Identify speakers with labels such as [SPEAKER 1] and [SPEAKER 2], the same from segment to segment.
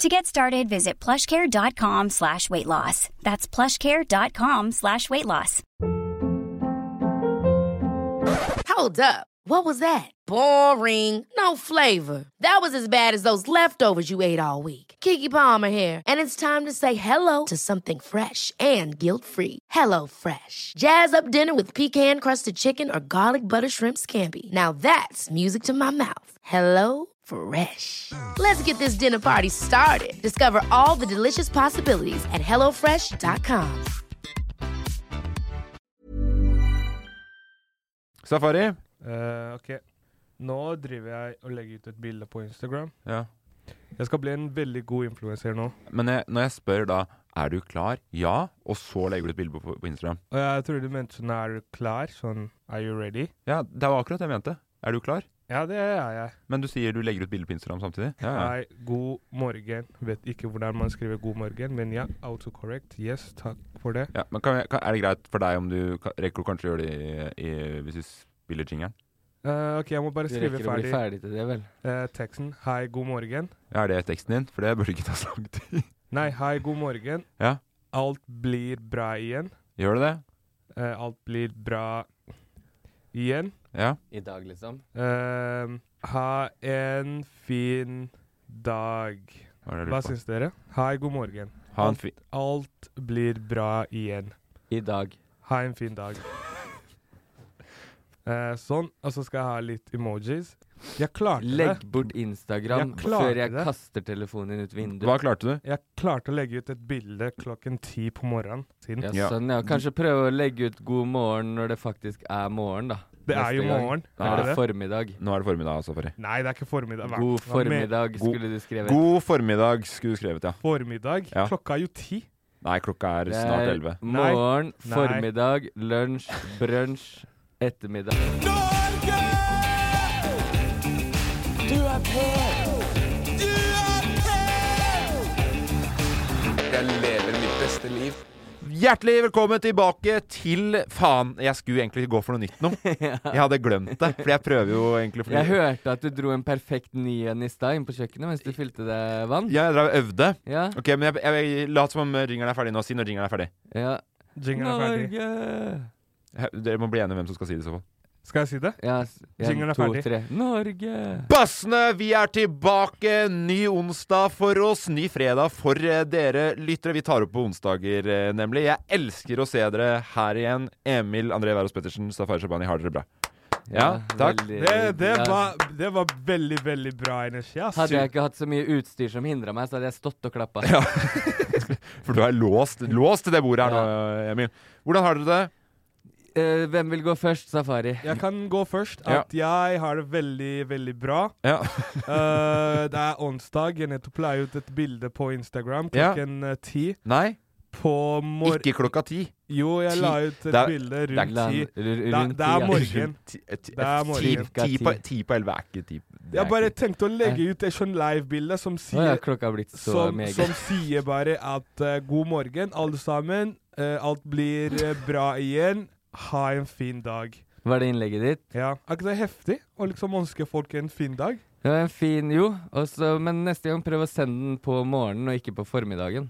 [SPEAKER 1] To get started, visit plushcare.com slash weight loss. That's plushcare.com slash weight loss.
[SPEAKER 2] Hold up. What was that? Boring. No flavor. That was as bad as those leftovers you ate all week. Kiki Palmer here, and it's time to say hello to something fresh and guilt-free. Hello Fresh. Jazz up dinner with pecan-crusted chicken or garlic butter shrimp scampi. Now that's music to my mouth. Hello Fresh. Let's get this dinner party started. Discover all the delicious possibilities at hellofresh.com.
[SPEAKER 3] Safari. Eh, ok. Nå driver jeg og legger ut et bilde på Instagram.
[SPEAKER 4] Ja.
[SPEAKER 3] Jeg skal bli en veldig god influenser nå.
[SPEAKER 4] Men jeg, når jeg spør da Er du klar? Ja. Og så legger du et bilde på, på Instagram.
[SPEAKER 3] Og jeg tror du mente sånn Er du klar? Sånn Are you ready?
[SPEAKER 4] Ja, det var akkurat det jeg mente. Er du klar?
[SPEAKER 3] Ja, det er jeg.
[SPEAKER 4] Men du sier du legger ut bilde på Instagram samtidig? Ja, ja.
[SPEAKER 3] Hei, god morgen. Vet ikke hvordan man skriver 'god morgen', men ja, autocorrect. Yes, takk for det.
[SPEAKER 4] ja men kan, jeg- kan, er det greit for deg om du kan- rekker å kanskje gjøre det i, i, hvis du spiller jingeren?
[SPEAKER 3] Eh, ok, jeg må bare
[SPEAKER 5] Du
[SPEAKER 3] skrive
[SPEAKER 5] rekker å bli
[SPEAKER 3] ferdig,
[SPEAKER 5] ferdig til det, vel?
[SPEAKER 3] eh, teksten. Hei, god morgen.
[SPEAKER 4] Ja, er det teksten din? For det burde ikke ta så lang tid.
[SPEAKER 3] Nei, hei, god morgen.
[SPEAKER 4] Ja.
[SPEAKER 3] Alt blir bra igjen.
[SPEAKER 4] Gjør det det?
[SPEAKER 3] Eh, alt blir bra igjen.
[SPEAKER 4] Ja.
[SPEAKER 5] I dag, liksom?
[SPEAKER 3] Eh, ha en fin dag.
[SPEAKER 4] Hva, er det jeg
[SPEAKER 3] Hva
[SPEAKER 4] lurer på?
[SPEAKER 3] syns dere? Hei, god morgen.
[SPEAKER 4] Ha en fin
[SPEAKER 3] Alt blir bra igjen.
[SPEAKER 5] I dag.
[SPEAKER 3] Ha en fin dag. Eh, sånn. Og så skal jeg ha litt emojis. Jeg klarte
[SPEAKER 5] Legg
[SPEAKER 3] det.
[SPEAKER 5] bort Instagram
[SPEAKER 3] Jeg klarte
[SPEAKER 5] før jeg
[SPEAKER 3] det.
[SPEAKER 5] kaster telefonen din ut vinduet.
[SPEAKER 4] Hva klarte du?
[SPEAKER 3] Jeg klarte å legge ut et bilde klokken ti på morgenen. Siden.
[SPEAKER 5] Ja,
[SPEAKER 4] Ja.
[SPEAKER 5] sånn, ja. Kanskje prøve å legge ut 'god morgen' når det faktisk er morgen, da.
[SPEAKER 3] Det er jo
[SPEAKER 5] Neste gang.
[SPEAKER 3] morgen.
[SPEAKER 5] Da er
[SPEAKER 3] Er
[SPEAKER 5] det
[SPEAKER 3] det det?
[SPEAKER 5] formiddag.
[SPEAKER 4] Nå er det formiddag, Safari.
[SPEAKER 3] Nei, det er ikke formiddag. Hva-
[SPEAKER 5] God
[SPEAKER 3] hva med-
[SPEAKER 5] formiddag,
[SPEAKER 4] God-
[SPEAKER 5] skulle du skrevet.
[SPEAKER 4] God formiddag, skulle du skrevet, ja.
[SPEAKER 3] Formiddag?
[SPEAKER 4] Ja.
[SPEAKER 3] Klokka er jo ti.
[SPEAKER 4] Nei, klokka er
[SPEAKER 5] Det
[SPEAKER 4] snart
[SPEAKER 5] er
[SPEAKER 4] elleve.
[SPEAKER 3] Nei.
[SPEAKER 5] Eh, Morgen,
[SPEAKER 3] Nei.
[SPEAKER 5] formiddag, lunsj, brunsj, ettermiddag.
[SPEAKER 4] Hjertelig velkommen tilbake til Faen, jeg skulle egentlig gå for noe nytt nå. Jeg hadde glemt det, for jeg prøver jo egentlig for
[SPEAKER 5] Jeg hørte at du dro en perfekt ny en i stad inn på kjøkkenet mens du fylte deg vann.
[SPEAKER 4] Ja, jeg drev og øvde.
[SPEAKER 5] Ja.
[SPEAKER 4] Ok, men jeg, jeg, jeg lat som om ringeren er ferdig nå. Si når ringeren er ferdig.
[SPEAKER 5] ja.
[SPEAKER 3] Jingeren er ferdig.
[SPEAKER 4] He- Dere må bli enige om hvem som skal si det i så fall.
[SPEAKER 3] Skal jeg si det?
[SPEAKER 5] Ja, s- en,
[SPEAKER 3] Jingeren er
[SPEAKER 5] to,
[SPEAKER 3] ferdig.
[SPEAKER 5] tre. Norge!
[SPEAKER 4] Bassene, vi er tilbake. Ny onsdag for oss. Ny fredag for eh, dere lyttere. Vi tar opp på onsdager, eh, nemlig. Jeg elsker å se dere her igjen. Emil André Wærås Pettersen, Safari Shabani, har dere det bra? Ja, takk.
[SPEAKER 5] veldig
[SPEAKER 3] Det, det,
[SPEAKER 5] bra.
[SPEAKER 3] var, det var veldig, veldig bra energi. ass.
[SPEAKER 5] Hadde jeg ikke hatt så mye utstyr som hindra meg, så hadde jeg stått og klappa.
[SPEAKER 4] Ja. For du er låst Låst til det bordet her nå, Emil. Hvordan har dere det?
[SPEAKER 5] Eh, hvem vil gå først? Safari.
[SPEAKER 3] Jeg kan gå først. At jeg har det veldig, veldig bra.
[SPEAKER 4] Ja.
[SPEAKER 3] Eh, det er onsdag. Jeg nettopp la ut et bilde på Instagram
[SPEAKER 4] Ja.
[SPEAKER 3] klokken eh, ti.
[SPEAKER 4] Nei,
[SPEAKER 3] På mor...
[SPEAKER 4] ikke klokka ti.
[SPEAKER 3] Jo, jeg la ut et
[SPEAKER 4] Det er-
[SPEAKER 3] bilde
[SPEAKER 4] det er
[SPEAKER 3] rundt ti. Da-
[SPEAKER 5] rundt
[SPEAKER 3] det er
[SPEAKER 5] tida.
[SPEAKER 3] morgen.
[SPEAKER 4] Ti, eh, ti,
[SPEAKER 3] Det er
[SPEAKER 4] ti,
[SPEAKER 3] morgen.
[SPEAKER 4] ti, på, ti på elleve er ikke ti. det er
[SPEAKER 3] Jeg bare
[SPEAKER 4] ikke-
[SPEAKER 3] tenkte å legge ut et sånn live-bilde som
[SPEAKER 5] Å ja,
[SPEAKER 3] sier
[SPEAKER 5] klokka har blitt så
[SPEAKER 3] som,
[SPEAKER 5] meget.
[SPEAKER 3] som sier bare at eh, god morgen, alle sammen. Eh, alt blir eh, bra igjen. Ha en fin dag.
[SPEAKER 5] Var det innlegget ditt?
[SPEAKER 3] Ja. Er ikke det heftig å liksom ønske folk en fin dag?
[SPEAKER 5] Det var en fin jo, også, men neste gang prøv å sende den på morgenen og ikke på formiddagen.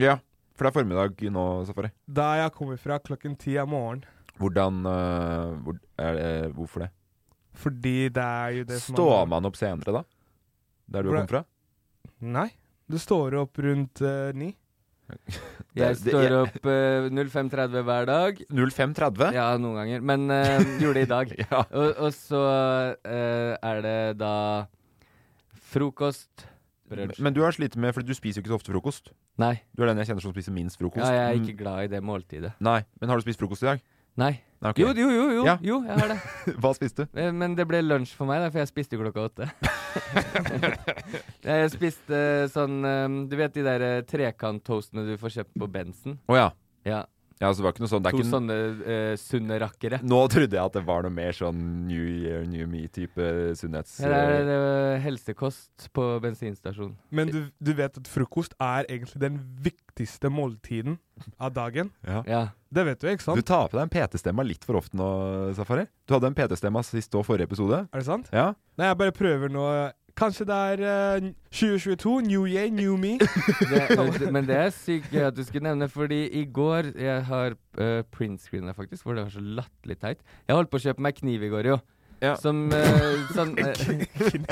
[SPEAKER 4] Ja, for det er formiddag nå, Safari.
[SPEAKER 3] Der jeg kommer fra klokken ti om morgenen.
[SPEAKER 4] Hvordan eh, hvor, er det, Hvorfor det?
[SPEAKER 3] Fordi det er jo det som
[SPEAKER 4] Står man opp senere, da? Der du
[SPEAKER 3] Hvor er-
[SPEAKER 4] kom fra?
[SPEAKER 3] Nei. Du står opp rundt eh, ni.
[SPEAKER 5] Jeg
[SPEAKER 4] Det- det-
[SPEAKER 5] står opp eh, 05.30 hver dag.
[SPEAKER 4] 05.30?
[SPEAKER 5] Ja, noen ganger. Men eh, gjorde det i dag.
[SPEAKER 4] Ja.
[SPEAKER 5] Og, og så eh, er det da frokost Brunch.
[SPEAKER 4] Men du har slitt med, for du spiser jo ikke så ofte frokost.
[SPEAKER 5] Nei,
[SPEAKER 4] Du er den jeg kjenner som spiser minst frokost.
[SPEAKER 5] ja, jeg er ikke
[SPEAKER 4] Mm,
[SPEAKER 5] glad i det måltidet.
[SPEAKER 4] Nei, Men har du spist frokost i dag?
[SPEAKER 5] Nei.
[SPEAKER 4] Nei, ok.
[SPEAKER 5] Jo, jo, jo, jo,
[SPEAKER 4] Ja.
[SPEAKER 5] jo jeg har det.
[SPEAKER 4] Hva spiste du?
[SPEAKER 5] Eh, Men det ble lunsj for meg, da, for jeg spiste klokka åtte. jeg spiste eh, sånn eh, Du vet de der eh, trekanttoastene du får kjøpt på Bensen?
[SPEAKER 4] Å ja.
[SPEAKER 5] Ja.
[SPEAKER 4] ja. Så det var ikke noe sånn det er
[SPEAKER 5] To
[SPEAKER 4] ikke...
[SPEAKER 5] sånne eh, sunne rakkere.
[SPEAKER 4] Nå trodde jeg at det var noe mer sånn New Year, New Me-type sunnhets...
[SPEAKER 5] Her er det eh, helsekost på bensinstasjon.
[SPEAKER 3] Men du, du vet at frokost er egentlig den viktigste måltiden av dagen.
[SPEAKER 5] Ja.
[SPEAKER 3] Det vet du, ikke
[SPEAKER 4] Du
[SPEAKER 3] sant?
[SPEAKER 4] tar på deg en PT-stemma litt for ofte nå, Safari. Du hadde en PT-stemma sist og forrige episode.
[SPEAKER 3] Er det sant?
[SPEAKER 4] Ja.
[SPEAKER 3] Nei, jeg bare prøver nå. Kanskje det er eh, 2022, new year, new me.
[SPEAKER 5] Det, men det er sykt gøy at du skulle nevne, fordi i går Jeg har uh, printscreena, faktisk, hvor det var så latterlig teit. Jeg holdt på å kjøpe meg kniv i går, jo.
[SPEAKER 4] Ja.
[SPEAKER 5] Som eh, sånn eh,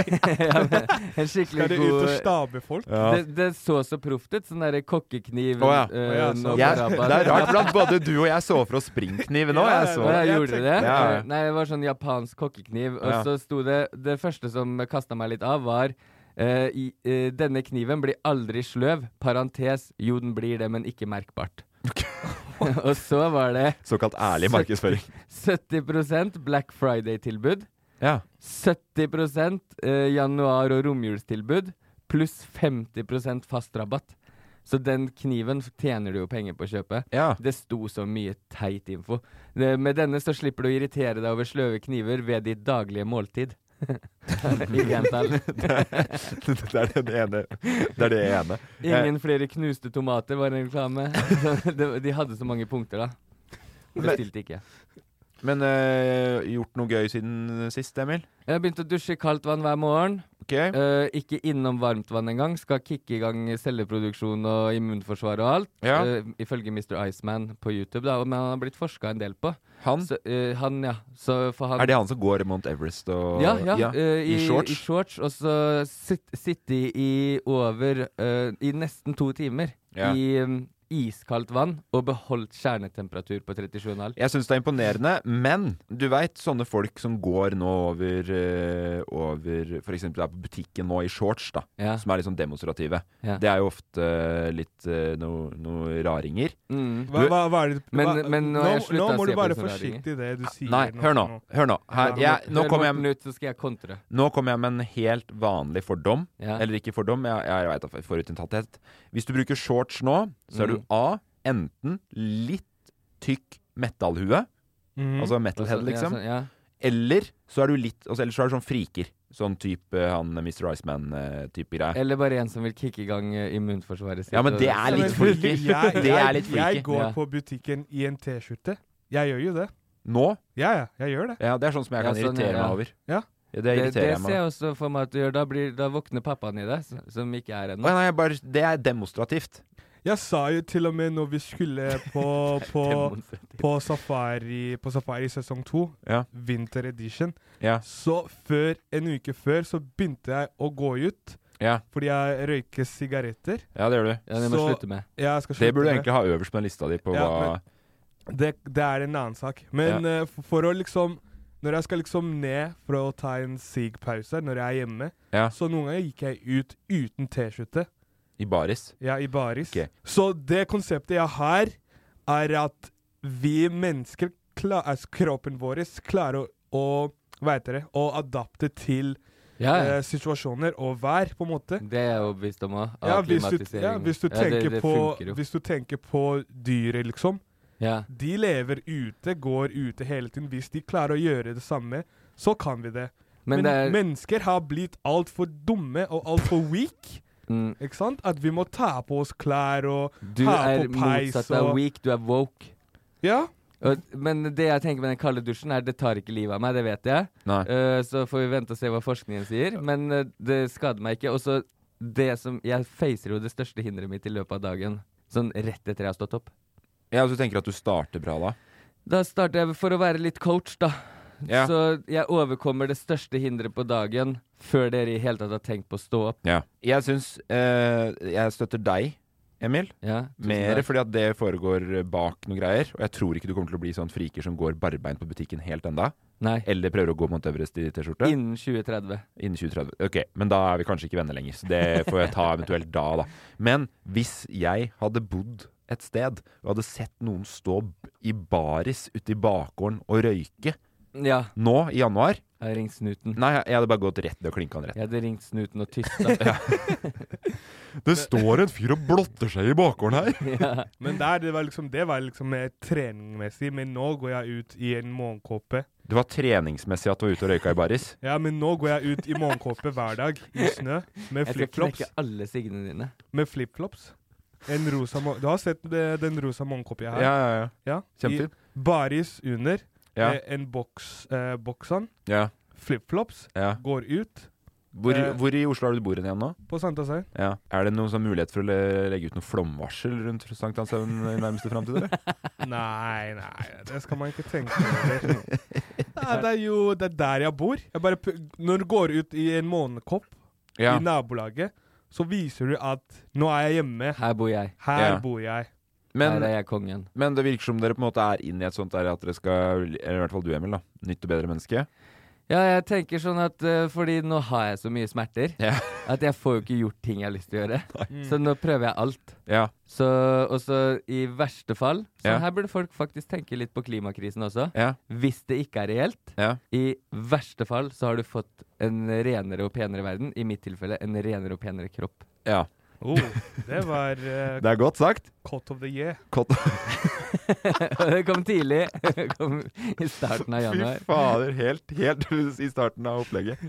[SPEAKER 5] ja, men En
[SPEAKER 3] Skal
[SPEAKER 5] skikkelig
[SPEAKER 3] du ut
[SPEAKER 5] god eh,
[SPEAKER 3] og stabe folk?
[SPEAKER 4] Ja.
[SPEAKER 5] Det, det så så proft ut. Sånn derre kokkekniv
[SPEAKER 4] Å ja.
[SPEAKER 5] eh,
[SPEAKER 3] Å ja,
[SPEAKER 5] nå
[SPEAKER 3] sånn.
[SPEAKER 5] på
[SPEAKER 4] Jeg,
[SPEAKER 5] rabba.
[SPEAKER 4] det er rart, for at både du og jeg så for oss springkniv nå. Jeg
[SPEAKER 5] Å
[SPEAKER 4] så.
[SPEAKER 5] ja,
[SPEAKER 3] Jeg
[SPEAKER 5] gjorde
[SPEAKER 3] tenkte-
[SPEAKER 5] du det?
[SPEAKER 4] Ja, ja.
[SPEAKER 5] Nei, det var sånn japansk kokkekniv. Og
[SPEAKER 4] Ja.
[SPEAKER 5] så sto det Det første som kasta meg litt av, var eh, i, eh, Denne kniven blir aldri sløv. Parentes. Jo, den blir det, men ikke merkbart. og så var det
[SPEAKER 4] Såkalt ærlig markedsføring.
[SPEAKER 5] 70 Black Friday-tilbud.
[SPEAKER 4] Ja.
[SPEAKER 5] 70 eh, januar- og romjulstilbud, pluss 50 fast rabatt. Så den kniven tjener du jo penger på å kjøpe.
[SPEAKER 4] Ja.
[SPEAKER 5] Det sto så mye teit info. Det, med denne så slipper du å irritere deg over sløve kniver ved ditt daglige måltid. I gentall.
[SPEAKER 4] Det er det ene. Det er det ene.
[SPEAKER 5] Ingen flere knuste tomater var en reklame. Det- De hadde så mange punkter, da. Bestilte ikke.
[SPEAKER 4] Men øh, gjort noe gøy siden sist, Emil?
[SPEAKER 5] Jeg har begynt å dusje i kaldt vann hver morgen.
[SPEAKER 4] Ok?
[SPEAKER 5] Eh, ikke innom varmtvann engang. Skal kicke i gang celleproduksjon og immunforsvar og alt.
[SPEAKER 4] Ja.
[SPEAKER 5] Eh, ifølge Mr. Iceman på YouTube, da. Men han har blitt forska en del på.
[SPEAKER 4] Han?
[SPEAKER 5] Så, eh, han, ja. Så for han
[SPEAKER 4] Er det han som går Mount Everest og
[SPEAKER 5] ja, ja, eh,
[SPEAKER 4] i, shorts?
[SPEAKER 5] I shorts og så sit- sitte i, i over eh, I nesten to timer
[SPEAKER 4] Ja.
[SPEAKER 5] i um, iskaldt vann og beholdt kjernetemperatur på 37,5.
[SPEAKER 4] Jeg syns det er imponerende, men du veit sånne folk som går nå over, uh, over f.eks. er på butikken nå i shorts, da.
[SPEAKER 5] Ja.
[SPEAKER 4] Som er litt sånn demonstrative.
[SPEAKER 5] Ja.
[SPEAKER 4] Det er jo ofte litt eh, no- noen raringer.
[SPEAKER 5] Mm.
[SPEAKER 3] Hva, hva, hva er det
[SPEAKER 5] Men-
[SPEAKER 3] hva,
[SPEAKER 5] men nå
[SPEAKER 3] nå,
[SPEAKER 5] har jeg sluttet
[SPEAKER 3] nå
[SPEAKER 5] å
[SPEAKER 3] må
[SPEAKER 5] se
[SPEAKER 3] du
[SPEAKER 5] på
[SPEAKER 3] være
[SPEAKER 5] disse raringer.
[SPEAKER 3] forsiktig i det du sier.
[SPEAKER 4] Nei, hør nå.
[SPEAKER 3] for
[SPEAKER 4] Hør nå. Her, jeg, nå
[SPEAKER 5] Hør
[SPEAKER 4] kommer
[SPEAKER 5] Morten
[SPEAKER 4] jeg,
[SPEAKER 5] ut, så skal jeg kontre.
[SPEAKER 4] nå kommer jeg med en helt vanlig fordom.
[SPEAKER 5] Ja.
[SPEAKER 4] Eller ikke fordom, jeg, jeg veit av forutinntatthet. Hvis du bruker shorts nå, så er du
[SPEAKER 5] Mm.
[SPEAKER 4] A. Enten litt tykk metallhue,
[SPEAKER 3] Mhm.
[SPEAKER 4] altså metalhead, liksom.
[SPEAKER 5] Mm. Ja, sånn, ja.
[SPEAKER 4] Eller så er du litt altså, Eller så er du sånn friker. Sånn type eh, han eh, Mr. Iceman-type greie.
[SPEAKER 5] Eller bare en som vil kicke i gang eh, immunforsvaret sitt.
[SPEAKER 4] Ja, men
[SPEAKER 5] og-
[SPEAKER 4] det er litt
[SPEAKER 3] Altså, Men
[SPEAKER 4] freaky.
[SPEAKER 3] Jeg,
[SPEAKER 4] Det
[SPEAKER 3] jeg,
[SPEAKER 4] er litt freaky.
[SPEAKER 3] Jeg går
[SPEAKER 5] Ja.
[SPEAKER 3] på butikken i en T-skjorte. Jeg gjør jo det.
[SPEAKER 4] Nå?
[SPEAKER 3] Ja, ja, jeg gjør det.
[SPEAKER 4] Ja, det er sånn som jeg
[SPEAKER 5] Ja,
[SPEAKER 4] kan
[SPEAKER 5] sånn,
[SPEAKER 4] irritere
[SPEAKER 5] ja.
[SPEAKER 4] meg over.
[SPEAKER 3] Ja.
[SPEAKER 4] det
[SPEAKER 5] Det, det
[SPEAKER 4] irriterer jeg meg
[SPEAKER 5] ser
[SPEAKER 4] over.
[SPEAKER 5] jeg også for meg at du gjør. Da, blir, da våkner pappaen i deg, s- som ikke er
[SPEAKER 4] Å,
[SPEAKER 5] ennå.
[SPEAKER 4] nei, jeg bare, det er demonstrativt.
[SPEAKER 3] Jeg sa jo til og med når vi skulle på, på,
[SPEAKER 5] Demonstrativt.
[SPEAKER 3] på, safari, på safari sesong to,
[SPEAKER 4] Ja.
[SPEAKER 3] winter edition,
[SPEAKER 4] Ja.
[SPEAKER 3] så før, en uke før så begynte jeg å gå ut
[SPEAKER 4] Ja.
[SPEAKER 3] fordi jeg røyker sigaretter.
[SPEAKER 4] ja, det gjør du.
[SPEAKER 5] Ja, det må
[SPEAKER 3] Så-
[SPEAKER 5] slutte med.
[SPEAKER 3] Jeg skal
[SPEAKER 4] Det
[SPEAKER 3] slutte
[SPEAKER 4] burde du
[SPEAKER 3] med-
[SPEAKER 4] egentlig ha øverst på den lista di på
[SPEAKER 3] Ja,
[SPEAKER 4] hva
[SPEAKER 3] men- det, det er en annen sak. Men eh, for, for å liksom Når jeg skal liksom ned for å ta en sig-pause når jeg er hjemme,
[SPEAKER 4] Ja.
[SPEAKER 3] så noen ganger gikk jeg ut uten T-skjorte.
[SPEAKER 4] I baris.
[SPEAKER 3] Ja, i baris.
[SPEAKER 4] Ok.
[SPEAKER 3] Så det konseptet jeg har, er at vi mennesker, kla- altså kroppen vår, klarer å, å Hva heter det? Å adapte til
[SPEAKER 5] Ja, Mm. ja.
[SPEAKER 3] eh, situasjoner og vær, på en måte.
[SPEAKER 5] det er jeg overbevist om òg.
[SPEAKER 3] Ja, hvis du, ja, hvis du tenker
[SPEAKER 5] det, det funker
[SPEAKER 3] på
[SPEAKER 5] jo.
[SPEAKER 3] Hvis du tenker på dyret, liksom.
[SPEAKER 5] Ja.
[SPEAKER 3] De lever ute, går ute hele tiden. Hvis de klarer å gjøre det samme, så kan vi det.
[SPEAKER 5] Men,
[SPEAKER 3] Men,
[SPEAKER 5] det er
[SPEAKER 3] mennesker har blitt altfor dumme og altfor weak.
[SPEAKER 5] mm,
[SPEAKER 3] Ikke sant? At vi må ta på oss klær og
[SPEAKER 5] Du
[SPEAKER 3] ha
[SPEAKER 5] er
[SPEAKER 3] på peis
[SPEAKER 5] motsatt av
[SPEAKER 3] og
[SPEAKER 5] weak, du er woke.
[SPEAKER 3] Ja.
[SPEAKER 5] Og, men det jeg tenker med den kalde dusjen, er det tar ikke livet av meg, det vet jeg.
[SPEAKER 4] Nei.
[SPEAKER 5] Eh, så får vi vente og se hva forskningen sier. Men eh, det skader meg ikke. Og så det som Jeg facer jo det største hinderet mitt i løpet av dagen. Sånn rett etter jeg har stått opp.
[SPEAKER 4] Ja, så tenker du at du starter bra da?
[SPEAKER 5] Da starter jeg for å være litt coach, da.
[SPEAKER 4] Ja.
[SPEAKER 5] Så jeg overkommer det største hinderet på dagen før dere i hele tatt har tenkt på å stå opp.
[SPEAKER 4] Ja. Jeg syns eh, Jeg støtter deg Emil.
[SPEAKER 5] Ja, tusen
[SPEAKER 4] Mer
[SPEAKER 5] takk.
[SPEAKER 4] fordi at det foregår bak noen greier. Og jeg tror ikke du kommer til å bli sånn friker som går barbeint på butikken helt enda.
[SPEAKER 5] Nei.
[SPEAKER 4] Eller prøver å gå Mount Everest i T-skjorte
[SPEAKER 5] Innen 2030.
[SPEAKER 4] innen 2030. Ok, men da er vi kanskje ikke venner lenger. Så det får jeg ta eventuelt da, da. Men hvis jeg hadde bodd et sted og hadde sett noen stå b- i baris ute i bakgården og røyke
[SPEAKER 5] Ja.
[SPEAKER 4] nå i januar
[SPEAKER 5] Jeg har ringt snuten.
[SPEAKER 4] Nei, jeg hadde bare gått rett ned og klinka han rett.
[SPEAKER 5] Jeg hadde ringt snuten og tysta.
[SPEAKER 4] Det står en fyr og blotter seg i bakgården her!
[SPEAKER 5] ja.
[SPEAKER 3] Men der, det var liksom, det var liksom mer treningmessig. Men nå går jeg ut i en morgenkåpe.
[SPEAKER 4] Det var treningsmessig at du var ute og røyka i baris.
[SPEAKER 3] Ja, men nå går jeg ut i morgenkåpe hver dag i snø med
[SPEAKER 5] Jeg skal
[SPEAKER 3] flipflops.
[SPEAKER 5] knekke alle signene dine.
[SPEAKER 3] Med flipflops. En rosa morgen... Du har sett det, den rosa morgenkåpa jeg
[SPEAKER 4] Ja,
[SPEAKER 3] har?
[SPEAKER 4] ja, ja. Eh,
[SPEAKER 3] Ja, i
[SPEAKER 4] Kjempefint.
[SPEAKER 3] Baris under,
[SPEAKER 4] Ja,
[SPEAKER 3] med en boks, eh, boksan,
[SPEAKER 4] ja,
[SPEAKER 3] flipflops,
[SPEAKER 4] ja.
[SPEAKER 3] går ut
[SPEAKER 4] Hvor,
[SPEAKER 3] Eh.
[SPEAKER 4] hvor i Oslo har du bor igjen nå?
[SPEAKER 3] på Sankthanshaugen.
[SPEAKER 4] Ja. Er det noen sånn mulighet for å le- legge ut noe flomvarsel rundt Sankthanshaugen i nærmeste framtid? eller?
[SPEAKER 3] Nei, nei, det skal man ikke tenke over. Nei, det er jo det er der jeg bor. Jeg bare, pu- når du går ut i en månekopp
[SPEAKER 4] Ja.
[SPEAKER 3] i nabolaget, så viser du at nå er jeg hjemme,
[SPEAKER 5] Her bor jeg.
[SPEAKER 3] her
[SPEAKER 4] Ja.
[SPEAKER 3] bor jeg.
[SPEAKER 4] Men,
[SPEAKER 5] Her er jeg kongen.
[SPEAKER 4] men det virker som dere på en måte er inne i et sånt der at dere skal, eller i hvert fall du Emil, da, nytt og bedre menneske.
[SPEAKER 5] Ja, jeg tenker sånn at eh, fordi nå har jeg så mye smerter
[SPEAKER 4] Ja.
[SPEAKER 5] at jeg får jo ikke gjort ting jeg har lyst til å gjøre. Så nå prøver jeg alt.
[SPEAKER 4] Ja.
[SPEAKER 5] Så, og så i verste fall Så
[SPEAKER 4] Ja.
[SPEAKER 5] her burde folk faktisk tenke litt på klimakrisen også.
[SPEAKER 4] Ja.
[SPEAKER 5] Hvis det ikke er reelt.
[SPEAKER 4] Ja.
[SPEAKER 5] I verste fall så har du fått en renere og penere verden. I mitt tilfelle en renere og penere kropp.
[SPEAKER 4] ja.
[SPEAKER 3] Oh, det var eh,
[SPEAKER 4] Det er godt sagt.
[SPEAKER 3] Cot of the Year.
[SPEAKER 4] Kott.
[SPEAKER 5] det kom tidlig. Det kom I starten av januar.
[SPEAKER 4] Fy fader, helt, helt i starten av opplegget.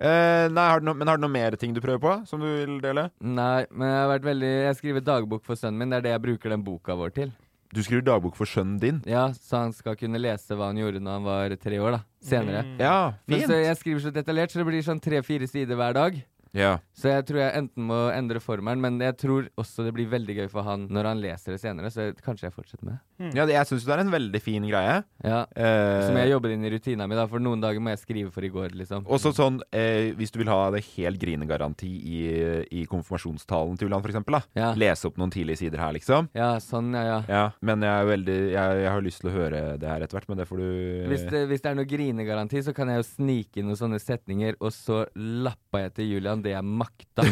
[SPEAKER 4] Eh, nei, har du noe, men har du noe mer ting du prøver på, som du vil dele?
[SPEAKER 5] Nei, men jeg har vært veldig Jeg skriver dagbok for sønnen min. Det er det jeg bruker den boka vår til.
[SPEAKER 4] Du skriver dagbok for sønnen din.
[SPEAKER 5] Ja, Så han skal kunne lese hva han gjorde når han var tre år, da. Senere.
[SPEAKER 4] Ja,
[SPEAKER 5] Men
[SPEAKER 4] Mm. fint.
[SPEAKER 5] så jeg skriver så detaljert, så det blir sånn tre-fire sider hver dag.
[SPEAKER 4] Ja.
[SPEAKER 5] Så jeg tror jeg enten må endre formelen, men jeg tror også det blir veldig gøy for han når han leser det senere, så jeg- kanskje jeg fortsetter med det.
[SPEAKER 4] ja, det- jeg syns det er en veldig fin greie.
[SPEAKER 5] Ja.
[SPEAKER 4] Eh,
[SPEAKER 5] Som jeg jobber inn i rutina mi, da, for noen dager må jeg skrive for i går, liksom.
[SPEAKER 4] Også sånn, eh, hvis du vil ha det helt grinegaranti i, i konfirmasjonstalen til Ulan, for eksempel, da.
[SPEAKER 5] Ja.
[SPEAKER 4] Lese opp noen tidlige sider her, liksom.
[SPEAKER 5] Ja, sånn, ja, ja.
[SPEAKER 4] Ja, men jeg, er veldig, jeg, jeg har lyst til å høre det her etter hvert, men det får du
[SPEAKER 5] Hvis det, hvis det er noe grinegaranti, så kan jeg jo snike inn noen sånne setninger, og så lappa jeg til Julian det jeg makta.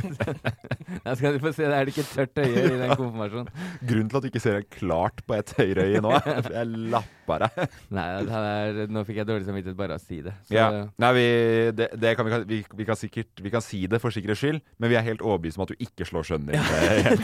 [SPEAKER 5] Da skal du få se, det er det ikke tørt øye i den konfirmasjonen.
[SPEAKER 4] Grunnen til at du ikke ser helt klart på et høyreøye nå, er fordi jeg lapper deg.
[SPEAKER 5] Nei, det er, nå fikk jeg dårlig samvittighet bare av å si det. Så,
[SPEAKER 4] Ja. Nei, vi, det, det kan, vi, kan- vi, vi kan sikkert Vi kan si det for sikkerhets skyld, men vi er helt overbevist om at du ikke slår sønnen din.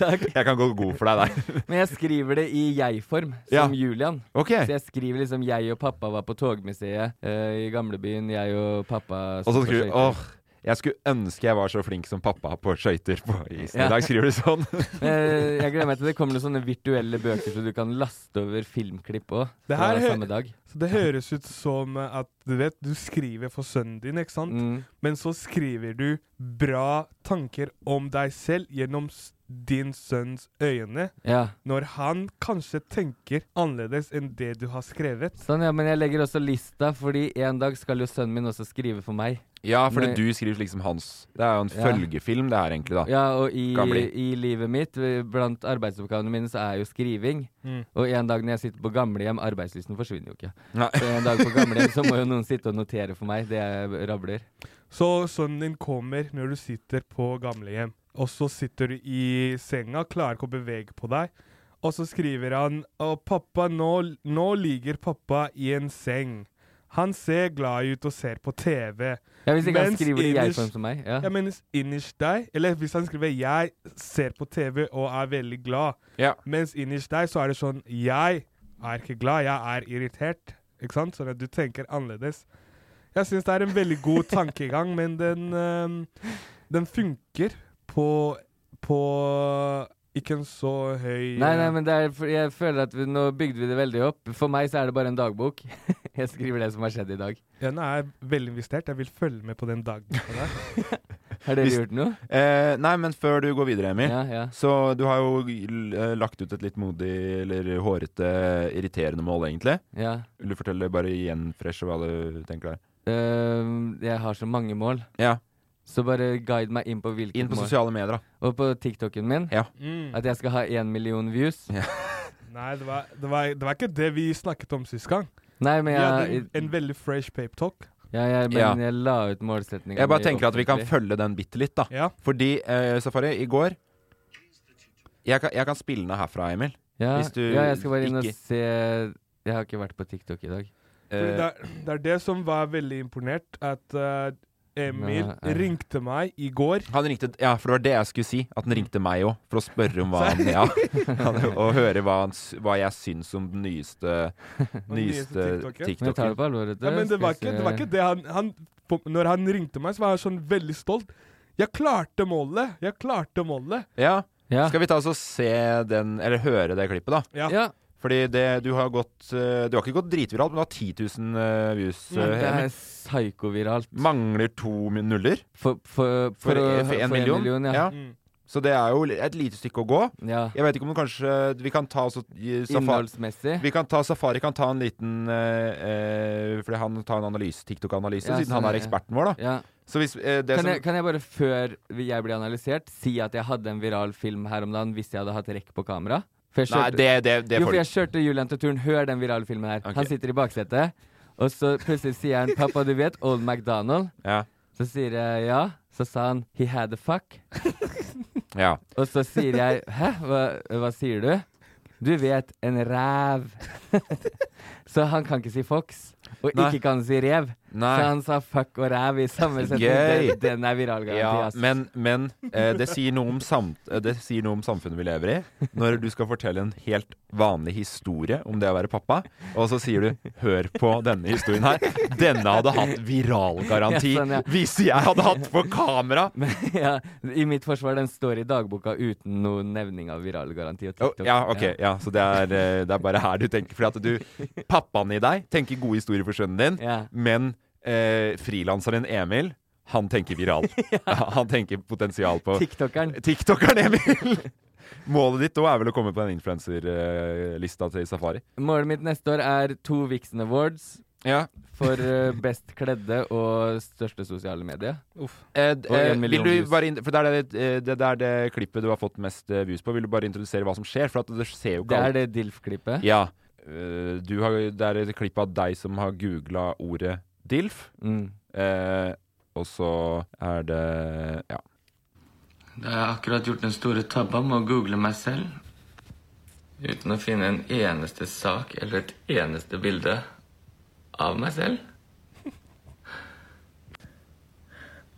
[SPEAKER 5] Takk.
[SPEAKER 4] Jeg kan gå god for deg der.
[SPEAKER 5] Men jeg skriver det i jeg-form, som Julian.
[SPEAKER 4] Ok.
[SPEAKER 5] Så jeg skriver liksom 'jeg og pappa var på togmuseet eh, i gamlebyen', 'jeg og pappa
[SPEAKER 4] Og så
[SPEAKER 5] på
[SPEAKER 4] skriver du
[SPEAKER 5] skøyter».
[SPEAKER 4] Åh, jeg skulle ønske jeg var så flink som pappa på skøyter på isen.
[SPEAKER 5] Ja.
[SPEAKER 4] I dag skriver du sånn.
[SPEAKER 5] Eh, Jeg gleder meg til det kommer noen sånne virtuelle bøker, så du kan laste over filmklipp òg.
[SPEAKER 3] Det her hø-
[SPEAKER 5] samme dag.
[SPEAKER 3] Så det høres ut som eh, at du vet, du skriver for sønnen din, ikke sant?
[SPEAKER 5] Mm.
[SPEAKER 3] Men så skriver du bra tanker om deg selv gjennom s- din sønns øyne,
[SPEAKER 5] Ja.
[SPEAKER 3] når han kanskje tenker annerledes enn det du har skrevet.
[SPEAKER 5] Sånn, ja. Men jeg legger også lista, fordi en dag skal jo sønnen min også skrive for meg.
[SPEAKER 4] Ja, fordi
[SPEAKER 5] Nei.
[SPEAKER 4] du skriver liksom hans Det er jo en
[SPEAKER 5] Ja.
[SPEAKER 4] følgefilm, det her egentlig, da.
[SPEAKER 5] Ja, og i,
[SPEAKER 4] Kan bli.
[SPEAKER 5] i livet mitt, eh, blant arbeidsoppgavene mine, så er jo skriving.
[SPEAKER 3] Mm.
[SPEAKER 5] Og en dag når jeg sitter på gamlehjem Arbeidslysten forsvinner jo ikke.
[SPEAKER 4] Nei.
[SPEAKER 5] Så en dag på gamlehjem så må jo noen sitte og notere for meg det jeg rabler.
[SPEAKER 3] Så sønnen din kommer når du sitter på gamlehjem, og så sitter du i senga, klarer ikke å bevege på deg, og så skriver han «Å, pappa, nå, nå ligger pappa i en seng. Han ser glad ut og ser på TV.»
[SPEAKER 5] Ja, hvis ikke han
[SPEAKER 3] Mens
[SPEAKER 5] skriver det i
[SPEAKER 3] innerst-
[SPEAKER 5] jeg-form som meg. Ja.
[SPEAKER 3] Jeg mener innerst deg, eller hvis han skriver 'jeg ser på TV og er veldig glad',
[SPEAKER 4] Ja.
[SPEAKER 3] mens innerst deg så er det sånn 'jeg er ikke glad, jeg er irritert'. Ikke sant? Sånn at du tenker annerledes. Jeg syns det er en veldig god tankegang, men den, øhm, den funker på, på ikke en så høy
[SPEAKER 5] Nei, nei, men det er, for- jeg føler at vi, nå bygde vi det veldig opp. For meg så er det bare en dagbok. Jeg skriver det som har skjedd i dag.
[SPEAKER 3] Den er veldig investert. Jeg vil følge med på den dagen. Der.
[SPEAKER 5] Har dere
[SPEAKER 4] Hvis-
[SPEAKER 5] gjort noe?
[SPEAKER 4] Eh, nei, men før du går videre, Emil.
[SPEAKER 5] Ja, ja.
[SPEAKER 4] Så du har jo l- eh, lagt ut et litt modig eller hårete, irriterende mål, egentlig.
[SPEAKER 5] ja.
[SPEAKER 4] Vil du
[SPEAKER 5] Eh,
[SPEAKER 4] fortelle bare igjen fresh hva du tenker der?
[SPEAKER 5] Øhm, jeg har så mange mål.
[SPEAKER 4] Ja.
[SPEAKER 5] Så bare guide meg inn på hvilket
[SPEAKER 4] Inn på
[SPEAKER 5] mål.
[SPEAKER 4] sosiale medier, da.
[SPEAKER 5] Og på TikToken min.
[SPEAKER 4] Ja.
[SPEAKER 3] Mm.
[SPEAKER 5] At jeg skal ha én million views.
[SPEAKER 3] Nei, det var, det, var, det var ikke det vi snakket om sist gang.
[SPEAKER 5] Nei, men
[SPEAKER 3] Vi hadde
[SPEAKER 5] jeg,
[SPEAKER 3] en, en veldig fresh pape talk.
[SPEAKER 5] ja, jeg, men
[SPEAKER 4] Ja.
[SPEAKER 5] jeg la ut målsetninga
[SPEAKER 4] Jeg bare tenker at vi kan følge den bitte litt, da.
[SPEAKER 3] Ja.
[SPEAKER 4] Fordi, eh, Safari, i går jeg kan, jeg kan spille den herfra, Emil.
[SPEAKER 5] ja,
[SPEAKER 4] hvis du
[SPEAKER 5] ja, jeg skal bare inn og
[SPEAKER 4] ikke-
[SPEAKER 5] se Jeg har ikke vært på TikTok i dag.
[SPEAKER 3] Fordi
[SPEAKER 4] Eh,
[SPEAKER 3] Det er, det er det som var veldig imponert, at eh, Emil
[SPEAKER 5] Nei, eh.
[SPEAKER 3] ringte meg i går.
[SPEAKER 4] han ringte, ja, for det var det jeg skulle si. At han ringte meg òg, for å spørre om hva han Ja. Han- Og høre hva, han, s- hva jeg syns om den nyeste, nyeste
[SPEAKER 3] nyeste TikToken.
[SPEAKER 5] Men jeg tar det
[SPEAKER 4] TikToken.
[SPEAKER 5] på alvor. vet du.
[SPEAKER 3] Ja, men det
[SPEAKER 5] Skal
[SPEAKER 3] var
[SPEAKER 5] jeg
[SPEAKER 3] ikke
[SPEAKER 5] se-
[SPEAKER 3] det, var ikke det han, han på, Når han ringte meg, så var han sånn veldig stolt. Jeg klarte målet! Jeg klarte målet!
[SPEAKER 4] Ja.
[SPEAKER 5] Ja.
[SPEAKER 4] Skal vi ta oss og se den, eller høre det klippet, da?
[SPEAKER 3] Ja.
[SPEAKER 5] ja.
[SPEAKER 4] Fordi det, du har gått eh, Du har ikke gått dritviralt, men du har 10 000 eh, views. eh,
[SPEAKER 5] Men det
[SPEAKER 4] Emil.
[SPEAKER 5] er psykoviralt.
[SPEAKER 4] Mangler to min- nuller.
[SPEAKER 5] For, for, for,
[SPEAKER 4] For,
[SPEAKER 5] å-
[SPEAKER 4] for en million?
[SPEAKER 5] ja.
[SPEAKER 4] Ja.
[SPEAKER 3] Mm.
[SPEAKER 4] Så det er jo et lite stykke å gå.
[SPEAKER 5] ja.
[SPEAKER 4] Jeg vet ikke om du kanskje Vi kan ta også i Safari
[SPEAKER 5] Innholdsmessig.
[SPEAKER 4] vi kan ta, Safari kan ta en liten eh, eh, Fordi han tar en analyse, TikTok-analyse,
[SPEAKER 5] Ja,
[SPEAKER 4] siden han
[SPEAKER 5] sånn,
[SPEAKER 4] er
[SPEAKER 5] ja.
[SPEAKER 4] eksperten vår, da.
[SPEAKER 5] Ja.
[SPEAKER 4] Så hvis eh, det
[SPEAKER 5] Kan,
[SPEAKER 4] som
[SPEAKER 5] jeg, kan jeg bare, før vi- jeg blir analysert, si at jeg hadde en viral film her om dagen hvis jeg hadde hatt rekk på kamera? For jeg
[SPEAKER 4] Nei,
[SPEAKER 5] kjørte-
[SPEAKER 4] det, det, det får
[SPEAKER 5] jo, for
[SPEAKER 4] du
[SPEAKER 5] jeg kjørte Julian til turen. Hør den virale filmen her.
[SPEAKER 4] Ok.
[SPEAKER 5] Han sitter i baksetet, og så plutselig sier han 'Pappa, du vet Old MacDonald?'
[SPEAKER 4] ja.
[SPEAKER 5] Så sier jeg ja. Så sa han 'He had a fuck'.
[SPEAKER 4] ja.
[SPEAKER 5] Og så sier jeg 'Hæ, hva, hva sier du?' Du vet, en ræv. så han kan ikke si fox, og
[SPEAKER 4] Nei.
[SPEAKER 5] ikke kan han si rev.
[SPEAKER 4] Nei.
[SPEAKER 5] Så han sa fuck og ræv i samme setning.
[SPEAKER 4] Gøy.
[SPEAKER 5] Den, den er viral garanti,
[SPEAKER 4] Ja,
[SPEAKER 5] ass.
[SPEAKER 4] men, men eh, det, sier noe om samt, eh, det sier noe om samfunnet vi lever i. Når du skal fortelle en helt vanlig historie om det å være pappa, og så sier du 'hør på denne historien her'. Denne hadde hatt viralgaranti
[SPEAKER 5] Ja, sånn, ja.
[SPEAKER 4] hvis jeg hadde hatt på kamera!
[SPEAKER 5] Men ja, I mitt forsvar, den står i dagboka uten noen nevning av viral garanti og
[SPEAKER 4] Å,
[SPEAKER 5] TikTok.
[SPEAKER 4] Oh, ja, ok. Ja, så det er, eh, det er bare her du tenker. Fordi at du, pappaen i deg tenker gode historier for sønnen din,
[SPEAKER 5] Ja.
[SPEAKER 4] men eh, frilanseren Emil, han tenker viral. Han tenker potensial på
[SPEAKER 5] TikTokeren.
[SPEAKER 4] TikTokeren Emil! Målet ditt da er vel å komme på den influenserlista til Safari?
[SPEAKER 5] Målet mitt neste år er to Vixen Awards
[SPEAKER 4] Ja.
[SPEAKER 5] for eh, best kledde og største sosiale medier.
[SPEAKER 3] Uff.
[SPEAKER 4] Eh, d-
[SPEAKER 5] Og en
[SPEAKER 4] eh, vil
[SPEAKER 5] million
[SPEAKER 4] du
[SPEAKER 5] views.
[SPEAKER 4] bare inn, for det er det, eh, det, det er det klippet du har fått mest eh, views på. Vil du bare introdusere hva som skjer? For at det ser jo
[SPEAKER 5] Det
[SPEAKER 4] ikke
[SPEAKER 5] er
[SPEAKER 4] alle
[SPEAKER 5] det DILF-klippet.
[SPEAKER 4] Ja. Eh, du har, det er et klipp av deg som har googla ordet DILF.
[SPEAKER 5] Mm.
[SPEAKER 4] Eh, og så er det Ja.
[SPEAKER 6] Da har jeg akkurat gjort den store tabba med å google meg selv. Uten å finne en eneste sak eller et eneste bilde av meg selv.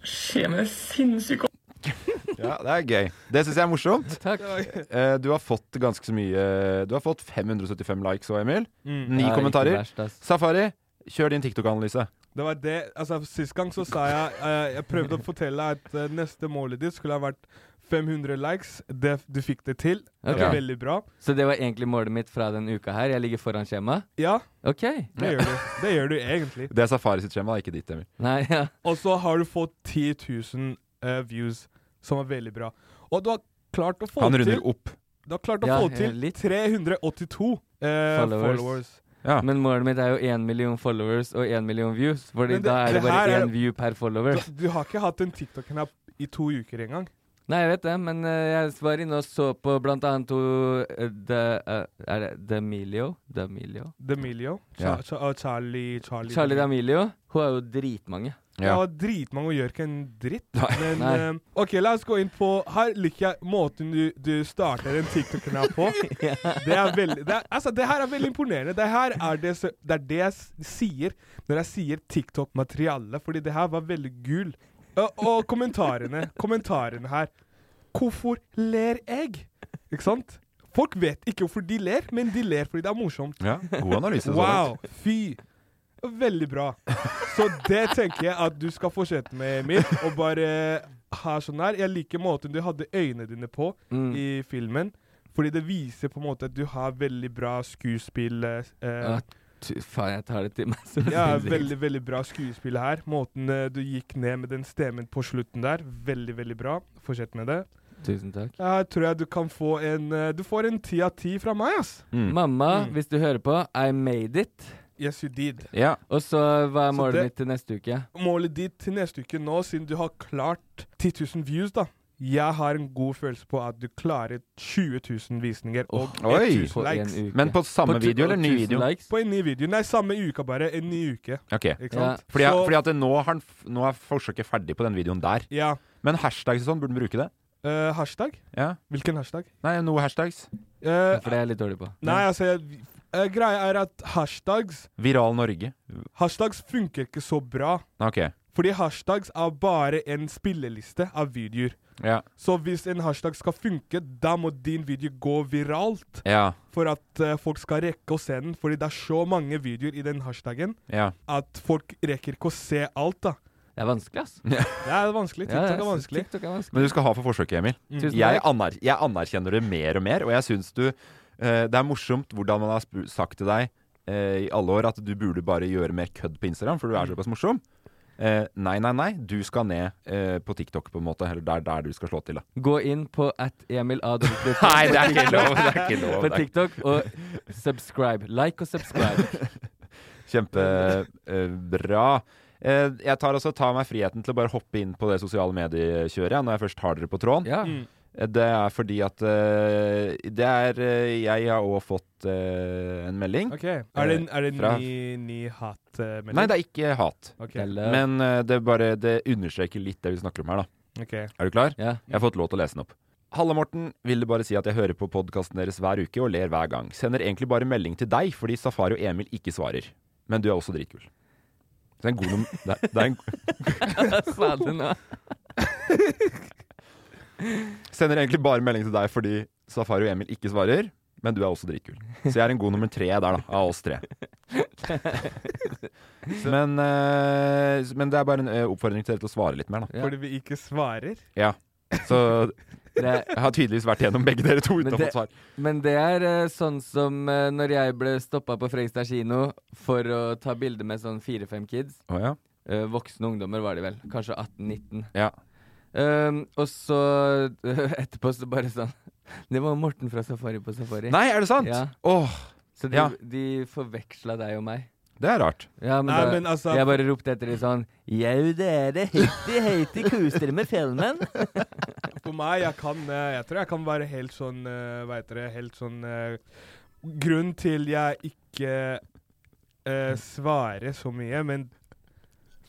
[SPEAKER 6] Skjer med det sinnssyke
[SPEAKER 4] ja det er gøy. Det syns jeg er morsomt.
[SPEAKER 5] Takk.
[SPEAKER 4] Eh, du har fått ganske så mye Du har fått 575 likes òg, Emil. Ni
[SPEAKER 5] Ja, ikke
[SPEAKER 4] kommentarer.
[SPEAKER 5] verst, ass.
[SPEAKER 4] Safari, kjør din TikTok-analyse.
[SPEAKER 3] Det var det, altså Sist gang så sa jeg eh, Jeg prøvde å fortelle at eh, neste målet ditt skulle ha vært 500 likes. Det, du fikk det til. Det var
[SPEAKER 4] Ok.
[SPEAKER 3] veldig bra.
[SPEAKER 5] Så det var egentlig målet mitt fra den uka her. Jeg ligger foran skjema.
[SPEAKER 3] Ja,
[SPEAKER 5] OK.
[SPEAKER 3] det gjør du. Det gjør du egentlig.
[SPEAKER 4] Det er Safari sitt skjema, ikke ditt, Emil.
[SPEAKER 5] Nei, ja.
[SPEAKER 3] Og så har du fått 10 000 eh, views, som er veldig bra. Og du har klart å få
[SPEAKER 4] Han
[SPEAKER 3] til
[SPEAKER 4] runder opp.
[SPEAKER 3] Du har klart å
[SPEAKER 5] Ja,
[SPEAKER 3] få
[SPEAKER 5] eh,
[SPEAKER 3] til
[SPEAKER 5] litt.
[SPEAKER 3] 382 eh,
[SPEAKER 5] Followers.
[SPEAKER 3] followers.
[SPEAKER 4] Ja.
[SPEAKER 5] Men målet mitt er jo én million followers og én million views. Fordi
[SPEAKER 3] Men det-
[SPEAKER 5] da er det
[SPEAKER 3] det her
[SPEAKER 5] bare
[SPEAKER 3] er-
[SPEAKER 5] én view per follower.
[SPEAKER 3] Du, du har ikke hatt en TikTok-knapp i to uker engang.
[SPEAKER 5] Nei, jeg vet det, men eh, jeg var inne og så på blant annet to eh, The eh, Er det Demilio? Demilio?
[SPEAKER 3] Demilio
[SPEAKER 4] Ja.
[SPEAKER 3] Cha Cha og Charlie Charlie,
[SPEAKER 5] Charlie D'Amelio. Hun er jo dritmange.
[SPEAKER 3] Ja.
[SPEAKER 4] Ja.
[SPEAKER 3] dritmange og gjør ikke en dritt.
[SPEAKER 4] Nei.
[SPEAKER 3] Men
[SPEAKER 5] Nei.
[SPEAKER 3] eh, OK, la oss gå inn på Her liker jeg måten du, du starter en TikTok-knapp på. Det er veldig det, er, altså, det her er veldig imponerende. Det her er det, så- det er det jeg s- sier når jeg sier TikTok-materiale, fordi det her var veldig gul. Og, og kommentarene. Kommentarene her. Hvorfor ler jeg? Ikke sant? Folk vet ikke hvorfor de ler, men de ler fordi det er morsomt.
[SPEAKER 4] ja. God analyse. så langt.
[SPEAKER 3] Wow, fy. Veldig bra. Så det tenker jeg at du skal fortsette med, Emil. Og bare ha sånn her. Jeg liker måten du hadde øynene dine på
[SPEAKER 5] Mm.
[SPEAKER 3] i filmen. Fordi det viser på en måte at du har veldig bra skuespill. Eh,
[SPEAKER 5] Ja, tu- faen, jeg tar det til meg. Så
[SPEAKER 3] ja,
[SPEAKER 5] sinnssykt.
[SPEAKER 3] veldig, veldig bra skuespill her. Måten eh, du gikk ned med den stemmen på slutten der. Veldig, veldig bra. Fortsett med det.
[SPEAKER 5] Tusen takk.
[SPEAKER 3] Jeg tror jeg du kan få en eh, Du får en ti av ti fra meg, ass.
[SPEAKER 4] Mm.
[SPEAKER 5] Mamma, hvis du hører på, I made it.
[SPEAKER 3] Yes, you did.
[SPEAKER 4] Ja.
[SPEAKER 5] Og så hva er
[SPEAKER 3] Så
[SPEAKER 5] målet
[SPEAKER 3] det-
[SPEAKER 5] mitt til neste uke?
[SPEAKER 3] Målet ditt til neste uke nå, siden du har klart 10 000 views, da. Jeg har en god følelse på at du klarer 20 000 visninger og
[SPEAKER 4] Oi.
[SPEAKER 3] 1000
[SPEAKER 5] På en
[SPEAKER 3] likes.
[SPEAKER 5] uke.
[SPEAKER 4] Men på samme
[SPEAKER 5] tu-
[SPEAKER 4] video, eller ny
[SPEAKER 5] 1000
[SPEAKER 4] video?
[SPEAKER 5] Likes.
[SPEAKER 3] På en ny video. Nei, samme uka, bare. En ny uke.
[SPEAKER 4] Ok.
[SPEAKER 3] Ikke
[SPEAKER 5] Ja.
[SPEAKER 3] sant?
[SPEAKER 4] Fordi,
[SPEAKER 3] Så-
[SPEAKER 4] fordi at det, nå, har han, f- nå er forsøket ferdig på den videoen der.
[SPEAKER 3] Ja.
[SPEAKER 4] Men hashtags og sånn, burde han bruke det?
[SPEAKER 3] Eh, hashtag?
[SPEAKER 4] Ja.
[SPEAKER 3] Hvilken hashtag?
[SPEAKER 4] Nei, noe hashtags.
[SPEAKER 3] Eh,
[SPEAKER 5] Mm, For det er jeg litt dårlig på.
[SPEAKER 3] nei, altså jeg, eh, Greia er at hashtags
[SPEAKER 4] Viral Norge.
[SPEAKER 3] Hashtags funker ikke så bra.
[SPEAKER 4] Ok.
[SPEAKER 3] Fordi hashtags er bare en spilleliste av videoer.
[SPEAKER 4] Ja.
[SPEAKER 3] Så hvis en hashtag skal funke, da må din video gå viralt
[SPEAKER 4] Ja.
[SPEAKER 3] for at eh, folk skal rekke å se den. Fordi det er så mange videoer i den hashtagen
[SPEAKER 4] Ja.
[SPEAKER 3] at folk rekker ikke å se alt, da.
[SPEAKER 5] Det er vanskelig, ass.
[SPEAKER 3] Det er vanskelig. TikTok
[SPEAKER 5] Ja, jeg
[SPEAKER 3] er
[SPEAKER 5] synes
[SPEAKER 3] vanskelig.
[SPEAKER 5] TikTok er vanskelig.
[SPEAKER 4] Men du skal ha for forsøket, Emil.
[SPEAKER 5] Tusen
[SPEAKER 4] Mm. Jeg,
[SPEAKER 5] takk.
[SPEAKER 4] aner, jeg anerkjenner det mer og mer, og jeg syns du eh, Det er morsomt hvordan man har sp- sagt til deg eh, i alle år at du burde bare gjøre mer kødd på Instagram, for du er såpass morsom. Eh, nei, nei, nei. Du skal ned eh, på TikTok, på en måte. Eller det er der du skal slå til, da.
[SPEAKER 5] Gå inn på at Emil A. Dobbeltbø på
[SPEAKER 4] Nei, det er ikke
[SPEAKER 5] TikTok-
[SPEAKER 4] lov! Det er ikke lov.
[SPEAKER 5] På
[SPEAKER 4] Det er
[SPEAKER 5] TikTok. Og subscribe. Like og subscribe.
[SPEAKER 4] Kjempebra. Eh, jeg tar også tar meg friheten til å bare hoppe inn på det sosiale mediekjøret ja, når jeg først har dere på tråden.
[SPEAKER 5] Ja.
[SPEAKER 4] Eh, Det er fordi at eh, det er eh, Jeg har òg fått eh, en melding.
[SPEAKER 3] Ok, Er det en, er det en
[SPEAKER 4] Fra-
[SPEAKER 3] ny, ny hat-melding?
[SPEAKER 4] Nei, det er ikke hat.
[SPEAKER 3] Ok,
[SPEAKER 5] Eller
[SPEAKER 4] Men eh, det, bare, det understreker litt det vi snakker om her, da.
[SPEAKER 3] ok.
[SPEAKER 4] Er du klar?
[SPEAKER 5] Ja.
[SPEAKER 4] Jeg har fått lov til å lese den opp. Halle Morten ville bare si at jeg hører på podkasten deres hver uke og ler hver gang. Sender egentlig bare melding til deg fordi Safari og Emil ikke svarer. Men du er også dritkul. Det er en god nom... Det er, det er en,
[SPEAKER 5] Sa du nå?
[SPEAKER 4] sender egentlig bare melding til deg fordi Safari og Emil ikke svarer. Men du er også dritkul. Så jeg er en god nummer tre der, da. Av oss tre. Men, eh, men det er bare en eh, oppfordring til dere til å svare litt mer, da.
[SPEAKER 5] Ja.
[SPEAKER 3] Fordi vi ikke svarer?
[SPEAKER 4] Ja. Så
[SPEAKER 5] Det,
[SPEAKER 4] jeg har tydeligvis vært gjennom begge dere to
[SPEAKER 5] Men
[SPEAKER 4] uten å
[SPEAKER 5] det-
[SPEAKER 4] få svar.
[SPEAKER 5] Men det er eh, sånn som eh, når jeg ble stoppa på Fredrikstad kino for å ta bilde med sånn fire-fem kids.
[SPEAKER 4] Å ja?
[SPEAKER 5] Eh, voksne ungdommer var de vel. Kanskje 18-19.
[SPEAKER 4] Ja.
[SPEAKER 5] Um, og så eh, etterpå så bare sånn Det var Morten fra Safari på Safari.
[SPEAKER 4] Nei, er det sant?
[SPEAKER 5] Ja.
[SPEAKER 4] Åh,
[SPEAKER 5] Så de,
[SPEAKER 4] ja.
[SPEAKER 5] de forveksla deg og meg.
[SPEAKER 4] det er rart.
[SPEAKER 5] Ja, men,
[SPEAKER 3] Nei,
[SPEAKER 5] da,
[SPEAKER 3] men altså-
[SPEAKER 5] Jeg bare ropte etter dem sånn Jau, dere. Heiti, heiti, kos dere med filmen.
[SPEAKER 3] For meg, jeg kan eh, Jeg tror jeg kan være helt sånn eh, Hva heter det Helt sånn eh, Grunn til jeg ikke eh, svarer så mye, men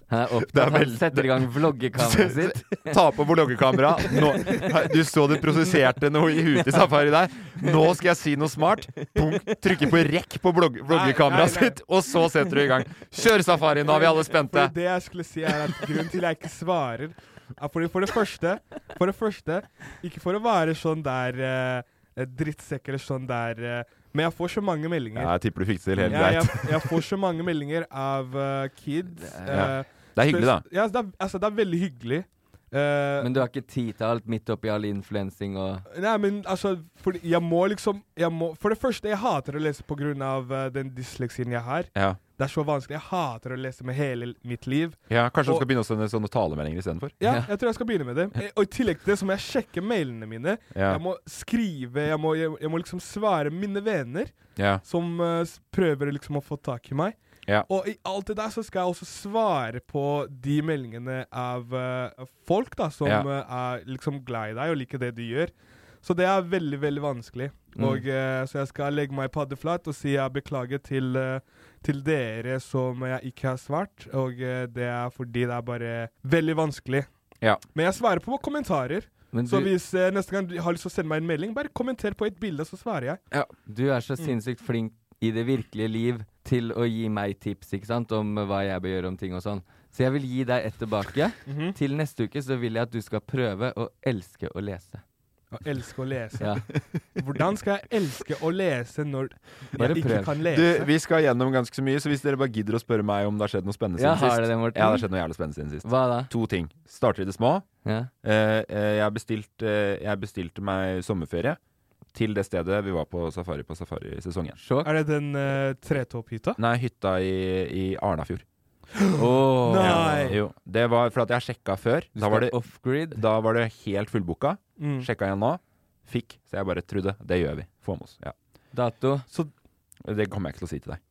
[SPEAKER 5] Han er
[SPEAKER 4] Det er
[SPEAKER 5] opptatt. Han
[SPEAKER 4] veldig-
[SPEAKER 5] setter i gang vloggekameraet sitt.
[SPEAKER 4] Ta på vloggekamera. Nå- Du så det prosesserte noe i huet til Safari der. Nå skal jeg si noe smart. Punk, trykker på rekk på blogg- vloggekameraet
[SPEAKER 3] Nei, nei, nei.
[SPEAKER 4] sitt, og så setter du i gang. Kjør Safari, nå er vi alle spente.
[SPEAKER 3] For det jeg skulle si, er at grunnen til jeg ikke svarer, er fordi for det første For det første Ikke for å være sånn der eh, drittsekk eller sånn der eh, Men jeg får så mange meldinger.
[SPEAKER 4] Ja, jeg tipper du fikk det til helt
[SPEAKER 3] jeg, jeg,
[SPEAKER 4] greit.
[SPEAKER 3] jeg får så mange meldinger av eh, kids.
[SPEAKER 4] Ja.
[SPEAKER 3] eh,
[SPEAKER 4] Det er hyggelig, da.
[SPEAKER 3] spes- Ja, det er, altså, det er veldig hyggelig. Eh,
[SPEAKER 5] Men du har ikke tid til alt midt oppi all influensing og
[SPEAKER 3] Nei, men altså fordi Jeg må liksom jeg må, For det første, jeg hater å lese på grunn av eh, den dysleksien jeg har.
[SPEAKER 4] Ja.
[SPEAKER 3] Det er så vanskelig. Jeg hater å lese med hele l- mitt liv.
[SPEAKER 4] Ja, kanskje du
[SPEAKER 3] Og-
[SPEAKER 4] skal begynne å sende sånne talemeldinger istedenfor?
[SPEAKER 3] Ja,
[SPEAKER 5] Ja.
[SPEAKER 3] jeg tror jeg skal begynne med det. Eh, Og i tillegg til det så må jeg sjekke mailene mine.
[SPEAKER 4] Ja.
[SPEAKER 3] Jeg må skrive, jeg må, jeg, jeg må liksom svare mine venner
[SPEAKER 4] Ja.
[SPEAKER 3] som eh, s- prøver liksom å få tak i meg.
[SPEAKER 4] Ja.
[SPEAKER 3] Og i alt det der så skal jeg også svare på de meldingene av eh, folk da, som
[SPEAKER 4] Ja.
[SPEAKER 3] eh, er liksom glad i deg og liker det du gjør. Så det er veldig, veldig vanskelig.
[SPEAKER 4] Mm.
[SPEAKER 3] Og, eh, så jeg skal legge meg paddeflat og si jeg beklager til, eh, til dere som jeg ikke har svart. Og eh, det er fordi det er bare veldig vanskelig.
[SPEAKER 4] Ja.
[SPEAKER 3] Men jeg svarer på kommentarer.
[SPEAKER 5] Men
[SPEAKER 3] Så
[SPEAKER 5] du-
[SPEAKER 3] hvis eh, neste gang du har lyst til å sende meg en melding, bare kommenter på et bilde, så svarer jeg.
[SPEAKER 5] Du er
[SPEAKER 3] Mm.
[SPEAKER 5] så sinnssykt flink i det virkelige liv til å gi meg tips ikke sant, om hva jeg bør gjøre om ting og sånn. Så jeg vil gi deg ett tilbake.
[SPEAKER 3] Mhm.
[SPEAKER 5] Til neste uke så vil jeg at du skal prøve å elske å lese.
[SPEAKER 3] Jeg elsker å lese.
[SPEAKER 5] Ja.
[SPEAKER 3] Hvordan skal jeg elske å lese når
[SPEAKER 5] Bare
[SPEAKER 3] jeg ikke
[SPEAKER 5] prøv.
[SPEAKER 3] kan
[SPEAKER 4] Du,
[SPEAKER 3] lese?
[SPEAKER 4] vi skal gjennom ganske så mye, så hvis dere bare gidder å spørre meg om det har skjedd noe spennende
[SPEAKER 5] Ja,
[SPEAKER 4] siden sist
[SPEAKER 5] har det det, Morten?
[SPEAKER 4] Ja, det har skjedd noe jævlig spennende siden sist.
[SPEAKER 5] Hva da?
[SPEAKER 4] To ting. Starter i det små.
[SPEAKER 5] Ja.
[SPEAKER 4] Eh, eh, jeg, bestilt, eh, jeg bestilte meg sommerferie til det stedet vi var på safari på safarisesongen.
[SPEAKER 5] Sjokk?
[SPEAKER 3] Er det den uh, tretopphytta?
[SPEAKER 4] Nei, hytta i, i Arnafjord.
[SPEAKER 5] Åh.
[SPEAKER 3] Nei.
[SPEAKER 4] Jo, det var for at jeg sjekka før.
[SPEAKER 5] Du
[SPEAKER 4] Da var,
[SPEAKER 5] skal
[SPEAKER 4] det,
[SPEAKER 5] off-grid.
[SPEAKER 4] da var det helt fullbooka.
[SPEAKER 3] Mm.
[SPEAKER 4] Sjekka igjen nå. Fikk. Så jeg bare trodde det gjør vi. Få med oss. Ja.
[SPEAKER 5] Dato.
[SPEAKER 4] Det kommer jeg ikke til å si til deg.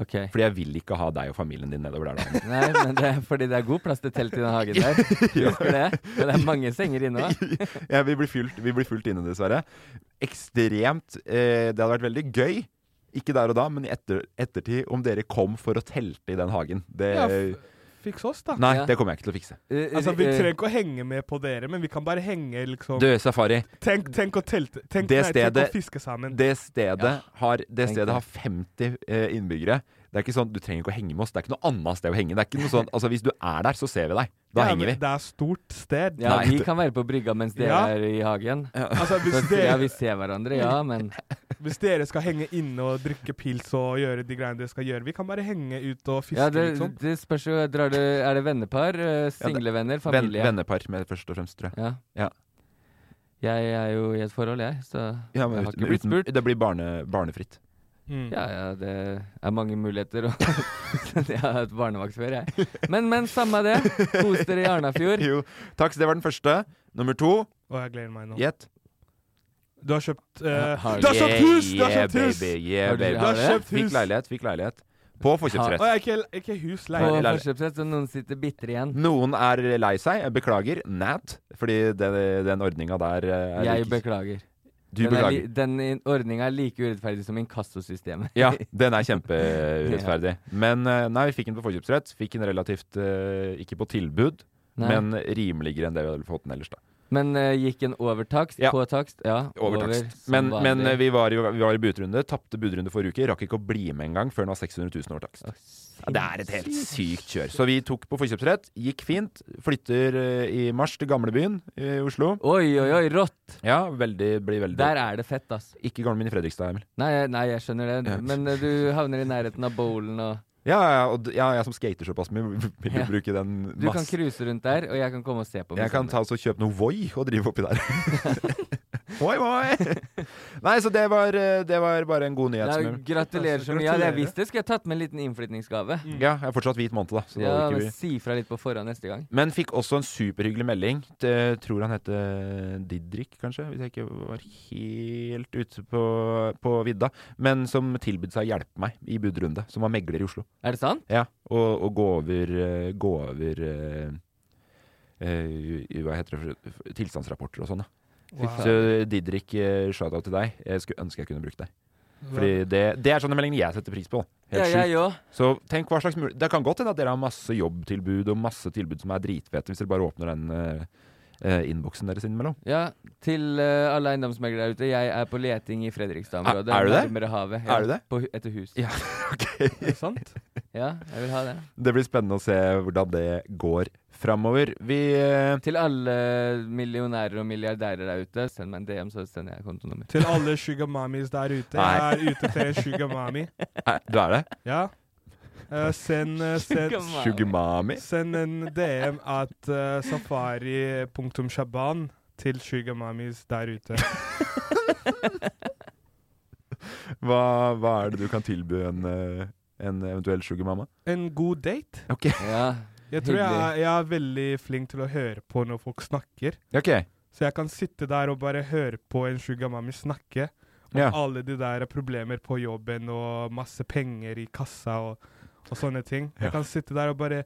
[SPEAKER 5] Ok.
[SPEAKER 4] Fordi jeg vil ikke ha deg og familien din nedover der. Da.
[SPEAKER 5] Nei, men det er fordi det er god plass til telt i den hagen der. Husker det? Men det er mange senger inne òg.
[SPEAKER 4] Ja, vi, blir fylt, vi blir fylt inne, dessverre. Ekstremt eh, Det hadde vært veldig gøy. Ikke der og da, men i etter, ettertid, om dere kom for å telte i den hagen. Det,
[SPEAKER 3] Ja, f- Fiks oss, da.
[SPEAKER 4] nei,
[SPEAKER 5] Ja.
[SPEAKER 4] det kommer jeg ikke til å fikse.
[SPEAKER 5] Eh,
[SPEAKER 3] Altså, Vi trenger ikke å henge med på dere, men vi kan bare henge, liksom.
[SPEAKER 4] Du, Safari.
[SPEAKER 3] Tenk, tenk å telte tenk,
[SPEAKER 4] Det
[SPEAKER 3] nei,
[SPEAKER 4] stedet-
[SPEAKER 3] tenk å fiske sammen.
[SPEAKER 4] Det stedet,
[SPEAKER 5] Ja,
[SPEAKER 4] har, det
[SPEAKER 5] tenk
[SPEAKER 4] stedet
[SPEAKER 5] det.
[SPEAKER 4] har 50 eh, innbyggere. Det er ikke sånn, Du trenger ikke å henge med oss. Det er ikke noe annet sted å henge. Det er ikke noe sånn, altså Hvis du er der, så ser vi deg. Da
[SPEAKER 3] Ja, men
[SPEAKER 4] henger vi.
[SPEAKER 3] Det er stort sted.
[SPEAKER 5] Ja,
[SPEAKER 4] Nei,
[SPEAKER 5] vi
[SPEAKER 4] det-
[SPEAKER 5] kan være på brygga mens dere
[SPEAKER 3] Ja.
[SPEAKER 5] er i hagen.
[SPEAKER 3] Altså,
[SPEAKER 5] Så
[SPEAKER 3] hvis,
[SPEAKER 5] ja,
[SPEAKER 3] dere,
[SPEAKER 5] vi ser hverandre, ja, men
[SPEAKER 3] hvis dere skal henge inne og drikke pils og gjøre de greiene dere skal gjøre, vi kan bare henge ut og fiske,
[SPEAKER 5] ja, det,
[SPEAKER 3] liksom.
[SPEAKER 5] det spørs jo drar det, Er det vennepar? eh,
[SPEAKER 4] Venn,
[SPEAKER 5] Singlevenner? Familie?
[SPEAKER 4] vennepar, med først og fremst, tror jeg.
[SPEAKER 5] Ja.
[SPEAKER 4] Ja.
[SPEAKER 5] Jeg er jo i et forhold, jeg, så
[SPEAKER 4] Ja,
[SPEAKER 5] jeg
[SPEAKER 4] men
[SPEAKER 5] har
[SPEAKER 4] uten,
[SPEAKER 5] ikke blitt
[SPEAKER 4] uten,
[SPEAKER 5] spurt.
[SPEAKER 4] det blir barne, barnefritt.
[SPEAKER 3] Mm.
[SPEAKER 5] Ja, ja, det er mange muligheter. Og jeg har hatt barnevakt før, jeg. Men, men, samme det. Kos dere i Arnafjord.
[SPEAKER 4] Jo, takk, så det var den første. Nummer to,
[SPEAKER 3] Og jeg gleder meg nå.
[SPEAKER 4] gjett.
[SPEAKER 3] Du har kjøpt eh,
[SPEAKER 5] Har-
[SPEAKER 3] Du har kjøpt hus! Du har kjøpt hus!
[SPEAKER 4] baby, yeah,
[SPEAKER 5] Har du-
[SPEAKER 4] baby.
[SPEAKER 3] Du
[SPEAKER 5] har
[SPEAKER 3] har
[SPEAKER 5] dere?
[SPEAKER 3] kjøpt
[SPEAKER 4] Fikk
[SPEAKER 3] hus!
[SPEAKER 4] leilighet, fikk leilighet. På forkjøpsrett.
[SPEAKER 3] Å, ja, ikke, ikke hus,
[SPEAKER 5] På
[SPEAKER 3] leilighet.
[SPEAKER 4] Leilighet.
[SPEAKER 5] forkjøpsrett, så noen sitter bitre igjen.
[SPEAKER 4] Noen er lei seg, jeg beklager. Nat. Fordi den, den ordninga der eh, er
[SPEAKER 5] Jeg
[SPEAKER 4] ikke-
[SPEAKER 5] beklager.
[SPEAKER 4] Du
[SPEAKER 5] Den, er
[SPEAKER 4] beklager.
[SPEAKER 5] li- den i- ordninga er like urettferdig som inkassosystemet.
[SPEAKER 4] Ja, den er kjempeurettferdig. Men eh, nei, vi fikk den på forkjøpsrett. Fikk den relativt eh, ikke på tilbud,
[SPEAKER 5] Nei.
[SPEAKER 4] men rimeligere enn det vi hadde fått den ellers. da
[SPEAKER 5] Men eh, gikk en over takst?
[SPEAKER 4] Ja.
[SPEAKER 5] På takst? Ja.
[SPEAKER 4] Overtakst.
[SPEAKER 5] som
[SPEAKER 4] Men,
[SPEAKER 5] vanlig.
[SPEAKER 4] men eh, vi, var, jo- vi var i budrunde, tapte budrunde forrige uke. Rakk ikke å bli med engang før den var 600 000 over takst. Ja, det er et helt sykt kjør. Så vi tok på forkjøpsrett. Gikk fint. Flytter eh, i mars til gamlebyen eh, i Oslo.
[SPEAKER 5] Oi, oi, oi, rått!
[SPEAKER 4] Ja, veldig, blir veldig
[SPEAKER 5] Der er det fett, ass.
[SPEAKER 4] Ikke gamlebyen i Fredrikstad, Emil.
[SPEAKER 5] Nei, nei, jeg skjønner det.
[SPEAKER 4] Ja.
[SPEAKER 5] Men eh, du havner i nærheten av bowlen og
[SPEAKER 4] Ja, ja, og d- ja, jeg som skater såpass mye, vil jo
[SPEAKER 5] Ja.
[SPEAKER 4] bruke den
[SPEAKER 5] Du kan
[SPEAKER 4] masse.
[SPEAKER 5] cruise rundt der, og jeg kan komme og se på. med
[SPEAKER 4] Jeg kan
[SPEAKER 5] sammen.
[SPEAKER 4] ta oss og kjøpe noe Voi og drive oppi der. Voi, voi! Nei, så det var, eh, det var bare en god nyhet.
[SPEAKER 5] Nei,
[SPEAKER 4] som jeg-
[SPEAKER 5] gratulerer så mye. Ja, jeg
[SPEAKER 3] Gratulerer.
[SPEAKER 5] visste skulle jeg tatt med en liten innflytningsgave.
[SPEAKER 4] Ja, jeg har fortsatt hvit måned, da. Så det
[SPEAKER 5] Ja,
[SPEAKER 4] hadde ikke
[SPEAKER 5] men
[SPEAKER 4] vi.
[SPEAKER 5] Si fra litt på forhånd neste gang.
[SPEAKER 4] Men fikk også en superhyggelig melding. Det, tror han heter Didrik, kanskje, hvis jeg ikke var helt ute på, på vidda. Men som tilbød seg å hjelpe meg i budrunde, som var megler i Oslo.
[SPEAKER 5] Er det sant?
[SPEAKER 4] Ja, Og, og gå over, eh, gå over eh, eh, hva heter det, for- tilstandsrapporter og sånn. da. Så Didrik, eh, shout-out til deg. Jeg skulle ønske jeg kunne brukt deg. Fordi det, det er sånne meldinger jeg setter pris på. da.
[SPEAKER 5] Ja,
[SPEAKER 4] Helt sjukt.
[SPEAKER 5] jeg òg.
[SPEAKER 4] Så tenk hva slags mulig Det kan godt hende at dere har masse jobbtilbud og masse tilbud som er dritfete, hvis dere bare åpner den eh, eh, innboksen deres innimellom.
[SPEAKER 5] Ja, til eh, alle eiendomsmeglere der ute. Jeg er på leting i Fredrikstad-området.
[SPEAKER 4] Er- er du det?
[SPEAKER 5] Nærmere havet. Ja,
[SPEAKER 4] Er du det?
[SPEAKER 5] På, hu- etter hus.
[SPEAKER 4] Ja.
[SPEAKER 3] Er det sant?
[SPEAKER 5] Ja, jeg vil ha det.
[SPEAKER 4] Det blir spennende å se hvordan det går framover. Vi eh,
[SPEAKER 5] Til alle millionærer og milliardærer der ute, send meg en DM, så sender jeg kontonummer.
[SPEAKER 3] Til alle sugarmamis der ute.
[SPEAKER 4] Nei.
[SPEAKER 3] Jeg er ute etter en sugarmami.
[SPEAKER 4] eh, Du er det?
[SPEAKER 3] Ja. Eh, send, eh, send,
[SPEAKER 4] Sugumami?
[SPEAKER 3] send en DM at eh, safari.shaban til sugarmamis der ute.
[SPEAKER 4] Hva, hva er det du kan tilby en, eh, en eventuell sugarmamma?
[SPEAKER 3] En god date.
[SPEAKER 5] Ja.
[SPEAKER 3] Jeg tror jeg
[SPEAKER 5] Hyggelig.
[SPEAKER 3] er, jeg er veldig flink til å høre på når folk snakker.
[SPEAKER 4] OK.
[SPEAKER 3] Så jeg kan sitte der og bare høre på en sugarmami snakke. Om
[SPEAKER 4] Ja.
[SPEAKER 3] alle de der problemer på jobben og masse penger i kassa og, og sånne ting. Jeg kan sitte der og bare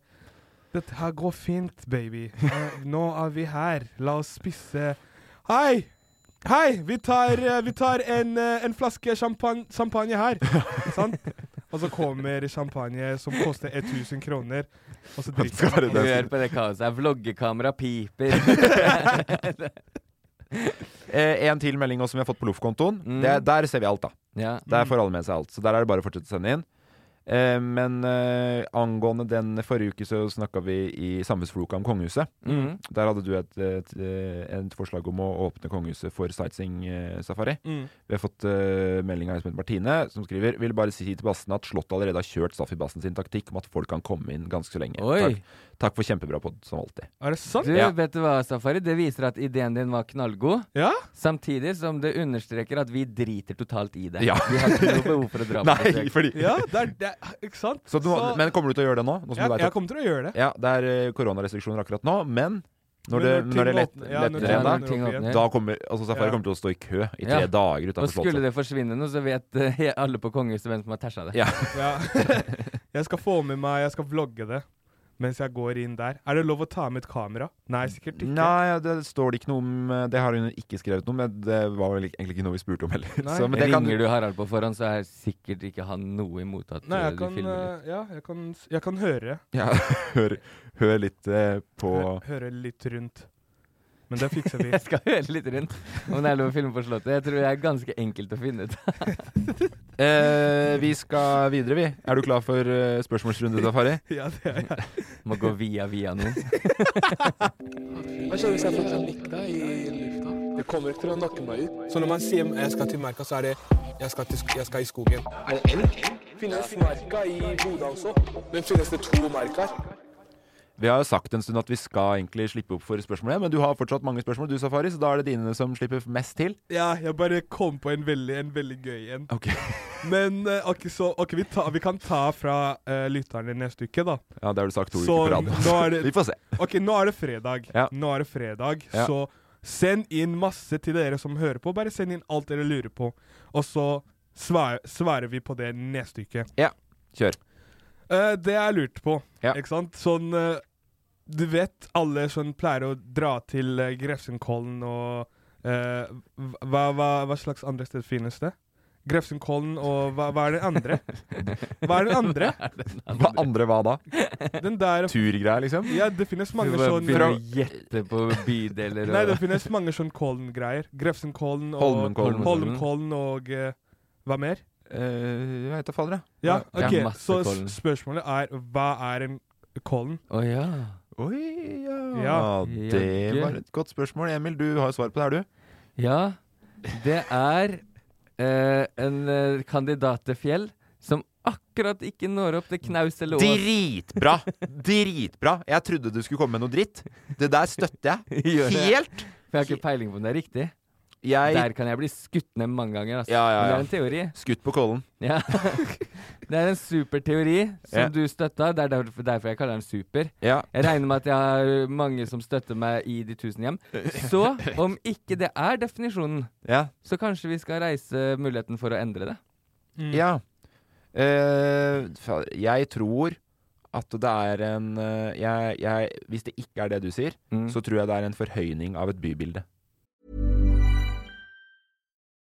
[SPEAKER 3] Dette her går fint, baby. Eh, Nå er vi her. La oss spise Hei! Hei! Vi tar, eh, vi tar en, eh, en flaske champagne, champagne her. Sant? Og så kommer champagne som koster 1000 kroner, og så drikker
[SPEAKER 4] Skal være
[SPEAKER 3] man.
[SPEAKER 4] det.
[SPEAKER 5] Hør på det kaoset her. Vloggekamera piper.
[SPEAKER 4] Eh, en til melding også som vi har fått på Loff-kontoen.
[SPEAKER 5] Mm.
[SPEAKER 4] Det- Der ser vi alt, da.
[SPEAKER 5] Ja.
[SPEAKER 3] Mm.
[SPEAKER 4] Der får alle med seg alt. Så der er det bare å fortsette å sende inn. Eh, men eh, angående den forrige uke, så snakka vi i Samfunnsfloka om kongehuset.
[SPEAKER 3] Mm.
[SPEAKER 5] Mhm.
[SPEAKER 4] Der hadde du et, et, eh, et forslag om å åpne kongehuset for sightseeing-safari.
[SPEAKER 3] Mm.
[SPEAKER 4] Vi har fått eh, melding av en som heter Martine, som skriver Vil bare si til Bassen at Slottet allerede har kjørt Safi Bassen sin taktikk om at folk kan komme inn ganske så lenge.
[SPEAKER 5] Oi.
[SPEAKER 4] Takk, takk for kjempebra pod, som alltid.
[SPEAKER 3] Er det sant?
[SPEAKER 5] Du,
[SPEAKER 4] Ja.
[SPEAKER 5] vet du hva, Safari? Det viser at ideen din var knallgod.
[SPEAKER 3] Ja?
[SPEAKER 5] Samtidig som det understreker at vi driter totalt i det.
[SPEAKER 4] Ja.
[SPEAKER 5] Vi har ikke noe behov for å dra på
[SPEAKER 4] Nei,
[SPEAKER 5] besøk.
[SPEAKER 4] fordi
[SPEAKER 3] Ja, det er det. er- Ikke sant?
[SPEAKER 4] så du, må-
[SPEAKER 3] Så-
[SPEAKER 4] Men kommer du til å gjøre det nå? nå Sånn som
[SPEAKER 3] jeg,
[SPEAKER 4] du vet
[SPEAKER 3] jeg
[SPEAKER 4] at,
[SPEAKER 3] kommer til å gjøre det.
[SPEAKER 4] ja, det er eh, koronarestriksjoner akkurat nå, men Når det,
[SPEAKER 3] ting
[SPEAKER 4] når det er lett,
[SPEAKER 3] åpner- ja,
[SPEAKER 4] lettere
[SPEAKER 3] når
[SPEAKER 4] enn
[SPEAKER 5] ting
[SPEAKER 3] åpner
[SPEAKER 4] det,
[SPEAKER 5] ting
[SPEAKER 3] opp igjen.
[SPEAKER 5] åpner.
[SPEAKER 4] da kommer altså Safari
[SPEAKER 3] Ja.
[SPEAKER 4] kommer til å stå i kø i
[SPEAKER 5] Ja.
[SPEAKER 4] tre dager
[SPEAKER 5] Og
[SPEAKER 4] utenfor
[SPEAKER 5] skulle
[SPEAKER 4] Slottet.
[SPEAKER 5] det forsvinne noe, så vet eh, he- alle på kongehuset hvem som har tæsja det.
[SPEAKER 4] Ja.
[SPEAKER 3] Ja. Jeg skal få med meg Jeg skal vlogge det mens jeg går inn der. Er det lov å ta med et kamera? Nei, sikkert ikke.
[SPEAKER 4] Nei, ja, det står det ikke noe om eh, Det har hun ikke skrevet noe om, men det var vel egentlig ikke noe vi spurte om heller.
[SPEAKER 3] Nei.
[SPEAKER 4] Så, men det kan,
[SPEAKER 5] Ringer du Harald på forhånd, så er sikkert ikke han noe imot at
[SPEAKER 3] Nei,
[SPEAKER 5] eh,
[SPEAKER 3] jeg
[SPEAKER 5] du
[SPEAKER 3] kan,
[SPEAKER 5] filmer litt.
[SPEAKER 3] eh, ja, jeg kan, s- jeg kan høre.
[SPEAKER 4] ja, hør, hør litt eh, på
[SPEAKER 3] Hø- Høre litt rundt. Men det fikser vi.
[SPEAKER 5] Jeg skal høre litt rundt om det er lov å filme på Slottet. Jeg tror det er ganske enkelt å finne ut.
[SPEAKER 4] eh, Vi skal videre, vi. Er du klar for eh, spørsmålsrunde, Safari?
[SPEAKER 3] Ja, det er jeg.
[SPEAKER 5] Må gå via via noen.
[SPEAKER 7] Hva skjer hvis jeg får panikk da i lufta? Det kommer ikke til å nakke meg ut. Så når man sier jeg skal til merka, så er det jeg skal, til, sk- jeg skal i skogen. Er det elg? Finnes merka i Bodø også? Men finnes det to merker?
[SPEAKER 4] Vi har jo sagt en stund at vi skal egentlig slippe opp for spørsmål, men du har fortsatt mange spørsmål, du, Safari, så da er det dine som slipper mest til.
[SPEAKER 3] Ja, jeg bare kom på en veldig, en veldig gøy en.
[SPEAKER 4] Ok
[SPEAKER 3] Men eh, ok, så, ok, vi, ta, vi kan ta fra uh, lytterne neste uke, da.
[SPEAKER 4] Ja, det har du sagt to
[SPEAKER 3] Så
[SPEAKER 4] uker på rad.
[SPEAKER 3] nå er det-
[SPEAKER 4] Vi får se.
[SPEAKER 3] Ok, nå er det fredag.
[SPEAKER 4] Ja.
[SPEAKER 3] Nå er det fredag,
[SPEAKER 4] Ja.
[SPEAKER 3] så send inn masse til dere som hører på. Bare send inn alt dere lurer på, og så svar, svarer vi på det neste uke.
[SPEAKER 4] Ja, kjør.
[SPEAKER 3] Eh, det jeg lurte på,
[SPEAKER 4] Ja.
[SPEAKER 3] ikke sant Sånn eh, Du vet alle som pleier å dra til eh, Grefsenkollen og eh, hva, hva, hva slags andre steder finnes det? Grefsenkollen og hva, hva er det andre? Hva er det andre?
[SPEAKER 4] Hva andre hva da?
[SPEAKER 3] Den der
[SPEAKER 4] Turgreier, liksom?
[SPEAKER 3] Ja, det finnes mange
[SPEAKER 5] Du bare
[SPEAKER 3] sånn
[SPEAKER 5] begynner å gjette på bydeler
[SPEAKER 3] Nei, det
[SPEAKER 5] og
[SPEAKER 3] finnes mange sånn Kollen-greier. Grefsenkollen og
[SPEAKER 4] Holmenkollen.
[SPEAKER 3] Holmenkollen og eh, hva mer?
[SPEAKER 4] Eh, Jeg vet da fader, jeg.
[SPEAKER 3] Ja,
[SPEAKER 5] Ja,
[SPEAKER 3] ok.
[SPEAKER 5] masse
[SPEAKER 3] Så
[SPEAKER 5] Kollen.
[SPEAKER 3] s- spørsmålet er hva er en Kollen?
[SPEAKER 5] Å ja.
[SPEAKER 4] Oi, ja.
[SPEAKER 3] Ja.
[SPEAKER 4] Det var et godt spørsmål. Emil, du har jo svar på det, er du?
[SPEAKER 5] Ja, det er eh, en eh, kandidat til fjell som akkurat ikke når opp til knaus eller ås.
[SPEAKER 4] Dritbra! Dritbra! Jeg trodde du skulle komme med noe dritt. Det der støtter jeg.
[SPEAKER 5] Gjør det.
[SPEAKER 4] Helt!
[SPEAKER 5] For jeg har ikke peiling på om det er riktig.
[SPEAKER 4] Jeg
[SPEAKER 5] Der kan jeg bli skutt ned mange ganger. Altså.
[SPEAKER 4] Ja, ja,
[SPEAKER 5] Men det
[SPEAKER 4] ja.
[SPEAKER 5] er en teori.
[SPEAKER 4] Skutt på kollen.
[SPEAKER 5] Ja. det er en super teori som
[SPEAKER 4] Ja.
[SPEAKER 5] du støtta. Det er derfor, derfor jeg kaller den super.
[SPEAKER 4] Ja.
[SPEAKER 5] Jeg regner med at jeg har mange som støtter meg i de tusen hjem. Så om ikke det er definisjonen,
[SPEAKER 4] Ja.
[SPEAKER 5] så kanskje vi skal reise muligheten for å endre det.
[SPEAKER 4] ja. Eh, fader, jeg tror at det er en eh, jeg, jeg, Hvis det ikke er det du sier,
[SPEAKER 5] Mm.
[SPEAKER 4] så tror jeg det er en forhøyning av et bybilde.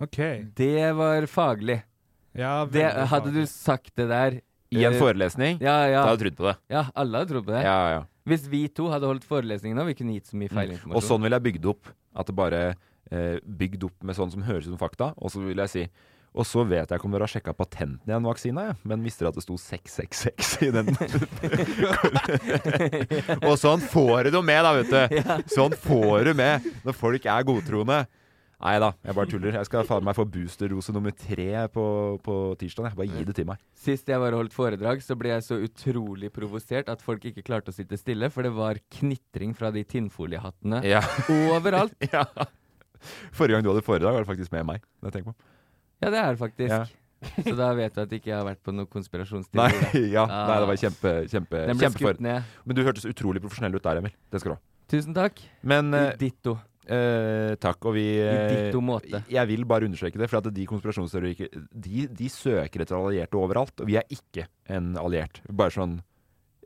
[SPEAKER 3] OK. Mm.
[SPEAKER 5] Det var faglig.
[SPEAKER 3] Ja,
[SPEAKER 5] Det,
[SPEAKER 3] veldig
[SPEAKER 5] hadde du
[SPEAKER 3] farlig.
[SPEAKER 5] sagt det der
[SPEAKER 4] I en forelesning.
[SPEAKER 5] Ja,
[SPEAKER 4] Da
[SPEAKER 5] ja.
[SPEAKER 4] hadde jeg trodd på det.
[SPEAKER 5] ja alle har trodd på det.
[SPEAKER 4] Ja, ja.
[SPEAKER 5] Hvis vi to hadde holdt forelesning nå, vi kunne gitt så mye feil informasjon.
[SPEAKER 4] Og sånn vil jeg bygge det opp. At det bare eh, bygd opp med sånn som høres ut som fakta. Og så vil jeg si Og så vet jeg ikke om dere har sjekka patenten i en vaksine, ja. men visste dere at det sto 666 i den? og sånn får du det med, da, vet du. Sånn får du med når folk er godtroende. Nei da, jeg bare tuller. Jeg skal faen meg få boosterrose nummer tre på, på tirsdag. Bare gi det til meg.
[SPEAKER 5] Sist jeg var og holdt foredrag, så ble jeg så utrolig provosert at folk ikke klarte å sitte stille, for det var knitring fra de tinnfoliehattene
[SPEAKER 4] Ja.
[SPEAKER 5] overalt.
[SPEAKER 4] ja. Forrige gang du hadde foredrag, var det faktisk med meg. Det tenker jeg på.
[SPEAKER 5] Ja, det er det faktisk.
[SPEAKER 4] Ja.
[SPEAKER 5] Så da vet du at ikke jeg har vært på noen konspirasjonsteori.
[SPEAKER 4] Nei,
[SPEAKER 5] da.
[SPEAKER 4] ja, nei, det var kjempe, kjempe,
[SPEAKER 5] Ah. Den ble
[SPEAKER 4] kjempefor-
[SPEAKER 5] skutt ned.
[SPEAKER 4] Men du hørtes utrolig profesjonell ut der, Emil. Det skal du ha.
[SPEAKER 5] Tusen takk.
[SPEAKER 4] Men
[SPEAKER 5] I
[SPEAKER 4] eh,
[SPEAKER 5] ditto.
[SPEAKER 4] eh, takk, og vi
[SPEAKER 5] I
[SPEAKER 4] eh,
[SPEAKER 5] ditto måte.
[SPEAKER 4] Jeg vil bare understreke det, for at de konspirasjonsteorikere de, de søker etter allierte overalt, og vi er ikke en alliert. Bare sånn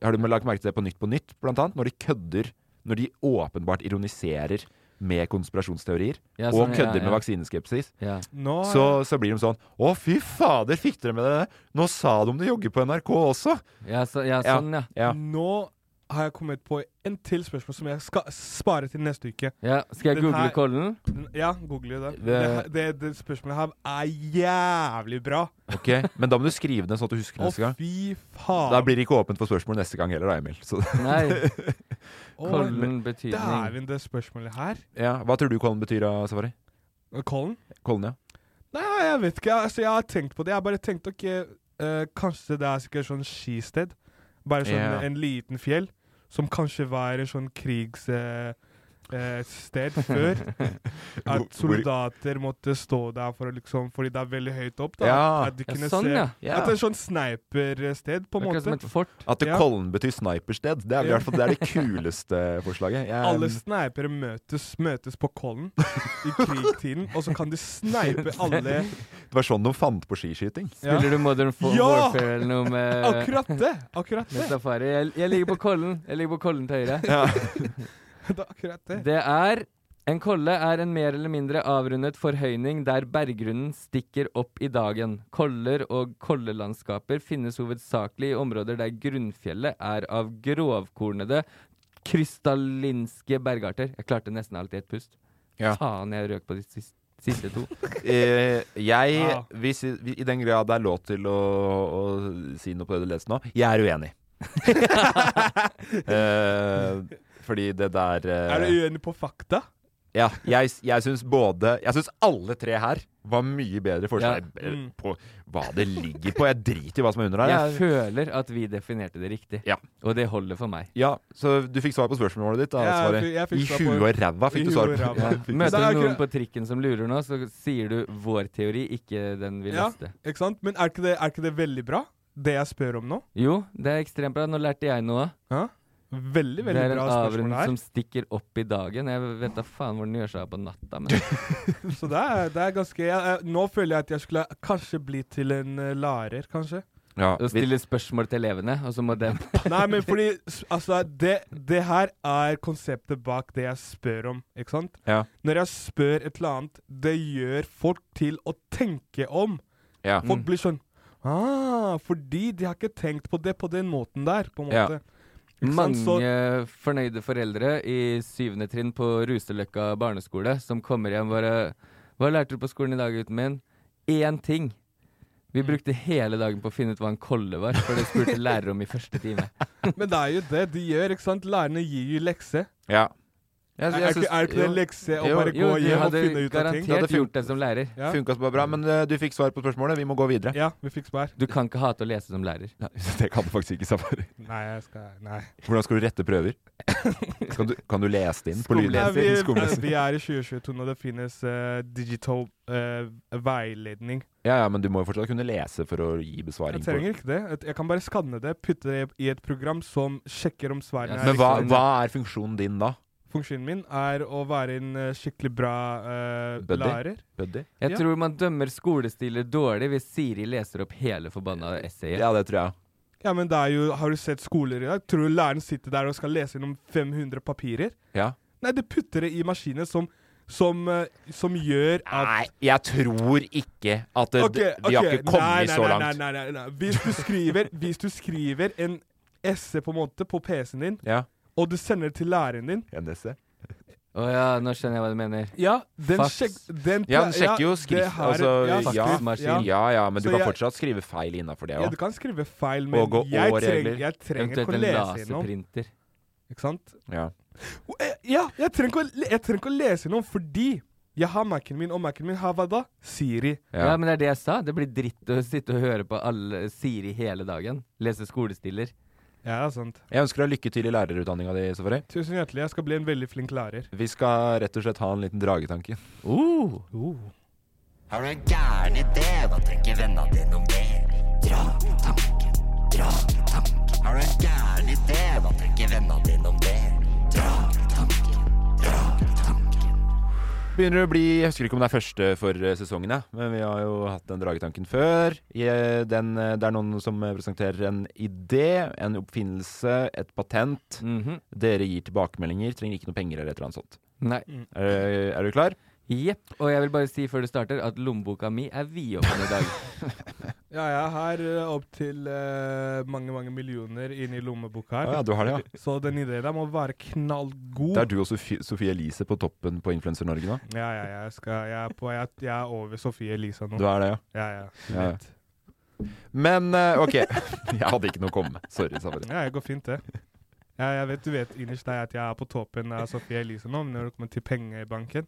[SPEAKER 4] Har du lagt merke til det på Nytt på Nytt, blant annet? Når de kødder. Når de åpenbart ironiserer med konspirasjonsteorier,
[SPEAKER 5] Ja,
[SPEAKER 4] og
[SPEAKER 5] sånn, ja,
[SPEAKER 4] kødder
[SPEAKER 5] ja.
[SPEAKER 4] med vaksineskepsis,
[SPEAKER 5] Ja.
[SPEAKER 3] Nå
[SPEAKER 4] så, så blir de sånn Å, fy fader, fikk dere med det? Nå sa de om det jogger på NRK også!
[SPEAKER 5] Ja, så, ja,
[SPEAKER 4] Ja.
[SPEAKER 5] sånn, ja.
[SPEAKER 4] Ja.
[SPEAKER 3] Nå har jeg kommet på en til spørsmål som jeg skal spare til neste uke.
[SPEAKER 5] ja. Skal
[SPEAKER 3] Den
[SPEAKER 5] jeg google
[SPEAKER 3] her-
[SPEAKER 5] kollen?
[SPEAKER 3] Den- Ja, google det.
[SPEAKER 4] Det-
[SPEAKER 3] Det, her- det, det spørsmålet her er jævlig bra.
[SPEAKER 4] Ok, Men da må du skrive ned sånn at du husker
[SPEAKER 3] Å,
[SPEAKER 4] neste gang.
[SPEAKER 3] fy faen.
[SPEAKER 4] Da blir det ikke åpent for spørsmål neste gang heller, da, Emil. Så,
[SPEAKER 5] Nei,
[SPEAKER 3] Å,
[SPEAKER 5] kollen betydning.
[SPEAKER 3] Dæven, det spørsmålet her.
[SPEAKER 4] ja. Hva tror du Kollen betyr, da, Safari?
[SPEAKER 3] Colin?
[SPEAKER 4] Kollen, ja.
[SPEAKER 3] Nei, jeg vet ikke. Altså, jeg har tenkt på det. Jeg har bare tenkt ok, eh, kanskje det er sikkert sånn skisted. Bare sånn
[SPEAKER 4] Ja.
[SPEAKER 3] en liten fjell. Som kanskje var en sånn krigssted eh, sted før. At
[SPEAKER 4] Hvor-
[SPEAKER 3] soldater måtte stå der for å liksom, fordi det er veldig høyt opp. da.
[SPEAKER 4] Ja.
[SPEAKER 3] At de
[SPEAKER 5] Ja,
[SPEAKER 3] kunne
[SPEAKER 5] sånn,
[SPEAKER 3] se
[SPEAKER 5] ja.
[SPEAKER 4] Ja.
[SPEAKER 3] At det er sånn snipersted, på en
[SPEAKER 5] Akkurat som
[SPEAKER 3] måte.
[SPEAKER 5] et fort.
[SPEAKER 4] At det
[SPEAKER 3] Ja.
[SPEAKER 4] Kollen betyr snipersted. Det er i
[SPEAKER 3] Ja.
[SPEAKER 4] hvert fall det, er det kuleste forslaget. Jeg,
[SPEAKER 3] Alle sneipere møtes, møtes på Kollen i krigtiden, og så kan de sneipe alle
[SPEAKER 4] det var sånn de fant på skiskyting.
[SPEAKER 3] Ja.
[SPEAKER 5] Spiller du Modern Fo-
[SPEAKER 3] Ja!
[SPEAKER 5] Warfare eller noe med
[SPEAKER 3] Akkurat det! Akkurat
[SPEAKER 5] Med
[SPEAKER 3] det.
[SPEAKER 5] safari. Jeg, jeg ligger på kollen. Jeg ligger på kollen til høyre.
[SPEAKER 3] det, er akkurat det.
[SPEAKER 5] Det er En kolle er en mer eller mindre avrundet forhøyning der berggrunnen stikker opp i dagen. Koller og kollelandskaper finnes hovedsakelig i områder der grunnfjellet er av grovkornede, krystallinske bergarter. Jeg klarte nesten alltid et pust.
[SPEAKER 4] Ja.
[SPEAKER 5] Faen, jeg røk på de siste, siste to.
[SPEAKER 4] Eh, jeg,
[SPEAKER 3] Ja.
[SPEAKER 4] hvis, I den grad det er lov til å, å si noe på det du leser nå, jeg er uenig. eh, fordi det der eh,
[SPEAKER 3] Er du uenig på fakta?
[SPEAKER 4] Ja, jeg, jeg syns både Jeg syns alle tre her var mye bedre forslag
[SPEAKER 3] Ja. Mm.
[SPEAKER 4] på hva det ligger på. Jeg driter i hva som er under her.
[SPEAKER 5] Jeg
[SPEAKER 4] Jeg-
[SPEAKER 5] føler at vi definerte det riktig,
[SPEAKER 4] Ja.
[SPEAKER 5] og det holder for meg.
[SPEAKER 4] Ja, så du fikk svar på spørsmålet ditt, da,
[SPEAKER 3] Ja, jeg
[SPEAKER 4] Sverre?
[SPEAKER 3] fikk- jeg fikk svar
[SPEAKER 4] I
[SPEAKER 3] på-
[SPEAKER 4] huet og ræva
[SPEAKER 3] I
[SPEAKER 4] fikk du
[SPEAKER 3] huet
[SPEAKER 4] svar
[SPEAKER 3] og
[SPEAKER 4] på.
[SPEAKER 3] ræva.
[SPEAKER 4] Ja, fikk du
[SPEAKER 3] Det
[SPEAKER 5] Møter
[SPEAKER 3] er
[SPEAKER 5] du noen
[SPEAKER 3] akkurat-
[SPEAKER 5] på trikken som lurer nå, så sier du vår teori, ikke den vi
[SPEAKER 3] Ja,
[SPEAKER 5] leste.
[SPEAKER 3] ikke sant? Men er ikke, det, er ikke det veldig bra, det jeg spør om nå?
[SPEAKER 5] Jo, det er ekstremt bra. Nå lærte jeg noe.
[SPEAKER 3] Veldig,
[SPEAKER 5] det
[SPEAKER 3] veldig
[SPEAKER 5] er en
[SPEAKER 3] bra spørsmål
[SPEAKER 5] avrund
[SPEAKER 3] her.
[SPEAKER 5] som stikker opp i dagen. Jeg vet da faen hvor den gjør seg av på natta, men
[SPEAKER 3] Så det er, det er ganske jeg, jeg, Nå føler jeg at jeg skulle kanskje bli til en eh, lærer, kanskje.
[SPEAKER 4] Ja,
[SPEAKER 5] å
[SPEAKER 4] vi,
[SPEAKER 5] stille spørsmål til elevene, og så må dem
[SPEAKER 3] Nei, men fordi s- Altså, det, det her er konseptet bak det jeg spør om, ikke sant?
[SPEAKER 4] Ja.
[SPEAKER 3] Når jeg spør et eller annet, det gjør folk til å tenke om.
[SPEAKER 4] ja.
[SPEAKER 5] Mm.
[SPEAKER 4] Mm.
[SPEAKER 3] Folk blir sånn ah, Fordi de har ikke tenkt på det på den måten der, på en
[SPEAKER 4] Ja.
[SPEAKER 3] måte. Ikke sant?
[SPEAKER 5] Mange
[SPEAKER 3] Så-
[SPEAKER 5] fornøyde foreldre i syvende trinn på Ruseløkka barneskole som kommer hjem bare Hva lærte du på skolen i dag, gutten min? Én ting.
[SPEAKER 3] Mm.
[SPEAKER 5] Vi brukte hele dagen på å finne ut hva en kolle var, for det spurte lærer om i første time.
[SPEAKER 3] Men det er jo det de gjør, ikke sant? Lærerne gir jo lekse.
[SPEAKER 4] ja. Jeg,
[SPEAKER 3] Er,
[SPEAKER 4] jeg
[SPEAKER 3] er, ikke-
[SPEAKER 4] syns-
[SPEAKER 3] er ikke det
[SPEAKER 4] jo,
[SPEAKER 3] lekse å
[SPEAKER 4] Jo,
[SPEAKER 3] bare gå
[SPEAKER 5] Jo, du
[SPEAKER 3] hjem og
[SPEAKER 5] hadde
[SPEAKER 3] finne ut
[SPEAKER 4] Det
[SPEAKER 3] av ting?
[SPEAKER 4] hadde
[SPEAKER 5] garantert gjort det som lærer.
[SPEAKER 3] Ja.
[SPEAKER 4] Funka så bare bra, men eh, du fikk svar på spørsmålet. Vi må gå videre.
[SPEAKER 3] Ja, vi fikk svar.
[SPEAKER 5] Du kan ikke hate å lese som lærer.
[SPEAKER 4] Nei, Det kan du faktisk ikke, Safari.
[SPEAKER 3] Nei, jeg skal Nei.
[SPEAKER 4] Hvordan skal du rette prøver? Kan du, kan du lese det inn på
[SPEAKER 3] Nei,
[SPEAKER 4] lydleser? Skumleser.
[SPEAKER 3] vi, vi er i 2022 når det finnes eh, digital eh, veiledning.
[SPEAKER 4] Ja, ja, men du må jo fortsatt kunne lese for å gi
[SPEAKER 3] Jeg
[SPEAKER 4] besvaring. på
[SPEAKER 3] trenger ikke det. Et- Jeg kan bare skanne det, putte det i et program som sjekker om svarene
[SPEAKER 5] Ja,
[SPEAKER 3] er
[SPEAKER 4] Men hva,
[SPEAKER 3] riktige.
[SPEAKER 4] hva er funksjonen din da,
[SPEAKER 3] Funksjonen min er å være en eh, skikkelig bra eh,
[SPEAKER 4] Buddy?
[SPEAKER 3] lærer.
[SPEAKER 4] Buddy?
[SPEAKER 5] Jeg
[SPEAKER 3] Ja.
[SPEAKER 5] tror man dømmer skolestiler dårlig hvis Siri leser opp hele forbanna essayet.
[SPEAKER 4] Ja, det tror jeg.
[SPEAKER 3] Ja, men det er jo Har du sett skoler i dag? Tror du læreren sitter der og skal lese gjennom 500 papirer?
[SPEAKER 4] Ja.
[SPEAKER 3] Nei, de putter det i maskiner som som, eh, som gjør at
[SPEAKER 4] Nei, jeg tror ikke at det,
[SPEAKER 3] Ok,
[SPEAKER 4] de har
[SPEAKER 3] ok.
[SPEAKER 4] ikke kommet
[SPEAKER 3] Nei, nei,
[SPEAKER 4] så
[SPEAKER 3] nei,
[SPEAKER 4] langt.
[SPEAKER 3] Nei, nei, nei, nei. Hvis, du skriver, hvis du skriver en esse på en måte på PC-en din,
[SPEAKER 4] Ja. E.
[SPEAKER 3] og du sender det til læreren din
[SPEAKER 5] Å ja, nå skjønner jeg hva du mener.
[SPEAKER 3] Ja, den,
[SPEAKER 5] Fax.
[SPEAKER 3] sjek, den,
[SPEAKER 4] Ja, den sjekker jo
[SPEAKER 3] det
[SPEAKER 4] skrift...
[SPEAKER 3] her-
[SPEAKER 4] altså,
[SPEAKER 3] ja,
[SPEAKER 4] ja,
[SPEAKER 3] faktisk,
[SPEAKER 4] ja, ja, men du
[SPEAKER 3] Så
[SPEAKER 4] kan
[SPEAKER 3] jeg-
[SPEAKER 4] fortsatt skrive feil innafor det
[SPEAKER 3] Ja, du
[SPEAKER 4] òg.
[SPEAKER 3] kan skrive feil, men
[SPEAKER 4] Og gå
[SPEAKER 3] jeg,
[SPEAKER 4] over
[SPEAKER 3] treng,
[SPEAKER 4] regler.
[SPEAKER 3] jeg trenger ikke
[SPEAKER 5] Eventuelt
[SPEAKER 3] å
[SPEAKER 5] en
[SPEAKER 3] lese innom.
[SPEAKER 5] laserprinter.
[SPEAKER 3] Ikke sant?
[SPEAKER 4] Ja.
[SPEAKER 3] Og jeg- Ja, jeg trenger ikke å, le- jeg trenger ikke å lese innom, fordi jeg har Mac-en min, og Mac-en min har hva da? Siri.
[SPEAKER 4] Ja.
[SPEAKER 5] Ja. men det er det jeg sa. Det blir dritt å sitte og høre på alle Siri hele dagen. Lese skolestiller.
[SPEAKER 3] Ja, det er sant.
[SPEAKER 4] Jeg ønsker deg lykke til i lærerutdanninga di, Safari.
[SPEAKER 3] Tusen hjertelig. Jeg skal bli en veldig flink lærer.
[SPEAKER 4] Vi skal rett og slett ha en liten dragetanke.
[SPEAKER 5] Uh,
[SPEAKER 8] Har du en gæren idé, da tenker vennene dine om det. Dra tanken, dra tanken. Har du en gæren idé, da tenker vennene dine om det. Dra tanken, dra tanken.
[SPEAKER 4] Begynner å bli, Jeg husker ikke om det er første for eh, sesongen, ja. men vi har jo hatt den dragetanken før. I, eh, Den, eh, det er noen som eh, presenterer en idé, en oppfinnelse, et patent.
[SPEAKER 3] Mm.
[SPEAKER 5] mhm.
[SPEAKER 4] Dere gir tilbakemeldinger, trenger ikke noe penger eller et eller annet sånt.
[SPEAKER 5] Nei.
[SPEAKER 4] Er, er du klar?
[SPEAKER 5] Jepp. Og jeg vil bare si før du starter, at lommeboka mi er vidåpen i dag.
[SPEAKER 3] Ja, jeg har uh, opptil uh, mange, mange millioner inni lommeboka her.
[SPEAKER 4] Å ja, du har det, ja.
[SPEAKER 3] Så den ideen der må være knallgod.
[SPEAKER 4] Det er du og Sofie, Sofie Elise på toppen på Influencer Norge nå.
[SPEAKER 3] Ja, ja, jeg, skal, jeg, er på, jeg, jeg er over Sofie Elisa nå.
[SPEAKER 4] Du er det, ja.
[SPEAKER 3] Ja, ja.
[SPEAKER 4] Ja, ja. Men eh, OK. Jeg hadde ikke noe å komme med. Sorry, Safari.
[SPEAKER 3] ja, det går fint, det. Ja, jeg vet, du vet innerst deg at jeg er på toppen av Sofie Elise nå, men når det kommer til pengebanken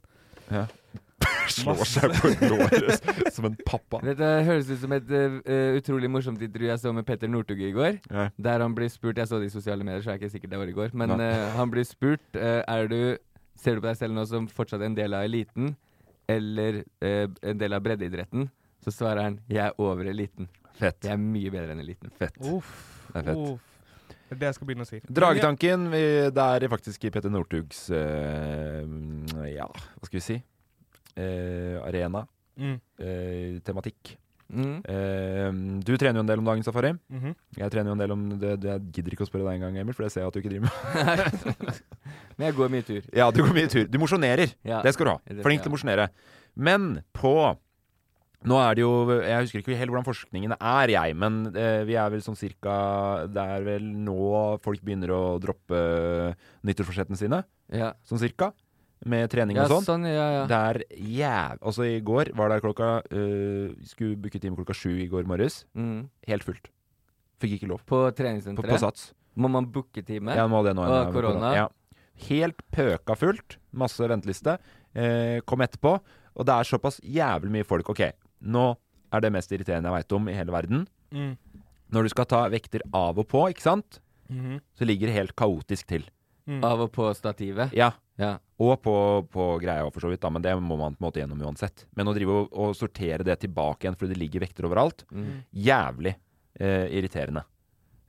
[SPEAKER 4] Slår seg på låret som en pappa.
[SPEAKER 5] Dette høres ut som et eh, utrolig morsomt intervju jeg så med Petter Northug i går.
[SPEAKER 4] Ja.
[SPEAKER 5] Der han blir spurt Jeg så det i sosiale medier, så jeg er ikke sikker det var i går. Men
[SPEAKER 4] Nei.
[SPEAKER 5] eh, han blir spurt eh, Er du Ser du på deg selv nå som fortsatt en del av eliten, eller eh, en del av breddeidretten? Så svarer han Jeg er over eliten.
[SPEAKER 4] Fett.
[SPEAKER 5] Jeg er mye bedre enn eliten.
[SPEAKER 4] Fett.
[SPEAKER 3] Uff.
[SPEAKER 4] Det er fett.
[SPEAKER 3] Uff. Det er det jeg skal begynne å si.
[SPEAKER 4] Dragetanken, vi, det er faktisk i Petter Northugs eh, Ja, hva skal vi si? Eh, arena.
[SPEAKER 3] Mm.
[SPEAKER 4] Eh, tematikk.
[SPEAKER 5] Mm.
[SPEAKER 4] Eh, du trener jo en del om dagen, Safari.
[SPEAKER 3] mhm.
[SPEAKER 4] Jeg trener jo en del om det, det Jeg gidder ikke å spørre deg engang, Emil, for det ser jeg at du ikke driver med.
[SPEAKER 5] Men jeg går mye tur.
[SPEAKER 4] Ja, du går mye tur. Du mosjonerer.
[SPEAKER 5] Ja.
[SPEAKER 4] Det skal du ha.
[SPEAKER 5] Det-
[SPEAKER 4] Flink til å
[SPEAKER 5] ja.
[SPEAKER 4] mosjonere. Men på Nå er det jo Jeg husker ikke helt hvordan forskningen er, jeg, men eh, vi er vel sånn cirka Det er vel nå folk begynner å droppe eh, nyttårsforsettene sine,
[SPEAKER 5] Ja.
[SPEAKER 4] sånn cirka. Med trening
[SPEAKER 5] ja,
[SPEAKER 4] og sånn.
[SPEAKER 5] sånn. Ja, ja.
[SPEAKER 4] Det er jæv... Altså, i går var det klokka eh, Skulle booke time klokka sju i går morges.
[SPEAKER 5] Mm.
[SPEAKER 4] Helt fullt. Fikk ikke lov.
[SPEAKER 5] På
[SPEAKER 4] På, på
[SPEAKER 5] treningssenteret
[SPEAKER 4] Sats.
[SPEAKER 5] må man booke time.
[SPEAKER 4] Ja, må det nå.
[SPEAKER 5] Og
[SPEAKER 4] ja, med
[SPEAKER 5] korona.
[SPEAKER 4] Ja. Helt pøka fullt. Masse venteliste. Eh, kom etterpå. Og det er såpass jævlig mye folk. Ok, nå er det mest irriterende jeg veit om i hele verden.
[SPEAKER 3] Mm.
[SPEAKER 4] Når du skal ta vekter av og på, ikke sant,
[SPEAKER 3] Mhm.
[SPEAKER 4] så ligger det helt kaotisk til.
[SPEAKER 5] Av og på stativet.
[SPEAKER 4] Ja.
[SPEAKER 5] Ja.
[SPEAKER 4] Og på, på greia for så vidt, da, men det må man på en måte gjennom uansett. Men å drive og, og sortere det tilbake igjen fordi det ligger vekter overalt,
[SPEAKER 5] Mm.
[SPEAKER 4] jævlig eh, irriterende.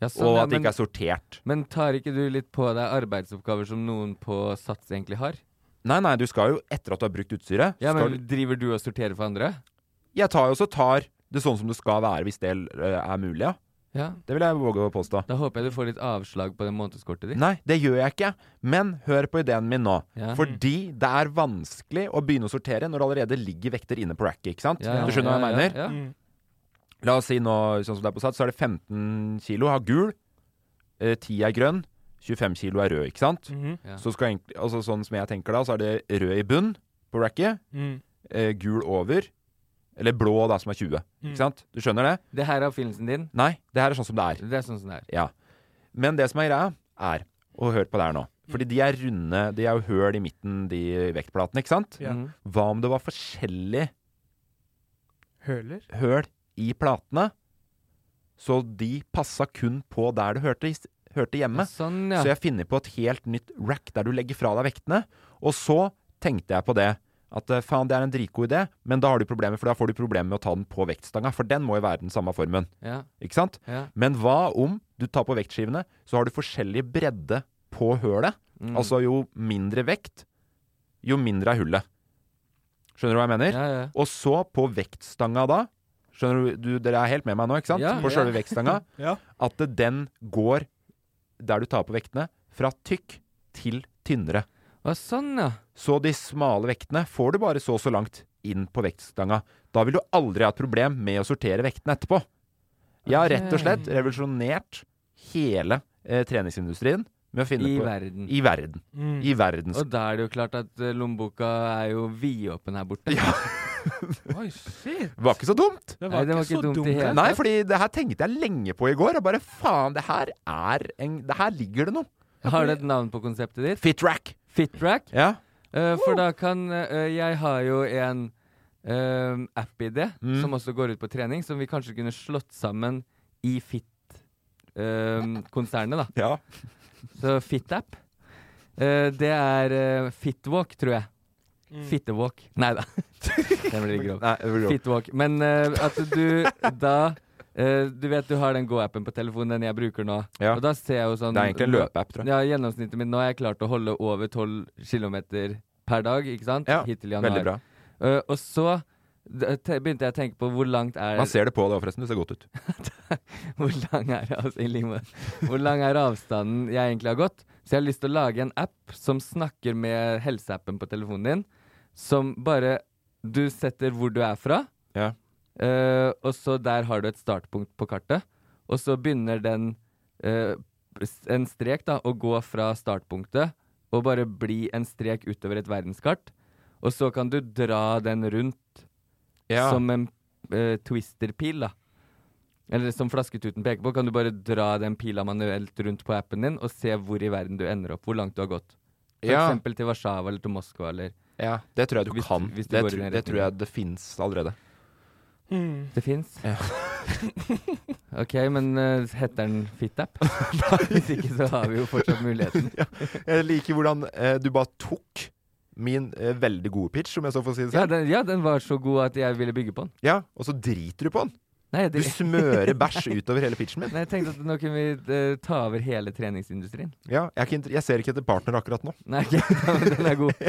[SPEAKER 5] Ja, sånn,
[SPEAKER 4] og
[SPEAKER 5] ja,
[SPEAKER 4] at det
[SPEAKER 5] men-
[SPEAKER 4] ikke er sortert.
[SPEAKER 5] Men tar ikke du litt på deg arbeidsoppgaver som noen på Sats egentlig har?
[SPEAKER 4] Nei, nei, du skal jo etter at du har brukt utstyret
[SPEAKER 5] Ja,
[SPEAKER 4] skal du-
[SPEAKER 5] men Driver du og sorterer for andre?
[SPEAKER 4] Jeg tar jo også tar det sånn som det skal være hvis det eh, er mulig, ja.
[SPEAKER 5] Ja.
[SPEAKER 4] Det vil jeg våge å påstå.
[SPEAKER 5] Da håper jeg du får litt avslag på det månedskortet ditt.
[SPEAKER 4] Nei, det gjør jeg ikke. Men hør på ideen min nå.
[SPEAKER 5] Ja.
[SPEAKER 4] Fordi det er vanskelig å begynne å sortere når det allerede ligger vekter inne på racket, ikke sant?
[SPEAKER 5] Ja,
[SPEAKER 4] du skjønner
[SPEAKER 5] ja,
[SPEAKER 4] hva jeg mener?
[SPEAKER 5] Ja, ja.
[SPEAKER 3] Mm.
[SPEAKER 4] La oss si nå, sånn som det er på sats, så er det 15 kilo har gul, eh, 10 er grønn, 25 kilo er rød, ikke sant?
[SPEAKER 3] Mhm.
[SPEAKER 5] Mm, Ja.
[SPEAKER 4] Så skal egentlig, altså sånn som jeg tenker da, så er det rød i bunn på racket,
[SPEAKER 3] Mm.
[SPEAKER 4] eh, gul over, eller blå da som er 20,
[SPEAKER 3] Mm.
[SPEAKER 4] ikke sant? Du skjønner det?
[SPEAKER 5] Det her er oppfinnelsen din.
[SPEAKER 4] Nei, det her er sånn som det er.
[SPEAKER 5] Det er sånn som det er.
[SPEAKER 4] Ja. Men det som er greia, er Og hør på det her nå. Fordi de er runde, de er jo høl i midten, de vektplatene, ikke sant?
[SPEAKER 3] Ja.
[SPEAKER 5] Mhm.
[SPEAKER 4] Hva om det var forskjellige
[SPEAKER 3] Høler?
[SPEAKER 4] høl i platene? Så de passa kun på der du hørte, hørte hjemme.
[SPEAKER 5] Ja, sånn, ja.
[SPEAKER 4] Så jeg finner på et helt nytt rack der du legger fra deg vektene. Og så tenkte jeg på det. At eh, faen, det er en dritgod idé, men da har du problemer, for da får du problemer med å ta den på vektstanga. For den må jo være den samme formen,
[SPEAKER 5] ja,
[SPEAKER 4] ikke sant?
[SPEAKER 5] ja.
[SPEAKER 4] Men hva om du tar på vektskivene, så har du forskjellig bredde på hølet?
[SPEAKER 5] Mm.
[SPEAKER 4] Altså jo mindre vekt, jo mindre er hullet. Skjønner du hva jeg mener?
[SPEAKER 5] ja, ja.
[SPEAKER 4] Og så på vektstanga da Skjønner du, du Dere er helt med meg nå, ikke sant?
[SPEAKER 5] Ja,
[SPEAKER 4] på
[SPEAKER 5] ja.
[SPEAKER 4] sjølve vektstanga.
[SPEAKER 3] Ja.
[SPEAKER 4] At det- den går, der du tar på vektene, fra tykk til tynnere.
[SPEAKER 5] Å, sånn, ja.
[SPEAKER 4] Så de smale vektene får du bare så og så langt inn på vektstanga. Da vil du aldri ha et problem med å sortere vektene etterpå. Jeg har rett og slett revolusjonert hele eh, treningsindustrien med å finne
[SPEAKER 5] I
[SPEAKER 4] på
[SPEAKER 5] verden.
[SPEAKER 4] I verden.
[SPEAKER 3] Mm.
[SPEAKER 4] I verdens
[SPEAKER 5] Og da er det jo klart at eh, lommeboka er jo vidåpen her borte.
[SPEAKER 3] Oi, shit.
[SPEAKER 4] Var ikke så dumt!
[SPEAKER 3] Det
[SPEAKER 5] Nei, det var ikke dumt i hele
[SPEAKER 4] Nei, fordi det her tenkte jeg lenge på i går. Og bare faen, det her er en Det her ligger det noe.
[SPEAKER 5] Har du et navn på konseptet ditt?
[SPEAKER 4] Fitrack.
[SPEAKER 5] Fitrack?
[SPEAKER 4] Ja.
[SPEAKER 5] Eh, for da kan eh, Jeg har jo en eh, app i det,
[SPEAKER 4] Mm.
[SPEAKER 5] som også går ut på trening, som vi kanskje kunne slått sammen i Fit-konsernet, da.
[SPEAKER 4] ja.
[SPEAKER 5] Så Fit-app. Eh, det er eh, Fitwalk, tror jeg. Fittewalk. Nei da. Den blir grov.
[SPEAKER 4] Nei, Mm. det blir grov.
[SPEAKER 5] Fitwalk. Men eh, at du da eh, Du vet du har den gå-appen på telefonen, den jeg bruker nå.
[SPEAKER 4] Ja.
[SPEAKER 5] Og da ser jeg jo sånn
[SPEAKER 4] Det er egentlig en løpeapp, tror jeg.
[SPEAKER 5] Ja, gjennomsnittet mitt nå er jeg klart å holde over 12 km per dag, ikke sant?
[SPEAKER 4] Ja,
[SPEAKER 5] Hittil i januar.
[SPEAKER 4] Veldig bra.
[SPEAKER 5] Eh, og så d- te- begynte jeg å tenke på hvor langt er
[SPEAKER 4] Man ser det på deg òg, forresten. Du ser godt ut.
[SPEAKER 5] hvor lang er, av- i like måte. hvor lang er avstanden jeg egentlig har gått. Så jeg har lyst til å lage en app som snakker med helseappen på telefonen din, som bare Du setter hvor du er fra,
[SPEAKER 4] Ja.
[SPEAKER 5] eh, og så der har du et startpunkt på kartet. Og så begynner den eh, s- en strek da, å gå fra startpunktet og bare bli en strek utover et verdenskart. Og så kan du dra den rundt som en eh, twisterpil, da. Eller som flasketuten peker på, kan du bare dra den pila manuelt rundt på appen din og se hvor i verden du ender opp, hvor langt du har gått. For
[SPEAKER 4] Ja.
[SPEAKER 5] eksempel til Warszawa eller til Moskva eller
[SPEAKER 4] Ja, det tror jeg du
[SPEAKER 5] Hvis-
[SPEAKER 4] kan.
[SPEAKER 5] hvis du
[SPEAKER 4] det,
[SPEAKER 5] går i
[SPEAKER 4] tr-
[SPEAKER 5] den
[SPEAKER 4] det tror jeg
[SPEAKER 5] retningen.
[SPEAKER 4] det fins allerede.
[SPEAKER 3] Mm.
[SPEAKER 5] Det fins.
[SPEAKER 4] Ja.
[SPEAKER 5] ok, men eh, heter den FitApp? Hvis ikke så har vi jo fortsatt muligheten.
[SPEAKER 4] Jeg liker hvordan eh, du bare tok min eh, veldig gode pitch, om jeg så får si det
[SPEAKER 5] Ja
[SPEAKER 4] selv.
[SPEAKER 5] den, ja, den var så god at jeg ville bygge på den.
[SPEAKER 4] Ja, og så driter du på den.
[SPEAKER 5] Nei,
[SPEAKER 4] Du
[SPEAKER 5] det,
[SPEAKER 4] smører bæsj utover hele pitchen min.
[SPEAKER 5] nei jeg tenkte at nå kunne vi eh, ta over hele treningsindustrien.
[SPEAKER 4] Ja, jeg, er ikke inter- jeg ser ikke etter partner akkurat nå.
[SPEAKER 5] Nei, ok, ja, men den er god.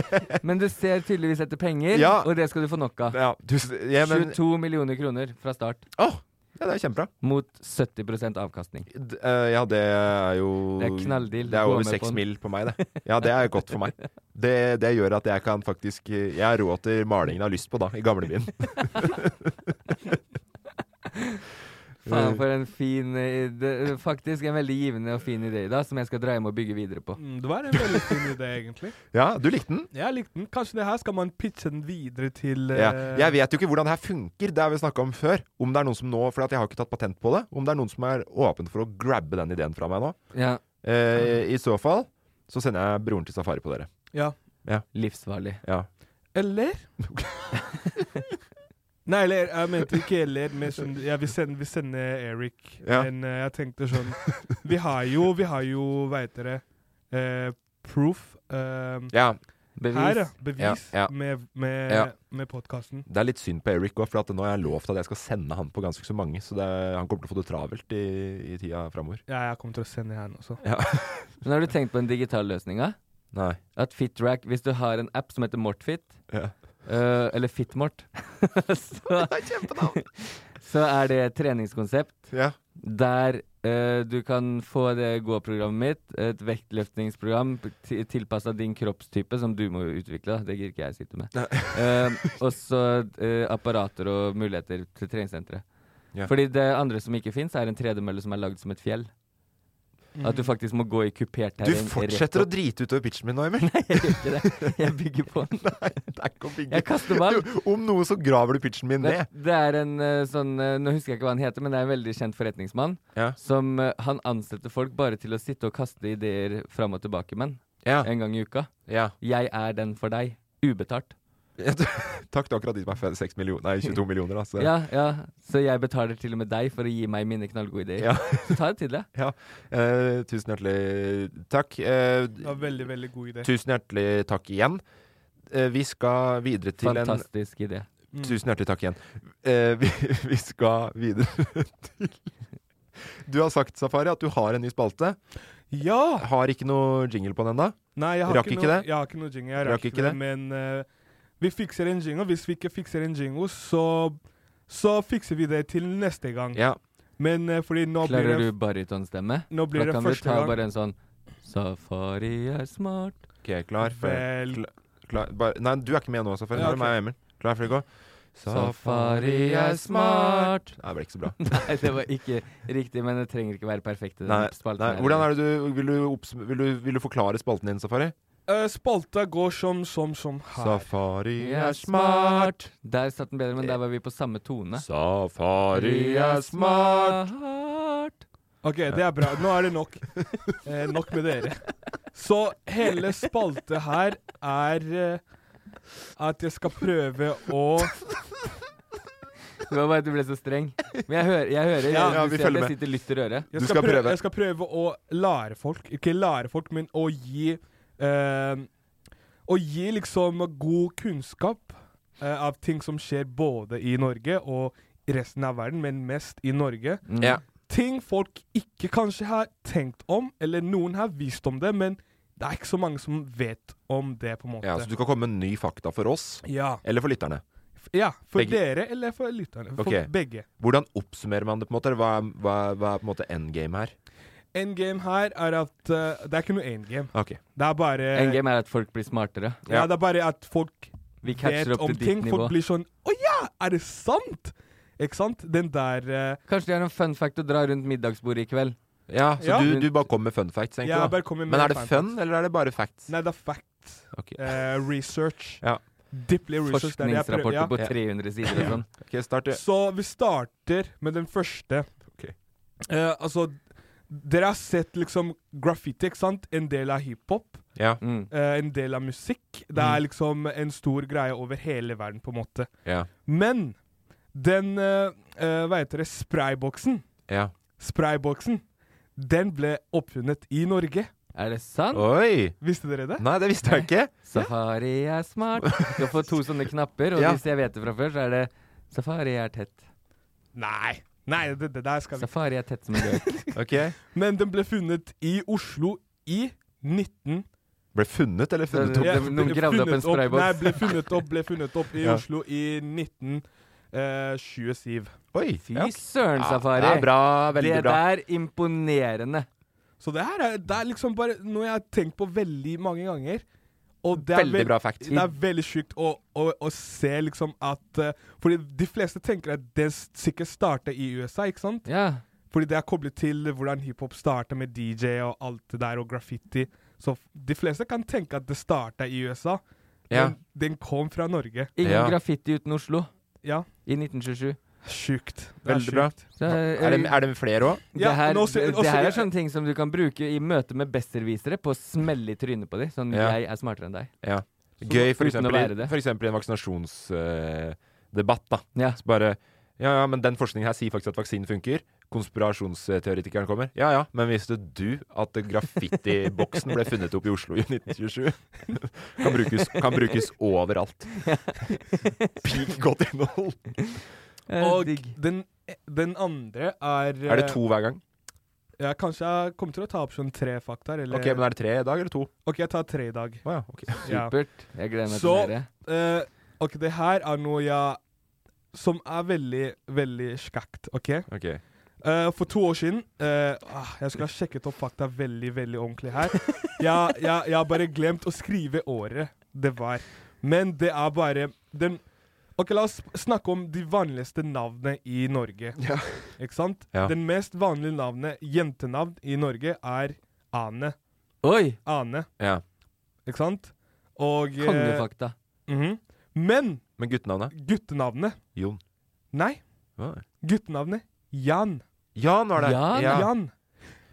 [SPEAKER 5] Men du ser tydeligvis etter penger,
[SPEAKER 4] Ja.
[SPEAKER 5] og det skal du få nok av.
[SPEAKER 4] Ja, du, s- ja, men,
[SPEAKER 5] 22 millioner kroner fra start,
[SPEAKER 4] Åh, ja, det er kjempebra.
[SPEAKER 5] mot 70 avkastning.
[SPEAKER 4] D eh, ja, det er jo
[SPEAKER 5] Det er knalldeal.
[SPEAKER 4] Det er
[SPEAKER 5] Gå
[SPEAKER 4] over
[SPEAKER 5] med på
[SPEAKER 4] seks
[SPEAKER 5] den.
[SPEAKER 4] mil på meg, det. Ja, det er godt for meg. Det, det gjør at jeg kan faktisk eh, Jeg har råd til malingen jeg har lyst på, da, i gamlebyen.
[SPEAKER 5] Faen, for en fin eh, det, Faktisk en veldig givende og fin idé, da, som jeg skal dra hjem og bygge videre på.
[SPEAKER 3] Mm, Det var en veldig fin idé, egentlig.
[SPEAKER 4] Ja, du likte den?
[SPEAKER 3] Jeg likte den. Kanskje det her skal man pitche den videre til
[SPEAKER 4] Ja.
[SPEAKER 3] eh,
[SPEAKER 4] Jeg vet jo ikke hvordan det her funker, det har vi snakka om før. Om det er noen som nå, for at jeg har ikke tatt patent på det, om det er noen som er åpen for å grabbe den ideen fra meg nå.
[SPEAKER 5] Ja,
[SPEAKER 4] Eh, I så fall så sender jeg broren til safari på dere.
[SPEAKER 3] Ja.
[SPEAKER 5] Livsfarlig.
[SPEAKER 4] Ja.
[SPEAKER 3] Eller? Nei, eller jeg mente ikke eller, men sånn, jeg vil sende, vil sende Eric.
[SPEAKER 4] Ja.
[SPEAKER 3] Men eh, jeg tenkte sånn Vi har jo, vi har jo, hva heter det eh, Proof. eh,
[SPEAKER 4] ja.
[SPEAKER 3] Her,
[SPEAKER 5] Bevis.
[SPEAKER 3] ja. Bevis
[SPEAKER 4] Ja, ja.
[SPEAKER 3] med, med,
[SPEAKER 4] Ja.
[SPEAKER 3] med podkasten.
[SPEAKER 4] Det er litt synd på Eric òg, for at nå har jeg lovt at jeg skal sende han på ganske så mange. Så det, han kommer til å få det travelt i, i tida framover.
[SPEAKER 3] Ja, jeg kommer til å sende han også.
[SPEAKER 5] Men har du tenkt på en digital løsning? da?
[SPEAKER 4] Nei.
[SPEAKER 5] At FitRack, hvis du har en app som heter Mortfit,
[SPEAKER 4] Ja.
[SPEAKER 5] eh, eller FitMort, så, så er det et treningskonsept
[SPEAKER 4] Ja.
[SPEAKER 5] der eh, du kan få det gå-programmet mitt, et vektløftningsprogram tilpassa din kroppstype, som du må utvikle, da. det gir ikke jeg sitte med. Eh, og så eh, apparater og muligheter til treningssenteret.
[SPEAKER 4] Ja.
[SPEAKER 5] Fordi det andre som ikke fins, er en tredemølle som er lagd som et fjell.
[SPEAKER 3] Mhm.
[SPEAKER 5] At du faktisk må gå i kupert
[SPEAKER 4] Du
[SPEAKER 5] terreng.
[SPEAKER 4] fortsetter å drite utover pitchen min nå, Emil.
[SPEAKER 5] Nei, jeg gjør ikke det. Jeg bygger på den.
[SPEAKER 4] Det er ikke å bygge.
[SPEAKER 5] Jeg kaster ball.
[SPEAKER 4] Du, om noe så graver du pitchen min
[SPEAKER 5] Det,
[SPEAKER 4] ned.
[SPEAKER 5] det er en eh, sånn eh, Nå husker jeg ikke hva han heter, men det er en veldig kjent forretningsmann.
[SPEAKER 4] Ja.
[SPEAKER 5] Som eh, han ansetter folk bare til å sitte og kaste ideer fram og tilbake med
[SPEAKER 4] Ja.
[SPEAKER 5] en gang i uka.
[SPEAKER 4] ja.
[SPEAKER 5] Jeg er den for deg. Ubetalt.
[SPEAKER 4] Ja, du- Takk til akkurat de som er fe- seks millioner, nei, 22 millioner. Da, så.
[SPEAKER 5] Ja, ja. Så jeg betaler til og med deg for å gi meg mine knallgode ideer.
[SPEAKER 4] Ja.
[SPEAKER 5] Så ta det til deg.
[SPEAKER 4] Eh, tusen hjertelig takk. Eh,
[SPEAKER 3] Det var veldig, veldig god idé.
[SPEAKER 4] tusen hjertelig takk igjen. Eh, vi skal videre til en
[SPEAKER 5] Fantastisk idé.
[SPEAKER 3] Mm.
[SPEAKER 4] Tusen hjertelig takk igjen. Eh, vi, vi skal videre til Du har sagt, Safari, at du har en ny spalte.
[SPEAKER 3] Mm. Ja!
[SPEAKER 4] Har ikke noe jingle på den ennå.
[SPEAKER 3] Nei, jeg har
[SPEAKER 4] Rakk
[SPEAKER 3] ikke,
[SPEAKER 4] ikke
[SPEAKER 3] noe,
[SPEAKER 4] det?
[SPEAKER 3] Jeg har ikke noe jingle. Jeg rakk, ikke, det. Men eh, vi fikser en jingle. Hvis vi ikke fikser en jingle, så, så fikser vi det til neste gang.
[SPEAKER 4] Ja.
[SPEAKER 3] Men eh, fordi nå blir
[SPEAKER 5] Klarer
[SPEAKER 3] det
[SPEAKER 5] du barytonstemme?
[SPEAKER 3] Nå blir
[SPEAKER 5] Da
[SPEAKER 3] det
[SPEAKER 5] kan du
[SPEAKER 3] første
[SPEAKER 5] ta
[SPEAKER 3] gang
[SPEAKER 5] bare en sånn Safari er smart,
[SPEAKER 4] Ok, klar, ferdig
[SPEAKER 3] Vel.
[SPEAKER 4] kla- klar, bare- Nei, du er ikke med nå, Safari. Nå
[SPEAKER 3] Ja,
[SPEAKER 4] er det meg og Emil. Klar, ferdig, gå.
[SPEAKER 5] Safari er smart.
[SPEAKER 4] Nei, det ble ikke så bra.
[SPEAKER 5] Nei, det var ikke riktig, men det trenger ikke være perfekt. i den
[SPEAKER 4] Nei,
[SPEAKER 5] spalten
[SPEAKER 4] nei.
[SPEAKER 5] her.
[SPEAKER 4] Hvordan er det du vil du, oppsum- vil, du, vil du forklare spalten din, Safari?
[SPEAKER 3] Eh, spalta går som som som her.
[SPEAKER 4] Safari
[SPEAKER 5] Vi er smart. Der satt den bedre, men der var vi på samme tone.
[SPEAKER 4] Safari er smart.
[SPEAKER 5] Smart.
[SPEAKER 3] OK, det er bra. Nå er det nok. Eh, nok med dere. Så hele spalte her er eh, at jeg skal prøve å
[SPEAKER 5] Det var bare at du ble så streng. Men jeg hører. Jeg, hører, jeg,
[SPEAKER 4] Ja, ja,
[SPEAKER 5] du
[SPEAKER 4] vi
[SPEAKER 5] ser at
[SPEAKER 4] følger
[SPEAKER 5] jeg
[SPEAKER 4] med.
[SPEAKER 5] sitter lytt i øret.
[SPEAKER 3] Jeg
[SPEAKER 4] Du
[SPEAKER 3] skal,
[SPEAKER 4] skal
[SPEAKER 3] prøve.
[SPEAKER 4] prøve.
[SPEAKER 3] jeg skal prøve å lære folk Ikke lære folk, men å gi eh, Å gi liksom god kunnskap eh, av ting som skjer både i Norge og i resten av verden, men mest i Norge.
[SPEAKER 5] Mm.
[SPEAKER 4] Ja.
[SPEAKER 3] Ting folk ikke kanskje har tenkt om, eller noen har visst om det, men det er ikke så mange som vet om det, på en måte.
[SPEAKER 4] Ja, så du kan komme med ny fakta for oss,
[SPEAKER 3] ja.
[SPEAKER 4] eller for lytterne.
[SPEAKER 3] F- ja for
[SPEAKER 4] Begge-
[SPEAKER 3] dere eller for lytterne. For
[SPEAKER 4] Ok.
[SPEAKER 3] begge.
[SPEAKER 4] Hvordan oppsummerer man det, på en måte? Hva er, hva er, hva er på en måte endgame her?
[SPEAKER 3] Endgame her er at eh, Det er ikke noe endgame.
[SPEAKER 4] Ok.
[SPEAKER 3] Det er bare
[SPEAKER 5] Endgame er at folk blir smartere.
[SPEAKER 3] ja, det er bare at folk
[SPEAKER 5] Vi catcher
[SPEAKER 3] vet om
[SPEAKER 5] opp til ditt
[SPEAKER 3] ting.
[SPEAKER 5] nivå.
[SPEAKER 3] Folk blir sånn Å ja, er det sant? Ikke sant? Den der eh,
[SPEAKER 5] Kanskje det er en fun fact å dra rundt middagsbordet i kveld.
[SPEAKER 4] Ja, så
[SPEAKER 3] Ja.
[SPEAKER 4] Du, du bare kommer med fun facts, egentlig?
[SPEAKER 3] Jeg
[SPEAKER 4] da?
[SPEAKER 3] bare kommer med
[SPEAKER 4] Men er det
[SPEAKER 3] fun
[SPEAKER 4] fun,
[SPEAKER 3] facts.
[SPEAKER 4] eller er det bare facts?
[SPEAKER 3] Nei, det er fact.
[SPEAKER 4] Ok.
[SPEAKER 3] eh, research.
[SPEAKER 4] Ja.
[SPEAKER 3] Deeply research. det er det jeg prøver-
[SPEAKER 5] Forskningsrapporter
[SPEAKER 3] ja.
[SPEAKER 5] på 300 sider og sånn.
[SPEAKER 4] Ok, start, du.
[SPEAKER 3] Så vi starter med den første.
[SPEAKER 4] Ok.
[SPEAKER 3] Eh, altså Dere har sett liksom graffiti, ikke sant? En del av hiphop.
[SPEAKER 4] Ja.
[SPEAKER 5] Mm.
[SPEAKER 3] eh, en del av musikk. Det er liksom en stor greie over hele verden, på en måte.
[SPEAKER 4] Ja.
[SPEAKER 3] Men den eh, eh, Hva heter det? Sprayboksen.
[SPEAKER 4] ja.
[SPEAKER 3] Sprayboksen. Den ble oppfunnet i Norge.
[SPEAKER 5] Er det sant?
[SPEAKER 4] Oi!
[SPEAKER 3] Visste dere det?
[SPEAKER 4] Nei, det visste jeg ikke.
[SPEAKER 5] Safari er smart. Du skal få to sånne knapper, og
[SPEAKER 4] Ja.
[SPEAKER 5] hvis jeg vet det fra før, så er det Safari er tett.
[SPEAKER 3] Nei. Nei, det, det der skal vi
[SPEAKER 5] Safari er tett som en løk.
[SPEAKER 4] Ok.
[SPEAKER 3] Men den ble funnet i Oslo i 19...
[SPEAKER 4] Ble funnet, eller funnet opp?
[SPEAKER 5] Ja. Noen
[SPEAKER 3] ble
[SPEAKER 5] gravde opp en
[SPEAKER 3] funnet
[SPEAKER 5] sprayboks.
[SPEAKER 3] Nei, ble funnet opp, ble funnet opp i
[SPEAKER 4] Ja.
[SPEAKER 3] Oslo i eh, 1927.
[SPEAKER 4] Oi!
[SPEAKER 5] Fy
[SPEAKER 4] ja.
[SPEAKER 5] søren, Safari.
[SPEAKER 4] Det er bra. Veldig
[SPEAKER 5] det
[SPEAKER 4] bra.
[SPEAKER 5] der imponerende.
[SPEAKER 3] Så det her er, det er liksom bare noe jeg har tenkt på veldig mange ganger. Og det er
[SPEAKER 4] Veldig
[SPEAKER 3] vel-
[SPEAKER 4] bra fact.
[SPEAKER 3] Det er veldig sjukt å, å, å se liksom at eh, Fordi de fleste tenker at det s- sikkert startet i USA, ikke sant?
[SPEAKER 5] Ja.
[SPEAKER 3] Fordi det er koblet til hvordan hiphop startet med DJ og alt det der, og graffiti. Så f- de fleste kan tenke at det startet i USA,
[SPEAKER 4] Ja.
[SPEAKER 3] men den kom fra Norge.
[SPEAKER 5] Ingen
[SPEAKER 4] Ja.
[SPEAKER 5] graffiti uten Oslo
[SPEAKER 3] Ja,
[SPEAKER 5] i 1927.
[SPEAKER 3] sjukt. Det er
[SPEAKER 4] Veldig bra.
[SPEAKER 3] sjukt.
[SPEAKER 5] Så, eh,
[SPEAKER 4] Er det, er det flere òg?
[SPEAKER 5] det
[SPEAKER 3] Ja,
[SPEAKER 5] her,
[SPEAKER 3] men også-
[SPEAKER 5] det,
[SPEAKER 3] også-
[SPEAKER 5] det her er sånne ting som du kan bruke i møte med besserwisere på å smelle i trynet på dem. Sånn
[SPEAKER 4] Ja.
[SPEAKER 5] 'jeg er smartere enn deg'.
[SPEAKER 4] Ja. Gøy, for
[SPEAKER 5] uten å
[SPEAKER 4] eksempel,
[SPEAKER 5] være
[SPEAKER 4] i,
[SPEAKER 5] det.
[SPEAKER 4] for eksempel i en vaksinasjonsdebatt, da.
[SPEAKER 5] Ja.
[SPEAKER 4] Så bare Ja, ja, men den forskningen her sier faktisk at vaksinen funker. Konspirasjonsteoretikeren kommer. Ja ja, men visste du at graffitiboksen ble funnet opp i Oslo i 1927? Kan brukes, kan brukes overalt. Peak godt innhold.
[SPEAKER 5] Eh,
[SPEAKER 3] Og
[SPEAKER 5] digg.
[SPEAKER 3] den, den andre er
[SPEAKER 4] Er det to hver gang?
[SPEAKER 3] eh, Ja, kanskje jeg kommer til å ta opp sånn tre fakta. Eller,
[SPEAKER 4] Ok, men er det tre i dag, eller to?
[SPEAKER 3] Ok, jeg tar tre i dag.
[SPEAKER 4] Å ja, ok.
[SPEAKER 3] Ja.
[SPEAKER 5] Supert. Jeg gleder meg
[SPEAKER 3] Så-
[SPEAKER 5] til dere.
[SPEAKER 3] Eh, ok, det her er noe jeg Som er veldig, veldig skakt, OK?
[SPEAKER 4] Ok.
[SPEAKER 3] Eh, for to år siden eh, ah, Jeg skulle ha sjekket opp fakta veldig veldig ordentlig her. Jeg, jeg, jeg har bare glemt å skrive året det var. Men det er bare den OK, la oss snakke om de vanligste navnene i Norge. Ikke sant?
[SPEAKER 4] Ja.
[SPEAKER 3] Den mest vanlige navnet, jentenavn, i Norge er Ane.
[SPEAKER 5] Oi!
[SPEAKER 3] Ane,
[SPEAKER 4] Ja.
[SPEAKER 3] ikke sant? Og eh,
[SPEAKER 5] Kongefakta.
[SPEAKER 3] mhm. Men
[SPEAKER 4] Men guttenavnet?
[SPEAKER 3] guttenavnet
[SPEAKER 4] Jon.
[SPEAKER 3] Nei,
[SPEAKER 4] Hva?
[SPEAKER 3] guttenavnet Jan.
[SPEAKER 4] Jan var det.
[SPEAKER 5] Jan,
[SPEAKER 4] ja.
[SPEAKER 3] Jan.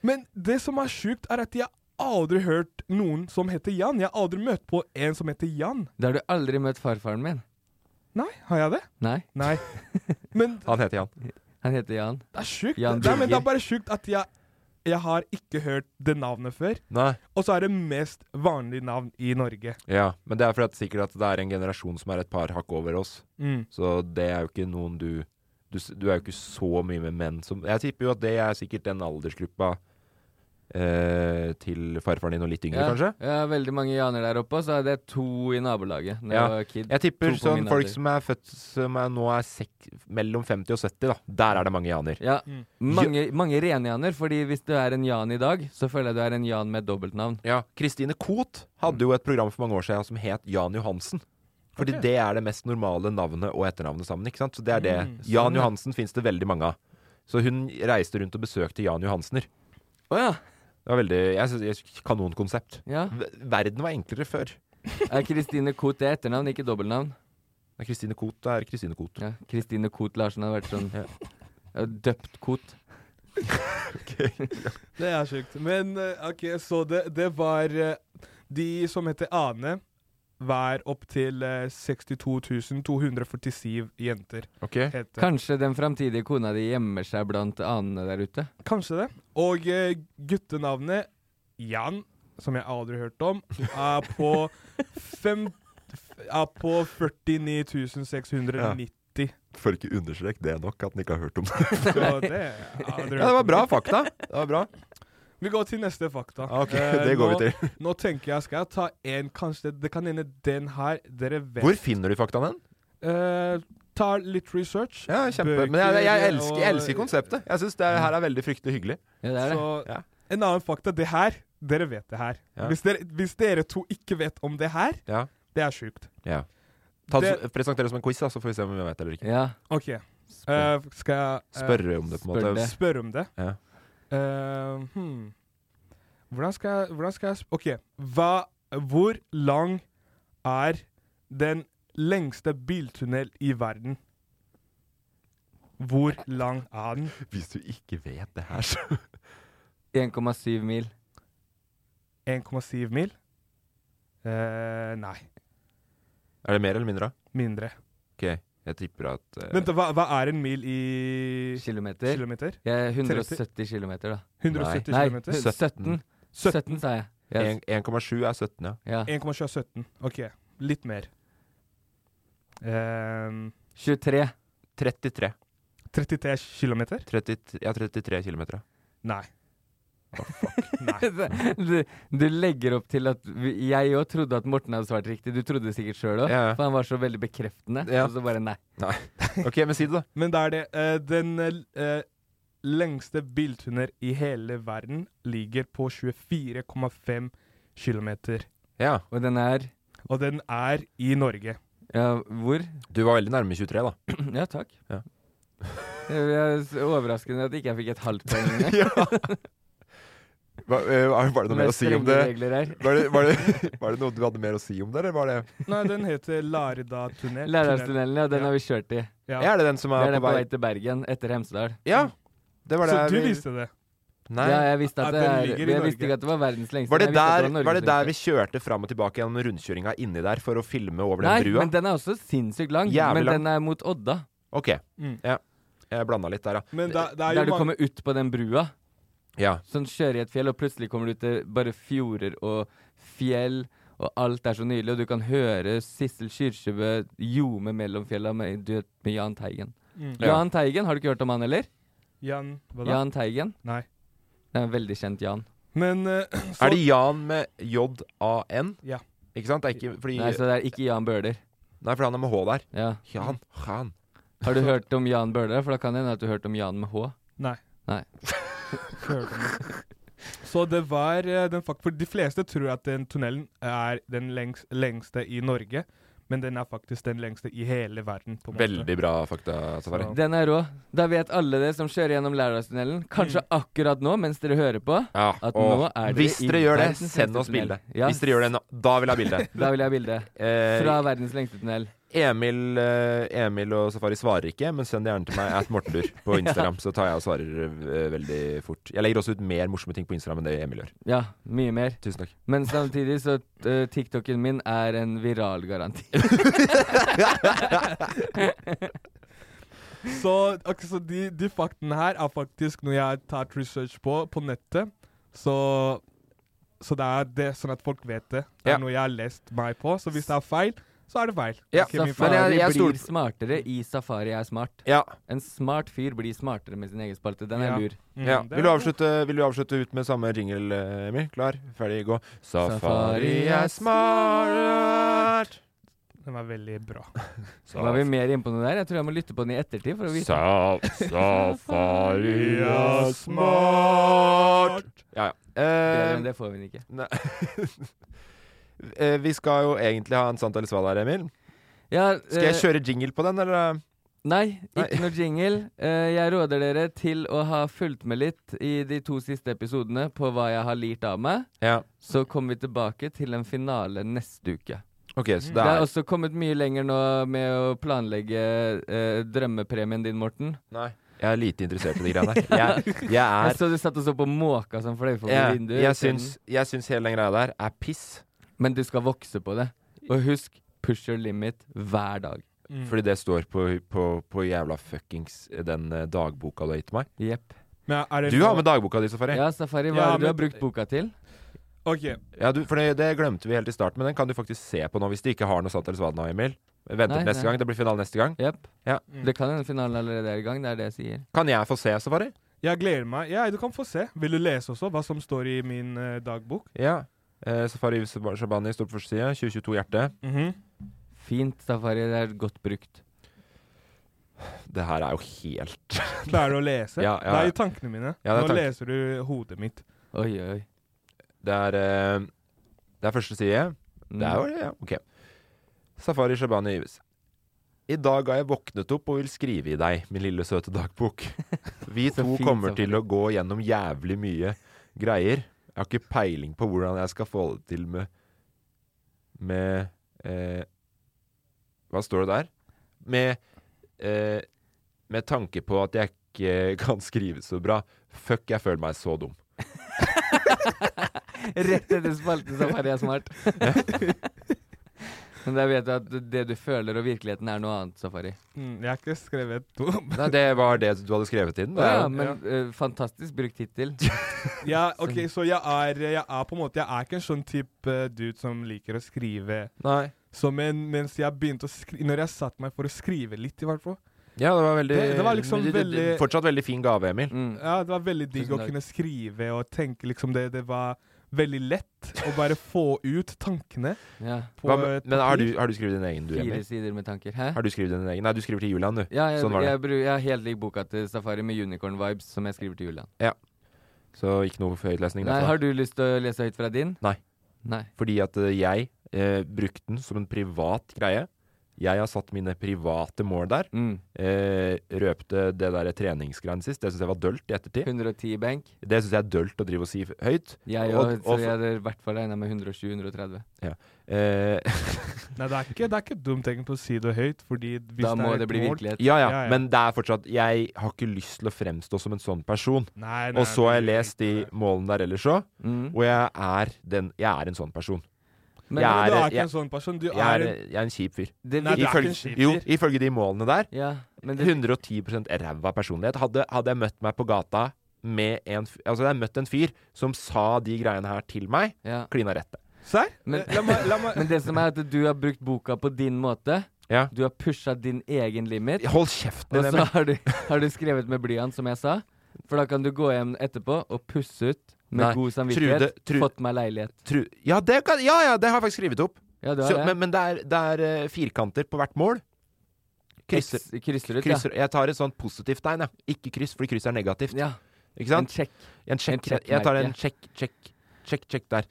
[SPEAKER 3] Men det som er sjukt, er at jeg aldri hørt noen som heter Jan. Jeg har aldri møtt på en som heter Jan.
[SPEAKER 5] Da har du aldri møtt farfaren min.
[SPEAKER 3] Nei, har jeg det?
[SPEAKER 5] Nei,
[SPEAKER 3] Nei. Men
[SPEAKER 4] Han heter Jan.
[SPEAKER 5] han heter Jan.
[SPEAKER 3] det er sjukt.
[SPEAKER 5] Jan
[SPEAKER 3] Nei, men det
[SPEAKER 5] Birger.
[SPEAKER 3] er bare sjukt at jeg, jeg har ikke hørt det navnet før.
[SPEAKER 4] Nei.
[SPEAKER 3] Og så er det mest vanlige navn i Norge.
[SPEAKER 4] Ja, men det er fordi at sikkert at det er en generasjon som er et par hakk over oss.
[SPEAKER 3] Mm.
[SPEAKER 4] Så det er jo ikke noen du Du, s- du er jo ikke så mye med menn som Jeg tipper jo at det er sikkert den aldersgruppa eh, til farfaren din og litt yngre,
[SPEAKER 5] ja,
[SPEAKER 4] kanskje?
[SPEAKER 5] Ja, veldig mange janer der oppe, og så hadde jeg to i nabolaget da
[SPEAKER 4] Ja.
[SPEAKER 5] jeg var kid.
[SPEAKER 4] Jeg tipper
[SPEAKER 5] To på
[SPEAKER 4] sånn
[SPEAKER 5] min
[SPEAKER 4] folk
[SPEAKER 5] alder.
[SPEAKER 4] som er født som er, nå er sek mellom 50 og 70, da. Der er det mange janer.
[SPEAKER 5] Ja,
[SPEAKER 3] Mm.
[SPEAKER 5] mange, mange renjaner, fordi hvis du er en Jan i dag, så føler jeg du er en Jan med dobbeltnavn.
[SPEAKER 4] Ja, Kristine Koht hadde jo et program for mange år siden som het Jan Johansen. Fordi
[SPEAKER 3] Ok.
[SPEAKER 4] det er det mest normale navnet og etternavnet sammen. ikke sant? Så det er det.
[SPEAKER 3] Mm,
[SPEAKER 4] Jan
[SPEAKER 5] sånn, ja.
[SPEAKER 4] Johansen fins det veldig mange av. Så hun reiste rundt og besøkte Jan Johansener.
[SPEAKER 5] Å ja.
[SPEAKER 4] Det var veldig, jeg synes, jeg- Kanonkonsept.
[SPEAKER 5] ja.
[SPEAKER 4] V- Verden var enklere før.
[SPEAKER 5] Er Kristine Koht det er etternavn, ikke dobbeltnavn?
[SPEAKER 4] Nei, Kristine Koht er Kristine Koht.
[SPEAKER 5] Ja, Kristine Koht Larsen hadde vært sånn
[SPEAKER 4] Ja.
[SPEAKER 5] ja. Døpt Koht.
[SPEAKER 3] Det er sjukt. Men eh, OK, så det, det var eh, De som heter Ane, var opptil 62 247 jenter.
[SPEAKER 4] Ok.
[SPEAKER 3] het det.
[SPEAKER 5] Kanskje den framtidige kona di gjemmer seg blant anene der ute?
[SPEAKER 3] Kanskje det. Og eh, guttenavnet Jan, som jeg aldri har hørt om, er på, fem, er på 49 690.
[SPEAKER 4] Får ikke understreke det nok at han ikke har hørt om det.
[SPEAKER 3] Så det har jeg aldri
[SPEAKER 4] Ja,
[SPEAKER 3] hørt
[SPEAKER 4] det var
[SPEAKER 3] om.
[SPEAKER 4] bra fakta. Det var bra.
[SPEAKER 3] Vi går til neste fakta.
[SPEAKER 4] Ok,
[SPEAKER 3] Eh,
[SPEAKER 4] det går
[SPEAKER 3] nå-
[SPEAKER 4] vi til.
[SPEAKER 3] Nå tenker jeg, skal jeg ta en kanskje Det kan hende den her dere vet
[SPEAKER 4] Hvor finner du faktaen hen?
[SPEAKER 3] Eh, ta litt research.
[SPEAKER 4] Ja, kjempe. Men jeg, jeg, jeg, elsker, jeg elsker konseptet. Jeg syns det her er veldig fryktelig hyggelig.
[SPEAKER 5] Ja, det er det.
[SPEAKER 3] Så
[SPEAKER 4] Ja.
[SPEAKER 3] en annen fakta. Det her, dere vet det her.
[SPEAKER 4] Ja.
[SPEAKER 3] Hvis, dere, hvis dere to ikke vet om det her,
[SPEAKER 4] Ja.
[SPEAKER 3] det er sjukt.
[SPEAKER 4] Ja. Ta det,
[SPEAKER 3] Det-
[SPEAKER 4] som- Presenter det som en quiz, da, så får vi se om vi vet eller ikke.
[SPEAKER 5] Ja.
[SPEAKER 3] OK, eh,
[SPEAKER 5] Spør.
[SPEAKER 3] skal jeg eh,
[SPEAKER 4] Spørre om det, på en
[SPEAKER 5] spør
[SPEAKER 4] måte.
[SPEAKER 5] det.
[SPEAKER 3] spørre om det?
[SPEAKER 4] Ja.
[SPEAKER 3] Eh, hmm. Hvordan skal jeg Hvordan skal jeg sp- OK. Hva, hvor lang er den lengste biltunnel i verden? Hvor lang er den?
[SPEAKER 4] Hvis du ikke vet det her, så
[SPEAKER 5] Eh, 1,7 mil.
[SPEAKER 3] 1,7 mil? Eh, nei,
[SPEAKER 4] Er det mer eller mindre?
[SPEAKER 3] mindre.
[SPEAKER 4] Ok, jeg tipper at eh,
[SPEAKER 3] Vent, da, hva, hva er en mil i
[SPEAKER 5] Kilometer.
[SPEAKER 3] kilometer?
[SPEAKER 5] Jeg er 170 kilometer, da.
[SPEAKER 3] 170
[SPEAKER 5] Nei,
[SPEAKER 3] kilometer?
[SPEAKER 5] 17.
[SPEAKER 3] 17.
[SPEAKER 5] 17, sa jeg. Yes.
[SPEAKER 4] en- 1,7 er 17, ja.
[SPEAKER 5] Ja.
[SPEAKER 3] 1,7 er 17. OK, litt mer. Ehm,
[SPEAKER 5] 23.
[SPEAKER 4] 33.
[SPEAKER 3] 33 kilometer?
[SPEAKER 4] 33 ja, 33 kilometer. ja.
[SPEAKER 3] Nei.
[SPEAKER 5] du, du legger opp til at vi- Jeg òg trodde at Morten hadde svart riktig. Du trodde det sikkert sjøl òg,
[SPEAKER 4] Ja, ja.
[SPEAKER 5] for han var så veldig bekreftende.
[SPEAKER 4] Ja.
[SPEAKER 5] Og så bare nei.
[SPEAKER 4] Ok, men si det, da.
[SPEAKER 3] Men da er det eh, Den eh, lengste biltunnel i hele verden ligger på 24,5 kilometer.
[SPEAKER 4] Ja.
[SPEAKER 5] Og den er
[SPEAKER 3] Og den er i Norge.
[SPEAKER 5] Ja, hvor?
[SPEAKER 4] Du var veldig nærme 23, da.
[SPEAKER 5] Ja, takk.
[SPEAKER 4] Ja.
[SPEAKER 5] Det er så overraskende at ikke jeg fikk et halvt poeng.
[SPEAKER 4] ja. Var, eh, var det noe mer å si om det?
[SPEAKER 5] regler her.
[SPEAKER 4] Var det, var, det, var det noe du hadde mer å si om det, eller var det
[SPEAKER 3] Nei, den heter Laredatunnel.
[SPEAKER 5] Lærdalstunnelen, ja, den
[SPEAKER 3] Ja.
[SPEAKER 5] har vi kjørt i.
[SPEAKER 3] Ja.
[SPEAKER 4] Er det den som
[SPEAKER 5] Det
[SPEAKER 4] er
[SPEAKER 5] er den
[SPEAKER 4] på vei
[SPEAKER 5] til Bergen, etter Hemsedal.
[SPEAKER 4] Ja! Det var det
[SPEAKER 3] Så du
[SPEAKER 4] vi-
[SPEAKER 3] visste det?
[SPEAKER 4] Nei.
[SPEAKER 5] Ja, jeg visste
[SPEAKER 3] At
[SPEAKER 5] at det
[SPEAKER 3] den
[SPEAKER 5] er,
[SPEAKER 3] ligger i
[SPEAKER 5] jeg
[SPEAKER 3] Norge.
[SPEAKER 5] visste ikke at det var verdens lengste.
[SPEAKER 4] Var det,
[SPEAKER 5] men jeg visste at
[SPEAKER 4] der,
[SPEAKER 5] det var
[SPEAKER 4] var det
[SPEAKER 5] Norges
[SPEAKER 4] der vi
[SPEAKER 5] lengste.
[SPEAKER 4] kjøringa fram og tilbake gjennom rundkjøringa inni der for å filme over den
[SPEAKER 5] Nei,
[SPEAKER 4] brua?
[SPEAKER 5] men den er også sinnssykt lang.
[SPEAKER 4] Jævlig
[SPEAKER 5] men
[SPEAKER 4] lang.
[SPEAKER 5] den er mot Odda.
[SPEAKER 4] Ok,
[SPEAKER 3] Mm.
[SPEAKER 4] ja. Jeg blanda litt der, ja.
[SPEAKER 3] Men da, det er jo
[SPEAKER 5] Der du
[SPEAKER 3] mange
[SPEAKER 5] kommer ut på den brua.
[SPEAKER 4] ja.
[SPEAKER 5] Sånn kjører i et fjell, og plutselig kommer du til bare fjorder og fjell, og alt er så nydelig, og du kan høre Sissel Kyrkjebø ljome mellom fjella med en duett med Jahn Teigen.
[SPEAKER 3] Mm.
[SPEAKER 4] Ja.
[SPEAKER 5] Jahn Teigen, har du ikke hørt om han heller?
[SPEAKER 3] Jan, hva da?
[SPEAKER 5] Jahn Teigen?
[SPEAKER 3] Nei.
[SPEAKER 5] Det er en veldig kjent Jahn.
[SPEAKER 3] Men eh, så
[SPEAKER 4] Er det Jan med J-A-N?
[SPEAKER 3] Ja.
[SPEAKER 4] Ikke sant? Det er ikke, fordi,
[SPEAKER 5] Nei,
[SPEAKER 4] nei,
[SPEAKER 5] så det er ikke Jan Bøhler.
[SPEAKER 4] for han er med H der.
[SPEAKER 5] Ja.
[SPEAKER 4] Jan.
[SPEAKER 5] Mm.
[SPEAKER 4] Jan.
[SPEAKER 5] Har du hørt om Jan Bøhler? For da kan det hende at du har hørt om Jan med H.
[SPEAKER 3] Nei.
[SPEAKER 5] Nei.
[SPEAKER 3] Hørte om det. Så det var eh, den fakt... For de fleste tror at den tunnelen er den lengs, lengste i Norge, men den er faktisk den lengste i hele verden. på en måte.
[SPEAKER 4] Veldig bra fakta, Safari.
[SPEAKER 3] Ja.
[SPEAKER 5] Den er rå. Da vet alle det som kjører gjennom Lærdalstunnelen, kanskje
[SPEAKER 3] Mm.
[SPEAKER 5] akkurat nå mens dere hører på,
[SPEAKER 4] Ja,
[SPEAKER 5] At
[SPEAKER 4] og
[SPEAKER 5] nå er dere
[SPEAKER 4] hvis
[SPEAKER 5] i
[SPEAKER 4] dere gjør det,
[SPEAKER 5] verdens
[SPEAKER 4] send
[SPEAKER 5] lengste
[SPEAKER 4] oss bilde.
[SPEAKER 5] tunnel. Ja.
[SPEAKER 4] Hvis dere gjør det nå, da vil jeg ha bilde.
[SPEAKER 5] da vil jeg ha bilde.
[SPEAKER 4] Eh,
[SPEAKER 5] Fra verdens lengste tunnel.
[SPEAKER 4] Emil, eh, Emil og Safari svarer ikke, men send det gjerne til meg at Mortendur på Instagram, så tar jeg og svarer eh, veldig fort. Jeg legger også ut mer morsomme ting på Instagram enn det Emil gjør.
[SPEAKER 5] Ja, mye mer.
[SPEAKER 4] Tusen takk.
[SPEAKER 5] Men samtidig så eh, TikToken min er en viralgaranti.
[SPEAKER 3] Så, ok, så de, de faktene her er faktisk noe jeg har tatt research på på nettet. Så, så det er det, sånn at folk vet det. Det
[SPEAKER 4] Ja.
[SPEAKER 3] er noe jeg har lest meg på. Så hvis det er feil, så er det feil.
[SPEAKER 4] Ja,
[SPEAKER 3] Ikke min feil.
[SPEAKER 4] men jeg-
[SPEAKER 5] Safari
[SPEAKER 4] jeg stoler
[SPEAKER 5] blir smartere i Safari er smart.
[SPEAKER 4] Ja,
[SPEAKER 5] En smart fyr blir smartere med sin egen spalte. Den er
[SPEAKER 3] Ja.
[SPEAKER 5] lur.
[SPEAKER 3] Mm,
[SPEAKER 4] ja.
[SPEAKER 3] det
[SPEAKER 4] Vil,
[SPEAKER 3] er-
[SPEAKER 4] du avslutte, vil du avslutte ut med samme jingle, eh, Emil? Klar, ferdig, gå. Safari er smart.
[SPEAKER 3] Den var veldig bra.
[SPEAKER 5] Var vi mer inne på noe der? Jeg tror jeg må lytte på den i ettertid for å vite.
[SPEAKER 4] Sa- Safari er smart. Ja, ja.
[SPEAKER 5] Bedre
[SPEAKER 4] Eh,
[SPEAKER 5] enn det får vi den ikke.
[SPEAKER 4] Nei. Eh, Vi skal jo egentlig ha en sant eller svar der, Emil.
[SPEAKER 5] Ja,
[SPEAKER 4] Skal jeg
[SPEAKER 5] eh,
[SPEAKER 4] kjøre jingle på den, eller?
[SPEAKER 5] Nei,
[SPEAKER 4] Nei.
[SPEAKER 5] ikke noe jingle. Eh, jeg råder dere til å ha fulgt med litt i de to siste episodene på hva jeg har lirt av meg.
[SPEAKER 4] Ja.
[SPEAKER 5] Så kommer vi tilbake til en finale neste uke.
[SPEAKER 4] Ok, så
[SPEAKER 5] Det
[SPEAKER 4] det
[SPEAKER 5] er
[SPEAKER 4] er
[SPEAKER 5] også kommet mye lenger nå med å planlegge eh, drømmepremien din, Morten.
[SPEAKER 4] Nei. Jeg er lite interessert i de greiene der. Jeg, jeg
[SPEAKER 5] Jeg
[SPEAKER 4] er
[SPEAKER 5] så du satt og så på måka som fløy forbi
[SPEAKER 4] jeg,
[SPEAKER 5] vinduet.
[SPEAKER 4] jeg, syns, jeg syns hele den greia der er piss,
[SPEAKER 5] Men du skal vokse på det. Og husk, push your limit hver dag.
[SPEAKER 3] Mm.
[SPEAKER 4] fordi det står på, på, på jævla fuckings den eh, dagboka du har gitt meg.
[SPEAKER 5] Jepp.
[SPEAKER 3] Men er det
[SPEAKER 4] Du har
[SPEAKER 3] lov-
[SPEAKER 4] med dagboka di, Safari. Ja,
[SPEAKER 5] Ja, Safari, hva
[SPEAKER 3] Ja,
[SPEAKER 5] er det du
[SPEAKER 3] men-
[SPEAKER 5] har brukt boka til?
[SPEAKER 3] Ok,
[SPEAKER 4] du, for det, det glemte vi helt i starten, men den kan du faktisk se på nå hvis du ikke har noe sant eller svar nå, Emil. Vent
[SPEAKER 5] Nei,
[SPEAKER 4] til neste
[SPEAKER 5] nei.
[SPEAKER 4] gang. Det blir finale neste gang.
[SPEAKER 5] Jepp.
[SPEAKER 4] Ja.
[SPEAKER 3] Mm.
[SPEAKER 5] Det kan hende finalen allerede er i gang. Det er det jeg sier.
[SPEAKER 4] Kan jeg få se, Safari?
[SPEAKER 3] jeg gleder meg. Ja, du kan få se. Vil du lese også hva som står i min eh, dagbok?
[SPEAKER 4] Ja. Eh, Safari Shabani står på første side. 2022 hjerte.
[SPEAKER 5] Fint, Safari. Det er godt brukt.
[SPEAKER 4] Det her er jo helt
[SPEAKER 3] Klarer du å lese?
[SPEAKER 4] Ja, ja.
[SPEAKER 3] Det er i tankene mine.
[SPEAKER 4] Ja, det er
[SPEAKER 3] Nå
[SPEAKER 4] tank-
[SPEAKER 3] leser du hodet mitt.
[SPEAKER 5] Oi, oi, oi.
[SPEAKER 4] Det er, eh, det er første side.
[SPEAKER 5] Mm.
[SPEAKER 4] Det er jo ja, OK. Safari Shabani Yves. I dag har jeg våknet opp og vil skrive i deg, min lille søte dagbok. Vi
[SPEAKER 5] Så
[SPEAKER 4] to
[SPEAKER 5] fint,
[SPEAKER 4] kommer
[SPEAKER 5] Safari.
[SPEAKER 4] til å gå gjennom jævlig mye greier. Jeg har ikke peiling på hvordan jeg skal få det til med Med eh, Hva står det der? Med eh, Med tanke på at jeg ikke kan skrive så bra. Fuck, jeg føler meg så dum.
[SPEAKER 5] Rett etter spalten Safari er smart. Men da vet du at det du føler og virkeligheten er noe annet, Safari.
[SPEAKER 3] Mm, jeg har ikke skrevet dom.
[SPEAKER 4] Nei, det var det du hadde skrevet inn. Det er
[SPEAKER 5] ja,
[SPEAKER 4] jo-
[SPEAKER 5] men eh, fantastisk brukt hittil.
[SPEAKER 3] Ja, ok, så jeg er, jeg er på en måte Jeg er ikke en sånn type eh, dude som liker å skrive.
[SPEAKER 4] Nei.
[SPEAKER 3] Så men, mens jeg begynte å skrive Når jeg satte meg for å skrive litt, i hvert fall.
[SPEAKER 4] Ja, det var veldig
[SPEAKER 3] Det, det var liksom
[SPEAKER 5] men det- det-
[SPEAKER 3] veldig
[SPEAKER 5] det-
[SPEAKER 4] Fortsatt veldig fin gave, Emil.
[SPEAKER 5] Mm.
[SPEAKER 3] Ja, det var veldig digg
[SPEAKER 5] Tusen
[SPEAKER 3] å
[SPEAKER 5] takk.
[SPEAKER 3] kunne skrive og tenke liksom det. Det var veldig lett å bare få ut tankene
[SPEAKER 5] Ja.
[SPEAKER 3] på
[SPEAKER 4] Hva,
[SPEAKER 3] et
[SPEAKER 4] men har du,
[SPEAKER 3] papir.
[SPEAKER 4] har du skrevet din egen, du,
[SPEAKER 5] Fire
[SPEAKER 4] Emil?
[SPEAKER 5] sider med tanker. Hæ?
[SPEAKER 4] Har du skrevet din egen? Nei, du skriver til Julian, du.
[SPEAKER 5] Ja, jeg,
[SPEAKER 4] Sånn var det.
[SPEAKER 5] jeg, bru- jeg har helt lik boka til Safari med unicorn-vibes, som jeg skriver til Julian.
[SPEAKER 4] Så ikke noe høytlesning
[SPEAKER 5] Nei,
[SPEAKER 4] derfra.
[SPEAKER 5] har du lyst til å lese høyt fra din?
[SPEAKER 4] Nei.
[SPEAKER 5] Nei.
[SPEAKER 4] Fordi at eh, jeg eh, brukte den som en privat greie. Jeg har satt mine private mål der.
[SPEAKER 5] Mm.
[SPEAKER 4] Eh, røpte det der treningsgreiene sist. Det syns jeg var dølt i ettertid.
[SPEAKER 5] 110 benk.
[SPEAKER 4] Det syns jeg er dølt å drive og si f- høyt.
[SPEAKER 5] Jeg
[SPEAKER 4] Og-
[SPEAKER 5] òg,
[SPEAKER 4] og
[SPEAKER 5] så
[SPEAKER 4] for-
[SPEAKER 5] jeg hadde i hvert fall regna med 120-130.
[SPEAKER 4] Eh,
[SPEAKER 3] Nei, det er ikke, det er ikke dumt egentlig å si det høyt, fordi hvis
[SPEAKER 5] Da må
[SPEAKER 3] er
[SPEAKER 5] det
[SPEAKER 3] et
[SPEAKER 5] bli
[SPEAKER 3] mål-
[SPEAKER 5] virkelighet.
[SPEAKER 4] ja, ja,
[SPEAKER 3] Ja, ja.
[SPEAKER 4] men det er fortsatt Jeg har ikke lyst til å fremstå som en sånn person.
[SPEAKER 3] Nei, nei,
[SPEAKER 4] Og så har jeg
[SPEAKER 3] det er
[SPEAKER 4] lest de
[SPEAKER 3] ikke det.
[SPEAKER 4] målene der ellers òg,
[SPEAKER 5] Mm.
[SPEAKER 4] og jeg er, den, jeg er en sånn person.
[SPEAKER 5] Men
[SPEAKER 4] jeg
[SPEAKER 3] Men Du
[SPEAKER 4] er-
[SPEAKER 3] er ikke
[SPEAKER 4] jeg-
[SPEAKER 3] en sånn person. Du
[SPEAKER 4] Jeg er,
[SPEAKER 3] er en
[SPEAKER 4] jeg er en kjip fyr.
[SPEAKER 5] det,
[SPEAKER 3] Nei,
[SPEAKER 5] vir-
[SPEAKER 3] du er ikke en
[SPEAKER 4] Ifølge,
[SPEAKER 3] kjip
[SPEAKER 4] jo,
[SPEAKER 3] fyr.
[SPEAKER 4] ifølge de målene der
[SPEAKER 5] ja, men det
[SPEAKER 4] 110 ræva personlighet. Hadde, hadde jeg møtt meg på gata med en f- Altså, jeg hadde møtt en fyr som sa de greiene her til meg,
[SPEAKER 5] ja.
[SPEAKER 4] klina rett. det.
[SPEAKER 3] Serr?
[SPEAKER 5] Men-
[SPEAKER 3] La meg, la meg.
[SPEAKER 5] Men det som er at du har brukt boka på din måte.
[SPEAKER 4] Ja.
[SPEAKER 5] Du har pusha din egen limit.
[SPEAKER 4] Hold kjeften
[SPEAKER 5] Og
[SPEAKER 4] din,
[SPEAKER 5] så
[SPEAKER 4] Emil.
[SPEAKER 5] har du, har du skrevet med blyant, som jeg sa. For da kan du gå hjem etterpå og pusse ut med
[SPEAKER 4] Nei,
[SPEAKER 5] god samvittighet.
[SPEAKER 4] Trude- Trude-
[SPEAKER 5] Fått meg leilighet.
[SPEAKER 4] Tru, ja, det kan, ja, ja, det har jeg faktisk skrevet opp.
[SPEAKER 5] Ja, du har
[SPEAKER 4] Så,
[SPEAKER 5] det.
[SPEAKER 4] men men det, er, det er eh, firkanter på hvert mål. Krysser,
[SPEAKER 5] X- krysser ut,
[SPEAKER 4] krysser Jeg tar et sånt positivt tegn, jeg. Ikke kryss, fordi kryss er negativt.
[SPEAKER 5] ja.
[SPEAKER 4] Ikke
[SPEAKER 5] ja.
[SPEAKER 4] sant?
[SPEAKER 5] En sjekk.
[SPEAKER 4] En
[SPEAKER 5] En
[SPEAKER 4] sjekk.
[SPEAKER 5] check
[SPEAKER 4] jeg tar en
[SPEAKER 5] merke.
[SPEAKER 4] sjekk, sjekk, sjekk, sjekk der.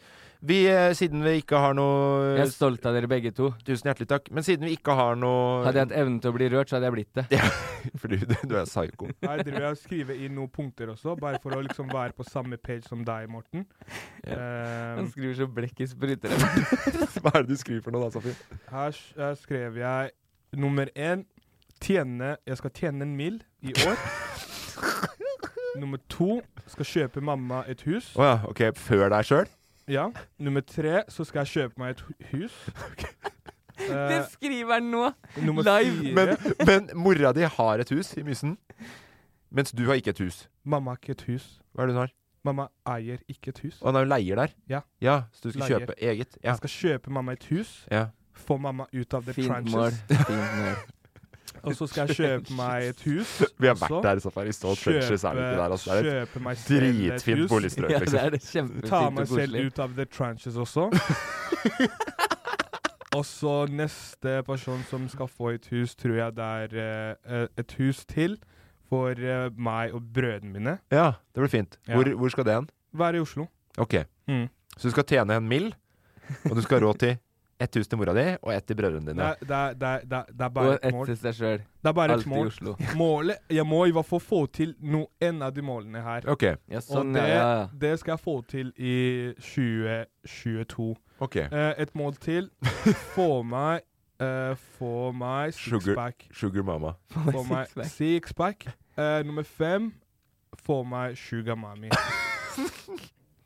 [SPEAKER 4] Vi, eh, siden vi ikke har
[SPEAKER 3] Eh,
[SPEAKER 4] noe
[SPEAKER 5] Jeg er stolt av dere begge to.
[SPEAKER 4] Tusen hjertelig takk. Men siden vi ikke har noe
[SPEAKER 5] Hadde jeg hatt evnen til å bli rørt, så hadde jeg blitt det.
[SPEAKER 4] Fordi du, du er psyko.
[SPEAKER 3] Her driver jeg og skriver inn noen punkter også, bare for å liksom være på samme page som deg, Morten. Eh,
[SPEAKER 5] Han skriver så blekk i spruter.
[SPEAKER 4] Hva er det du skriver for noe da, Safin?
[SPEAKER 3] her s- her skrev jeg nummer én tjene, Jeg skal tjene en mil i år. Nummer to skal kjøpe mamma et hus.
[SPEAKER 4] Å ja, ok. Før deg sjøl?
[SPEAKER 3] Ja. Nummer tre så skal jeg kjøpe meg et hu- hus.
[SPEAKER 5] Det
[SPEAKER 3] Eh,
[SPEAKER 5] skriver han nå!
[SPEAKER 3] nummer
[SPEAKER 5] live,
[SPEAKER 3] fire
[SPEAKER 4] Men, men mora di har et hus i Mysen, mens du har ikke et hus.
[SPEAKER 3] Mamma har ikke et hus.
[SPEAKER 4] Hva er det hun har?
[SPEAKER 3] Mamma eier ikke et hus.
[SPEAKER 4] Å, nei, hun leier der?
[SPEAKER 3] Ja.
[SPEAKER 4] ja så du skal
[SPEAKER 3] Leier.
[SPEAKER 4] kjøpe eget? Ja.
[SPEAKER 3] Jeg skal kjøpe mamma et hus.
[SPEAKER 4] ja.
[SPEAKER 3] Få mamma ut av the
[SPEAKER 5] Fint mål.
[SPEAKER 3] trenches.
[SPEAKER 5] Fint mål.
[SPEAKER 3] Og så skal jeg kjøpe meg et hus.
[SPEAKER 4] Vi har
[SPEAKER 3] også.
[SPEAKER 4] vært der i Safari Stall. Trenches er det ikke der, altså. Det er
[SPEAKER 3] kjøpe meg
[SPEAKER 4] et
[SPEAKER 3] selv et
[SPEAKER 4] dritfint
[SPEAKER 3] hus.
[SPEAKER 4] boligstrøk,
[SPEAKER 5] Ja, det
[SPEAKER 4] liksom.
[SPEAKER 5] er det
[SPEAKER 3] Ta
[SPEAKER 5] kjempefint
[SPEAKER 3] meg
[SPEAKER 5] og
[SPEAKER 3] selv
[SPEAKER 5] koselig.
[SPEAKER 3] ut av the trenches også. og så neste person som skal få et hus, tror jeg det er eh, et hus til for eh, meg og brødrene mine.
[SPEAKER 4] Ja, det blir fint.
[SPEAKER 3] Ja.
[SPEAKER 4] Hvor, hvor skal det hen?
[SPEAKER 3] Være i Oslo.
[SPEAKER 4] Ok.
[SPEAKER 3] Mm.
[SPEAKER 4] Så du skal tjene en mill, og du skal ha råd til ett hus til mora di og ett til brødrene
[SPEAKER 3] Det,
[SPEAKER 4] dine.
[SPEAKER 3] er, det, er, det, er, det er- det er bare
[SPEAKER 5] Og
[SPEAKER 3] et
[SPEAKER 5] ett
[SPEAKER 3] mål.
[SPEAKER 5] til seg sjøl.
[SPEAKER 3] Det er bare et
[SPEAKER 5] Alltid i
[SPEAKER 3] mål.
[SPEAKER 5] Oslo.
[SPEAKER 3] Målet Jeg må i hvert fall få til no, en av de målene her.
[SPEAKER 4] Ok.
[SPEAKER 5] Ja,
[SPEAKER 3] Og
[SPEAKER 5] sånn,
[SPEAKER 3] det,
[SPEAKER 5] ja, ja. ja.
[SPEAKER 3] det skal jeg få til i 2022.
[SPEAKER 4] ok
[SPEAKER 3] Eh, et mål til. Få meg eh, Få meg
[SPEAKER 4] Sugar.
[SPEAKER 3] sixpack.
[SPEAKER 4] Sugar mama.
[SPEAKER 3] Få meg
[SPEAKER 5] Sixpack.
[SPEAKER 3] sixpack. Eh, nummer fem Få meg sugar mommy.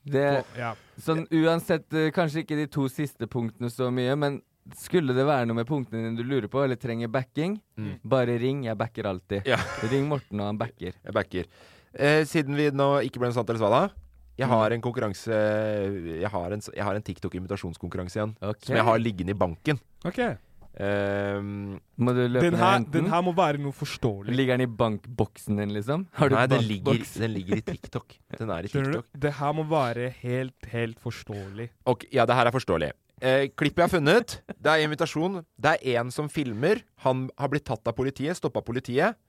[SPEAKER 5] Det,
[SPEAKER 3] Få, ja.
[SPEAKER 5] sånn uansett, eh, kanskje ikke de to siste punktene så mye, men skulle det være noe med punktene dine du lurer på, eller trenger backing,
[SPEAKER 4] Mm.
[SPEAKER 5] bare ring. Jeg backer alltid.
[SPEAKER 4] Ja.
[SPEAKER 5] Ring Morten, og han backer.
[SPEAKER 4] Jeg backer. Eh, siden vi nå ikke ble noe sant eller svada, jeg har en konkurranse Jeg har en, jeg har en TikTok-invitasjonskonkurranse igjen.
[SPEAKER 5] Ok.
[SPEAKER 4] Som jeg har liggende i banken.
[SPEAKER 3] OK.
[SPEAKER 4] Ehm,
[SPEAKER 5] Må du løpe
[SPEAKER 3] Den
[SPEAKER 5] ned og
[SPEAKER 3] her,
[SPEAKER 5] hente
[SPEAKER 3] den
[SPEAKER 5] den?
[SPEAKER 3] her må være noe forståelig.
[SPEAKER 5] Ligger den i bankboksen din, liksom? Har du
[SPEAKER 4] nei, den ligger,
[SPEAKER 5] bankboks?
[SPEAKER 4] den ligger i TikTok. Den er i
[SPEAKER 3] Skjønner
[SPEAKER 4] TikTok.
[SPEAKER 3] du? Det her må være helt, helt forståelig.
[SPEAKER 4] Ok, ja, det her er forståelig. Eh, klippet jeg har funnet, det er invitasjon. Det er en som filmer. Han har blitt tatt av politiet, stoppa av politiet,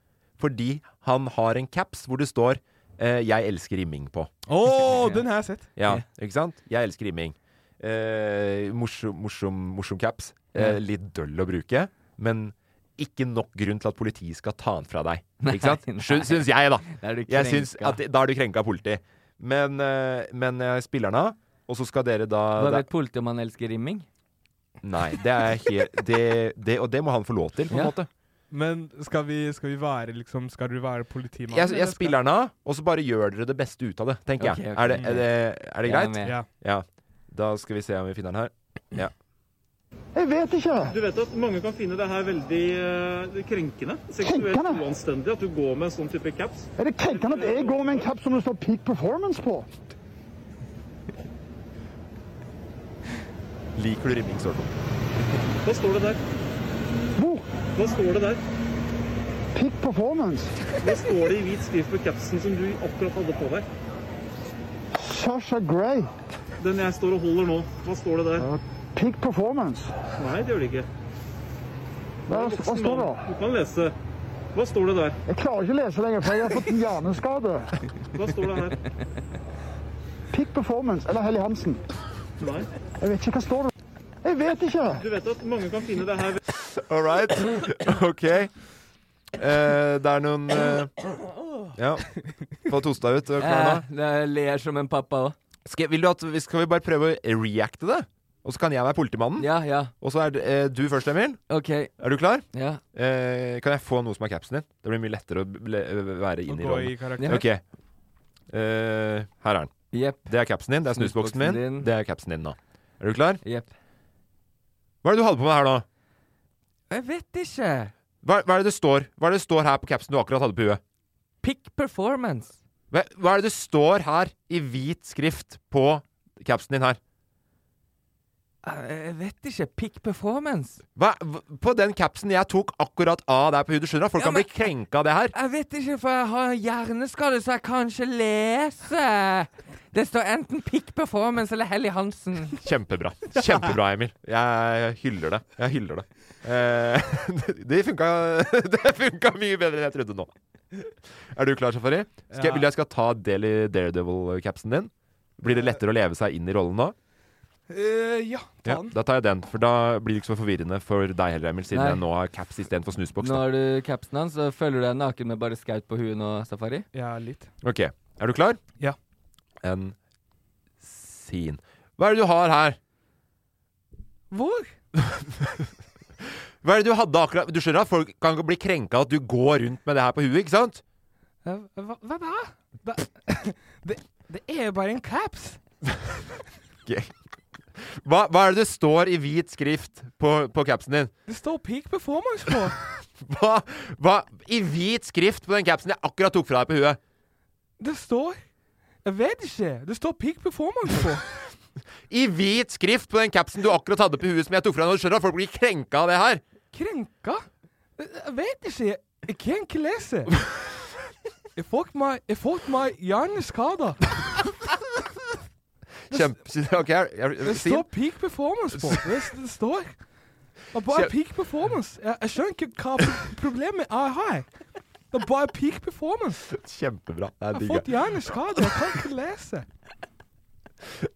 [SPEAKER 4] fordi han har en caps hvor det står eh, 'Jeg elsker rimming' på.
[SPEAKER 3] Å, den har jeg sett.
[SPEAKER 4] Ja,
[SPEAKER 5] Ja.
[SPEAKER 4] ikke sant? Jeg elsker rimming. Eh, morsom, morsom, morsom caps. Eh, litt døll å bruke, men ikke nok grunn til at politiet skal ta den fra deg. Ikke sant?
[SPEAKER 5] Nei, nei.
[SPEAKER 4] Sy- Syns jeg, da.
[SPEAKER 5] Der er du
[SPEAKER 4] Jeg syns
[SPEAKER 5] krenka.
[SPEAKER 4] at det- Da er du krenka av politi. Men, eh, men jeg spiller den av, og så skal dere da
[SPEAKER 5] Hva vet politiet om han elsker rimming?
[SPEAKER 4] Nei, det er helt det, det, Og det må han få lov til, på en
[SPEAKER 5] Ja.
[SPEAKER 4] måte.
[SPEAKER 3] Men skal vi, skal vi være liksom Skal du være politimann?
[SPEAKER 4] Jeg,
[SPEAKER 3] eller
[SPEAKER 4] jeg
[SPEAKER 3] skal-
[SPEAKER 4] spiller den av, og så bare gjør dere det beste ut av det, tenker
[SPEAKER 5] Ok,
[SPEAKER 4] jeg.
[SPEAKER 5] ok.
[SPEAKER 4] Er det, er det, er det greit?
[SPEAKER 5] Jeg er med.
[SPEAKER 3] Ja.
[SPEAKER 4] Ja. Da skal vi se om vi finner den her. Ja.
[SPEAKER 9] Du vet at mange kan finne det her veldig eh, krenkende. Seksuelt uanstendig at du går med en sånn type caps. Er det krenkende at jeg går med en caps som det står peak performance på?
[SPEAKER 4] Liker du rimming, Sørto?
[SPEAKER 9] Hva står det der? Hvor? Hva står det der? Peak performance. Hva står det i hvit skrift på capsen som du akkurat hadde på deg? Sasha Gray. Den jeg står og holder nå. Hva står det der? peak performance. Nei, det gjør det ikke. Hva, står det da? Du kan lese. Hva står det der? Jeg klarer ikke å lese lenger, for jeg har fått en hjerneskade. Hva står det her? Peak performance eller Helly Hansen. Nei. Jeg vet ikke hva står det. Jeg vet ikke. Du vet at mange kan finne det her.
[SPEAKER 4] All right. Ok. Eh, det er noen eh, Ja. Få tosta ut. Er du klar nå?
[SPEAKER 5] Eh, jeg ler som en pappa òg.
[SPEAKER 4] Skal, vil du at, vi- skal vi bare prøve å reacte det? Og så kan jeg være politimannen.
[SPEAKER 5] Ja, ja.
[SPEAKER 4] Og så er det, eh, du først, Emil.
[SPEAKER 5] OK.
[SPEAKER 4] Er du klar?
[SPEAKER 5] Ja.
[SPEAKER 4] Eh, kan jeg få noe som er capsen din? Det blir mye lettere å ble, være
[SPEAKER 3] Og
[SPEAKER 4] inn i
[SPEAKER 3] gå i
[SPEAKER 4] rollen.
[SPEAKER 3] karakter.
[SPEAKER 5] Ja.
[SPEAKER 4] Ok. Eh, her er den.
[SPEAKER 5] Jepp.
[SPEAKER 4] Det er capsen din. Det er snusboksen
[SPEAKER 5] Snusboksen
[SPEAKER 4] min.
[SPEAKER 5] din.
[SPEAKER 4] Det er capsen din nå. Er du klar?
[SPEAKER 5] Jepp.
[SPEAKER 4] Hva er det du hadde på med her nå?
[SPEAKER 5] Jeg vet ikke.
[SPEAKER 4] Hva, hva er det det står Hva er det det står her på capsen du akkurat hadde på huet?
[SPEAKER 5] Pick performance.
[SPEAKER 4] Hva, hva er det det står her i hvit skrift på capsen din her?
[SPEAKER 5] Eh, Jeg vet ikke. Pick performance.
[SPEAKER 4] Hva, hva- på den capsen jeg tok akkurat av der på hudet, skjønner du? Folk
[SPEAKER 5] Ja,
[SPEAKER 4] kan bli
[SPEAKER 5] men-
[SPEAKER 4] krenka av det her.
[SPEAKER 5] Jeg vet ikke, for jeg har hjerneskade, så jeg kan ikke lese. Det står enten Pick performance eller Helly Hansen.
[SPEAKER 4] Kjempebra. Kjempebra, Emil. Jeg hyller det. Jeg hyller det. Eh, det, funka, det funka mye bedre enn jeg trodde nå. Er du klar, Safari? Skal, jeg- Vil du jeg skal ta del i Daredevil-capsen din? Blir det lettere å leve seg inn i rollen nå?
[SPEAKER 3] Eh, ja, ta
[SPEAKER 4] Ja,
[SPEAKER 3] den.
[SPEAKER 4] da tar jeg den, for da blir det ikke så forvirrende for deg heller, Emil, siden
[SPEAKER 5] Nei.
[SPEAKER 4] jeg nå har caps istedenfor snusboks.
[SPEAKER 5] Nå
[SPEAKER 4] Da.
[SPEAKER 5] har du capsen hans, så føler du deg naken med bare skaut på huet nå, Safari?
[SPEAKER 3] Ja, litt.
[SPEAKER 4] Ok, er du klar?
[SPEAKER 3] Ja.
[SPEAKER 4] En sin. Hva er det du har her?
[SPEAKER 5] Hvor?
[SPEAKER 4] Hva er det du hadde akkurat Du skjønner at folk kan bli krenka at du går rundt med det her på huet, ikke sant?
[SPEAKER 3] Eh, Hva, hva da? da det, det er jo bare en caps.
[SPEAKER 4] Hva, hva er det det står i hvit skrift på, på capsen din?
[SPEAKER 3] Det står peak performance på.
[SPEAKER 4] Hva, hva I hvit skrift på den capsen jeg akkurat tok fra deg på huet?
[SPEAKER 3] Det står Jeg vet ikke. Det står peak performance på.
[SPEAKER 4] I hvit skrift på den capsen du akkurat hadde på huet som jeg tok fra deg. Du skjønner at folk blir krenka av det her.
[SPEAKER 3] Krenka? Jeg vet ikke. Jeg kan ikke lese. Jeg fikk meg, jeg fikk meg hjerneskada.
[SPEAKER 4] Kjempe... Ok, jeg, jeg,
[SPEAKER 3] Det
[SPEAKER 4] Siv?
[SPEAKER 3] står peak performance på. Det, det står Det er bare
[SPEAKER 4] Kjem-
[SPEAKER 3] peak performance. Jeg, jeg skjønner ikke hva pro- problemet jeg har. Det er bare peak performance.
[SPEAKER 4] Kjempebra. Det er
[SPEAKER 3] Jeg har
[SPEAKER 4] digg.
[SPEAKER 3] fått hjerneskade. Jeg kan ikke lese.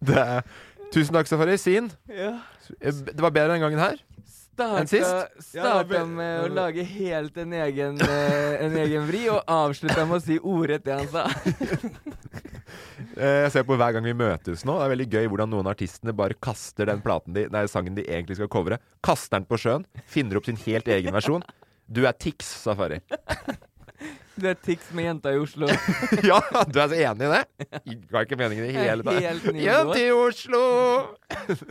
[SPEAKER 4] Det er- Tusen takk, Safari. Sin. Eh,
[SPEAKER 5] Ja.
[SPEAKER 4] Det var bedre den gangen her.
[SPEAKER 5] Starta,
[SPEAKER 4] Enn sist? Ja, det
[SPEAKER 5] starta
[SPEAKER 4] var ve-
[SPEAKER 5] med å lage helt en egen, eh, en egen vri, og avslutta med å si ordrett det han sa.
[SPEAKER 4] Eh, Jeg ser på hver gang vi møtes nå. Det er veldig gøy hvordan noen av artistene bare kaster den platen de, nei, sangen de egentlig skal covre. Kaster den på sjøen. Finner opp sin helt egen versjon. Du er Tix, Safari.
[SPEAKER 5] Du er Tix med jenta i Oslo.
[SPEAKER 4] Ja, du er så enig i det? Det Ga ikke meningen i det hele
[SPEAKER 5] Helt
[SPEAKER 4] tatt.
[SPEAKER 5] nydelig.
[SPEAKER 4] Hjem til Oslo!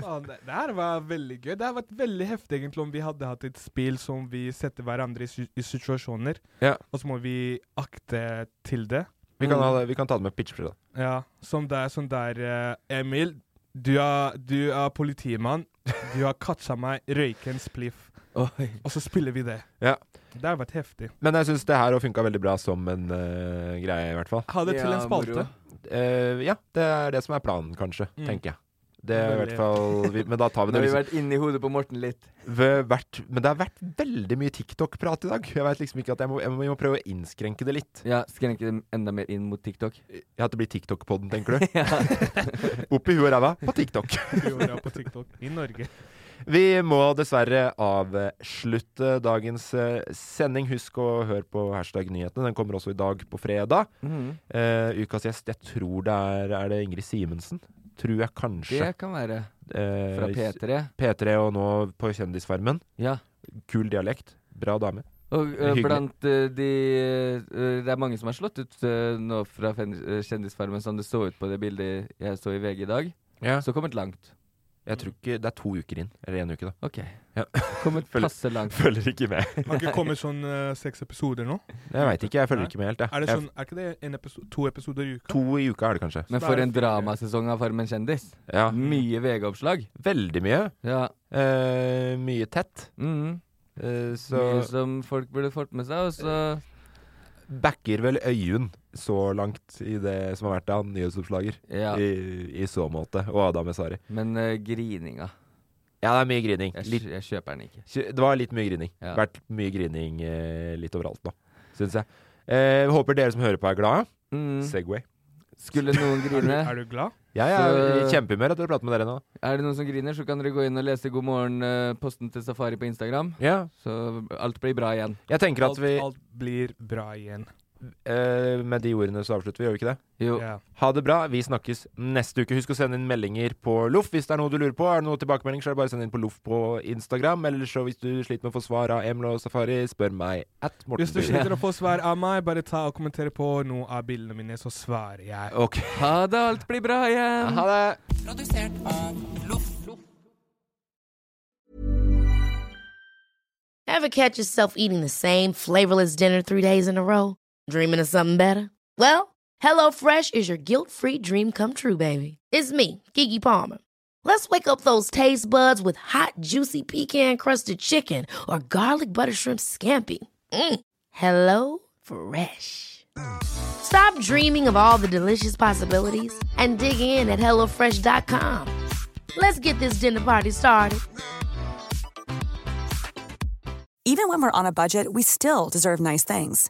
[SPEAKER 3] Faen, det, det her var veldig gøy. Det hadde vært veldig heftig egentlig om vi hadde hatt et spill som vi setter hverandre i, si- i situasjoner,
[SPEAKER 4] Ja.
[SPEAKER 3] og så må vi akte til det.
[SPEAKER 4] Vi kan, ha, det- vi kan ta det med pitchfree, da.
[SPEAKER 3] Ja, som der, som der eh, Emil, du er, du er politimann. Du har katsa meg røyke en spliff,
[SPEAKER 5] Oi.
[SPEAKER 3] og så spiller vi det.
[SPEAKER 4] Ja.
[SPEAKER 3] Det hadde vært heftig.
[SPEAKER 4] Men jeg syns det her òg funka veldig bra som en eh, greie, i hvert fall.
[SPEAKER 3] Ha det til
[SPEAKER 5] Ja,
[SPEAKER 3] en spalte.
[SPEAKER 5] moro.
[SPEAKER 4] Eh, ja, det er det som er planen, kanskje.
[SPEAKER 3] Mm.
[SPEAKER 4] Tenker jeg. Det er i
[SPEAKER 3] Veldig.
[SPEAKER 4] hvert fall vi, Men da tar vi
[SPEAKER 5] Nå
[SPEAKER 4] det
[SPEAKER 5] har vi
[SPEAKER 4] liksom
[SPEAKER 5] vært inni hodet på Morten litt.
[SPEAKER 4] ved hvert, Men det har vært veldig mye TikTok-prat i dag. Jeg vet liksom ikke at jeg må, jeg må, jeg må prøve å innskrenke det litt.
[SPEAKER 5] Ja, Skrenke det enda mer inn mot TikTok.
[SPEAKER 4] Ja, At det blir TikTok-podden, tenker du?
[SPEAKER 5] Ja.
[SPEAKER 4] Opp i huet og ræva på TikTok.
[SPEAKER 3] Vi gjorde det på TikTok i Norge.
[SPEAKER 4] Vi må dessverre avslutte dagens eh, sending. Husk å høre på hashtag nyhetene. Den kommer også i dag på fredag.
[SPEAKER 5] Mhm.
[SPEAKER 4] Eh, ukas gjest, jeg tror det er Er det Ingrid Simensen? Tror jeg kanskje.
[SPEAKER 5] Det kan være
[SPEAKER 4] Eh,
[SPEAKER 5] fra P3.
[SPEAKER 4] P3 og nå på Kjendisfarmen.
[SPEAKER 5] Ja.
[SPEAKER 4] Kul dialekt. Bra dame.
[SPEAKER 5] Og eh,
[SPEAKER 4] Hyggelig.
[SPEAKER 5] blant eh, de eh, Det er mange som er slått ut eh, nå fra fen- eh, Kjendisfarmen, som det så ut på det bildet jeg så i VG i dag. Så kommet langt.
[SPEAKER 4] Jeg tror ikke Det er to uker inn. Eller én uke, da.
[SPEAKER 5] OK.
[SPEAKER 4] Ja.
[SPEAKER 5] Kommet
[SPEAKER 4] Følg-
[SPEAKER 5] passe langt.
[SPEAKER 4] Følger ikke med.
[SPEAKER 3] Har ikke kommet sånn eh, seks episoder nå?
[SPEAKER 4] Jeg veit ikke. Jeg følger
[SPEAKER 3] Nei.
[SPEAKER 4] ikke med helt, jeg.
[SPEAKER 3] Er det
[SPEAKER 4] Jeg-
[SPEAKER 3] sånn, er ikke det en episo to episoder i uka?
[SPEAKER 4] To i uka er det kanskje.
[SPEAKER 5] Men for en dramasesong av Farmen kjendis.
[SPEAKER 4] Ja.
[SPEAKER 5] Mye VG-oppslag.
[SPEAKER 4] Veldig mye.
[SPEAKER 5] Ja.
[SPEAKER 4] Eh, mye tett.
[SPEAKER 5] Mhm.
[SPEAKER 4] Eh,
[SPEAKER 5] Mye
[SPEAKER 4] så
[SPEAKER 5] som folk burde fått med seg. Og så
[SPEAKER 4] backer vel Øyunn så langt i det som har vært av nyhetsoppslager.
[SPEAKER 5] Ja.
[SPEAKER 4] I, I så måte. Og Adam Esari.
[SPEAKER 5] Men eh, grininga.
[SPEAKER 4] Ja, det er mye grining.
[SPEAKER 5] Jeg,
[SPEAKER 4] Litt,
[SPEAKER 5] kj- jeg kjøper den ikke.
[SPEAKER 4] det var litt mye grining.
[SPEAKER 5] Ja.
[SPEAKER 4] Vært mye grining eh, litt overalt nå, syns jeg. Eh, håper dere som hører på, er glade.
[SPEAKER 5] Mhm.
[SPEAKER 4] Segway.
[SPEAKER 5] Skulle noen
[SPEAKER 3] Er du,
[SPEAKER 5] grine?
[SPEAKER 3] er du glad?
[SPEAKER 4] Jeg er i
[SPEAKER 5] Så-
[SPEAKER 4] kjempehumør etter å prate med dere nå.
[SPEAKER 5] Er det noen som griner, så kan dere gå inn og lese God morgen-posten til Safari på Instagram.
[SPEAKER 4] Ja.
[SPEAKER 5] Så alt blir bra igjen.
[SPEAKER 4] Jeg tenker at
[SPEAKER 3] Alt,
[SPEAKER 4] vi
[SPEAKER 3] alt blir bra igjen.
[SPEAKER 4] eh, Med de ordene så avslutter vi, gjør vi ikke det?
[SPEAKER 5] Jo.
[SPEAKER 3] Ja.
[SPEAKER 4] Ha det bra. Vi snakkes neste uke. Husk å sende inn meldinger på Loff hvis det er noe du lurer på. Er det noe tilbakemelding, så er det bare å sende inn på Loff på Instagram. Eller så hvis du sliter med å få svar av Emil og Safari, spør meg at Morten
[SPEAKER 3] Hvis du
[SPEAKER 4] Byer.
[SPEAKER 3] sliter å få svar av meg, bare ta og kommentere på noen av bildene mine, så svarer jeg.
[SPEAKER 4] Ok.
[SPEAKER 5] Ha det, alt blir bra igjen.
[SPEAKER 4] Ha det.
[SPEAKER 2] Ever catch yourself eating the same flavorless dinner three days in a row? Dreaming of something better? Well, HelloFresh is your guilt-free dream come true, baby. It's me, Kiki Palmer. Let's wake up those taste buds with hot, juicy pecan-crusted chicken or garlic butter shrimp scampi. Mm. Hello Fresh. Stop dreaming of all the delicious possibilities and dig in at HelloFresh.com. Let's get this dinner party started.
[SPEAKER 10] Even when we're on a budget, we still deserve nice things.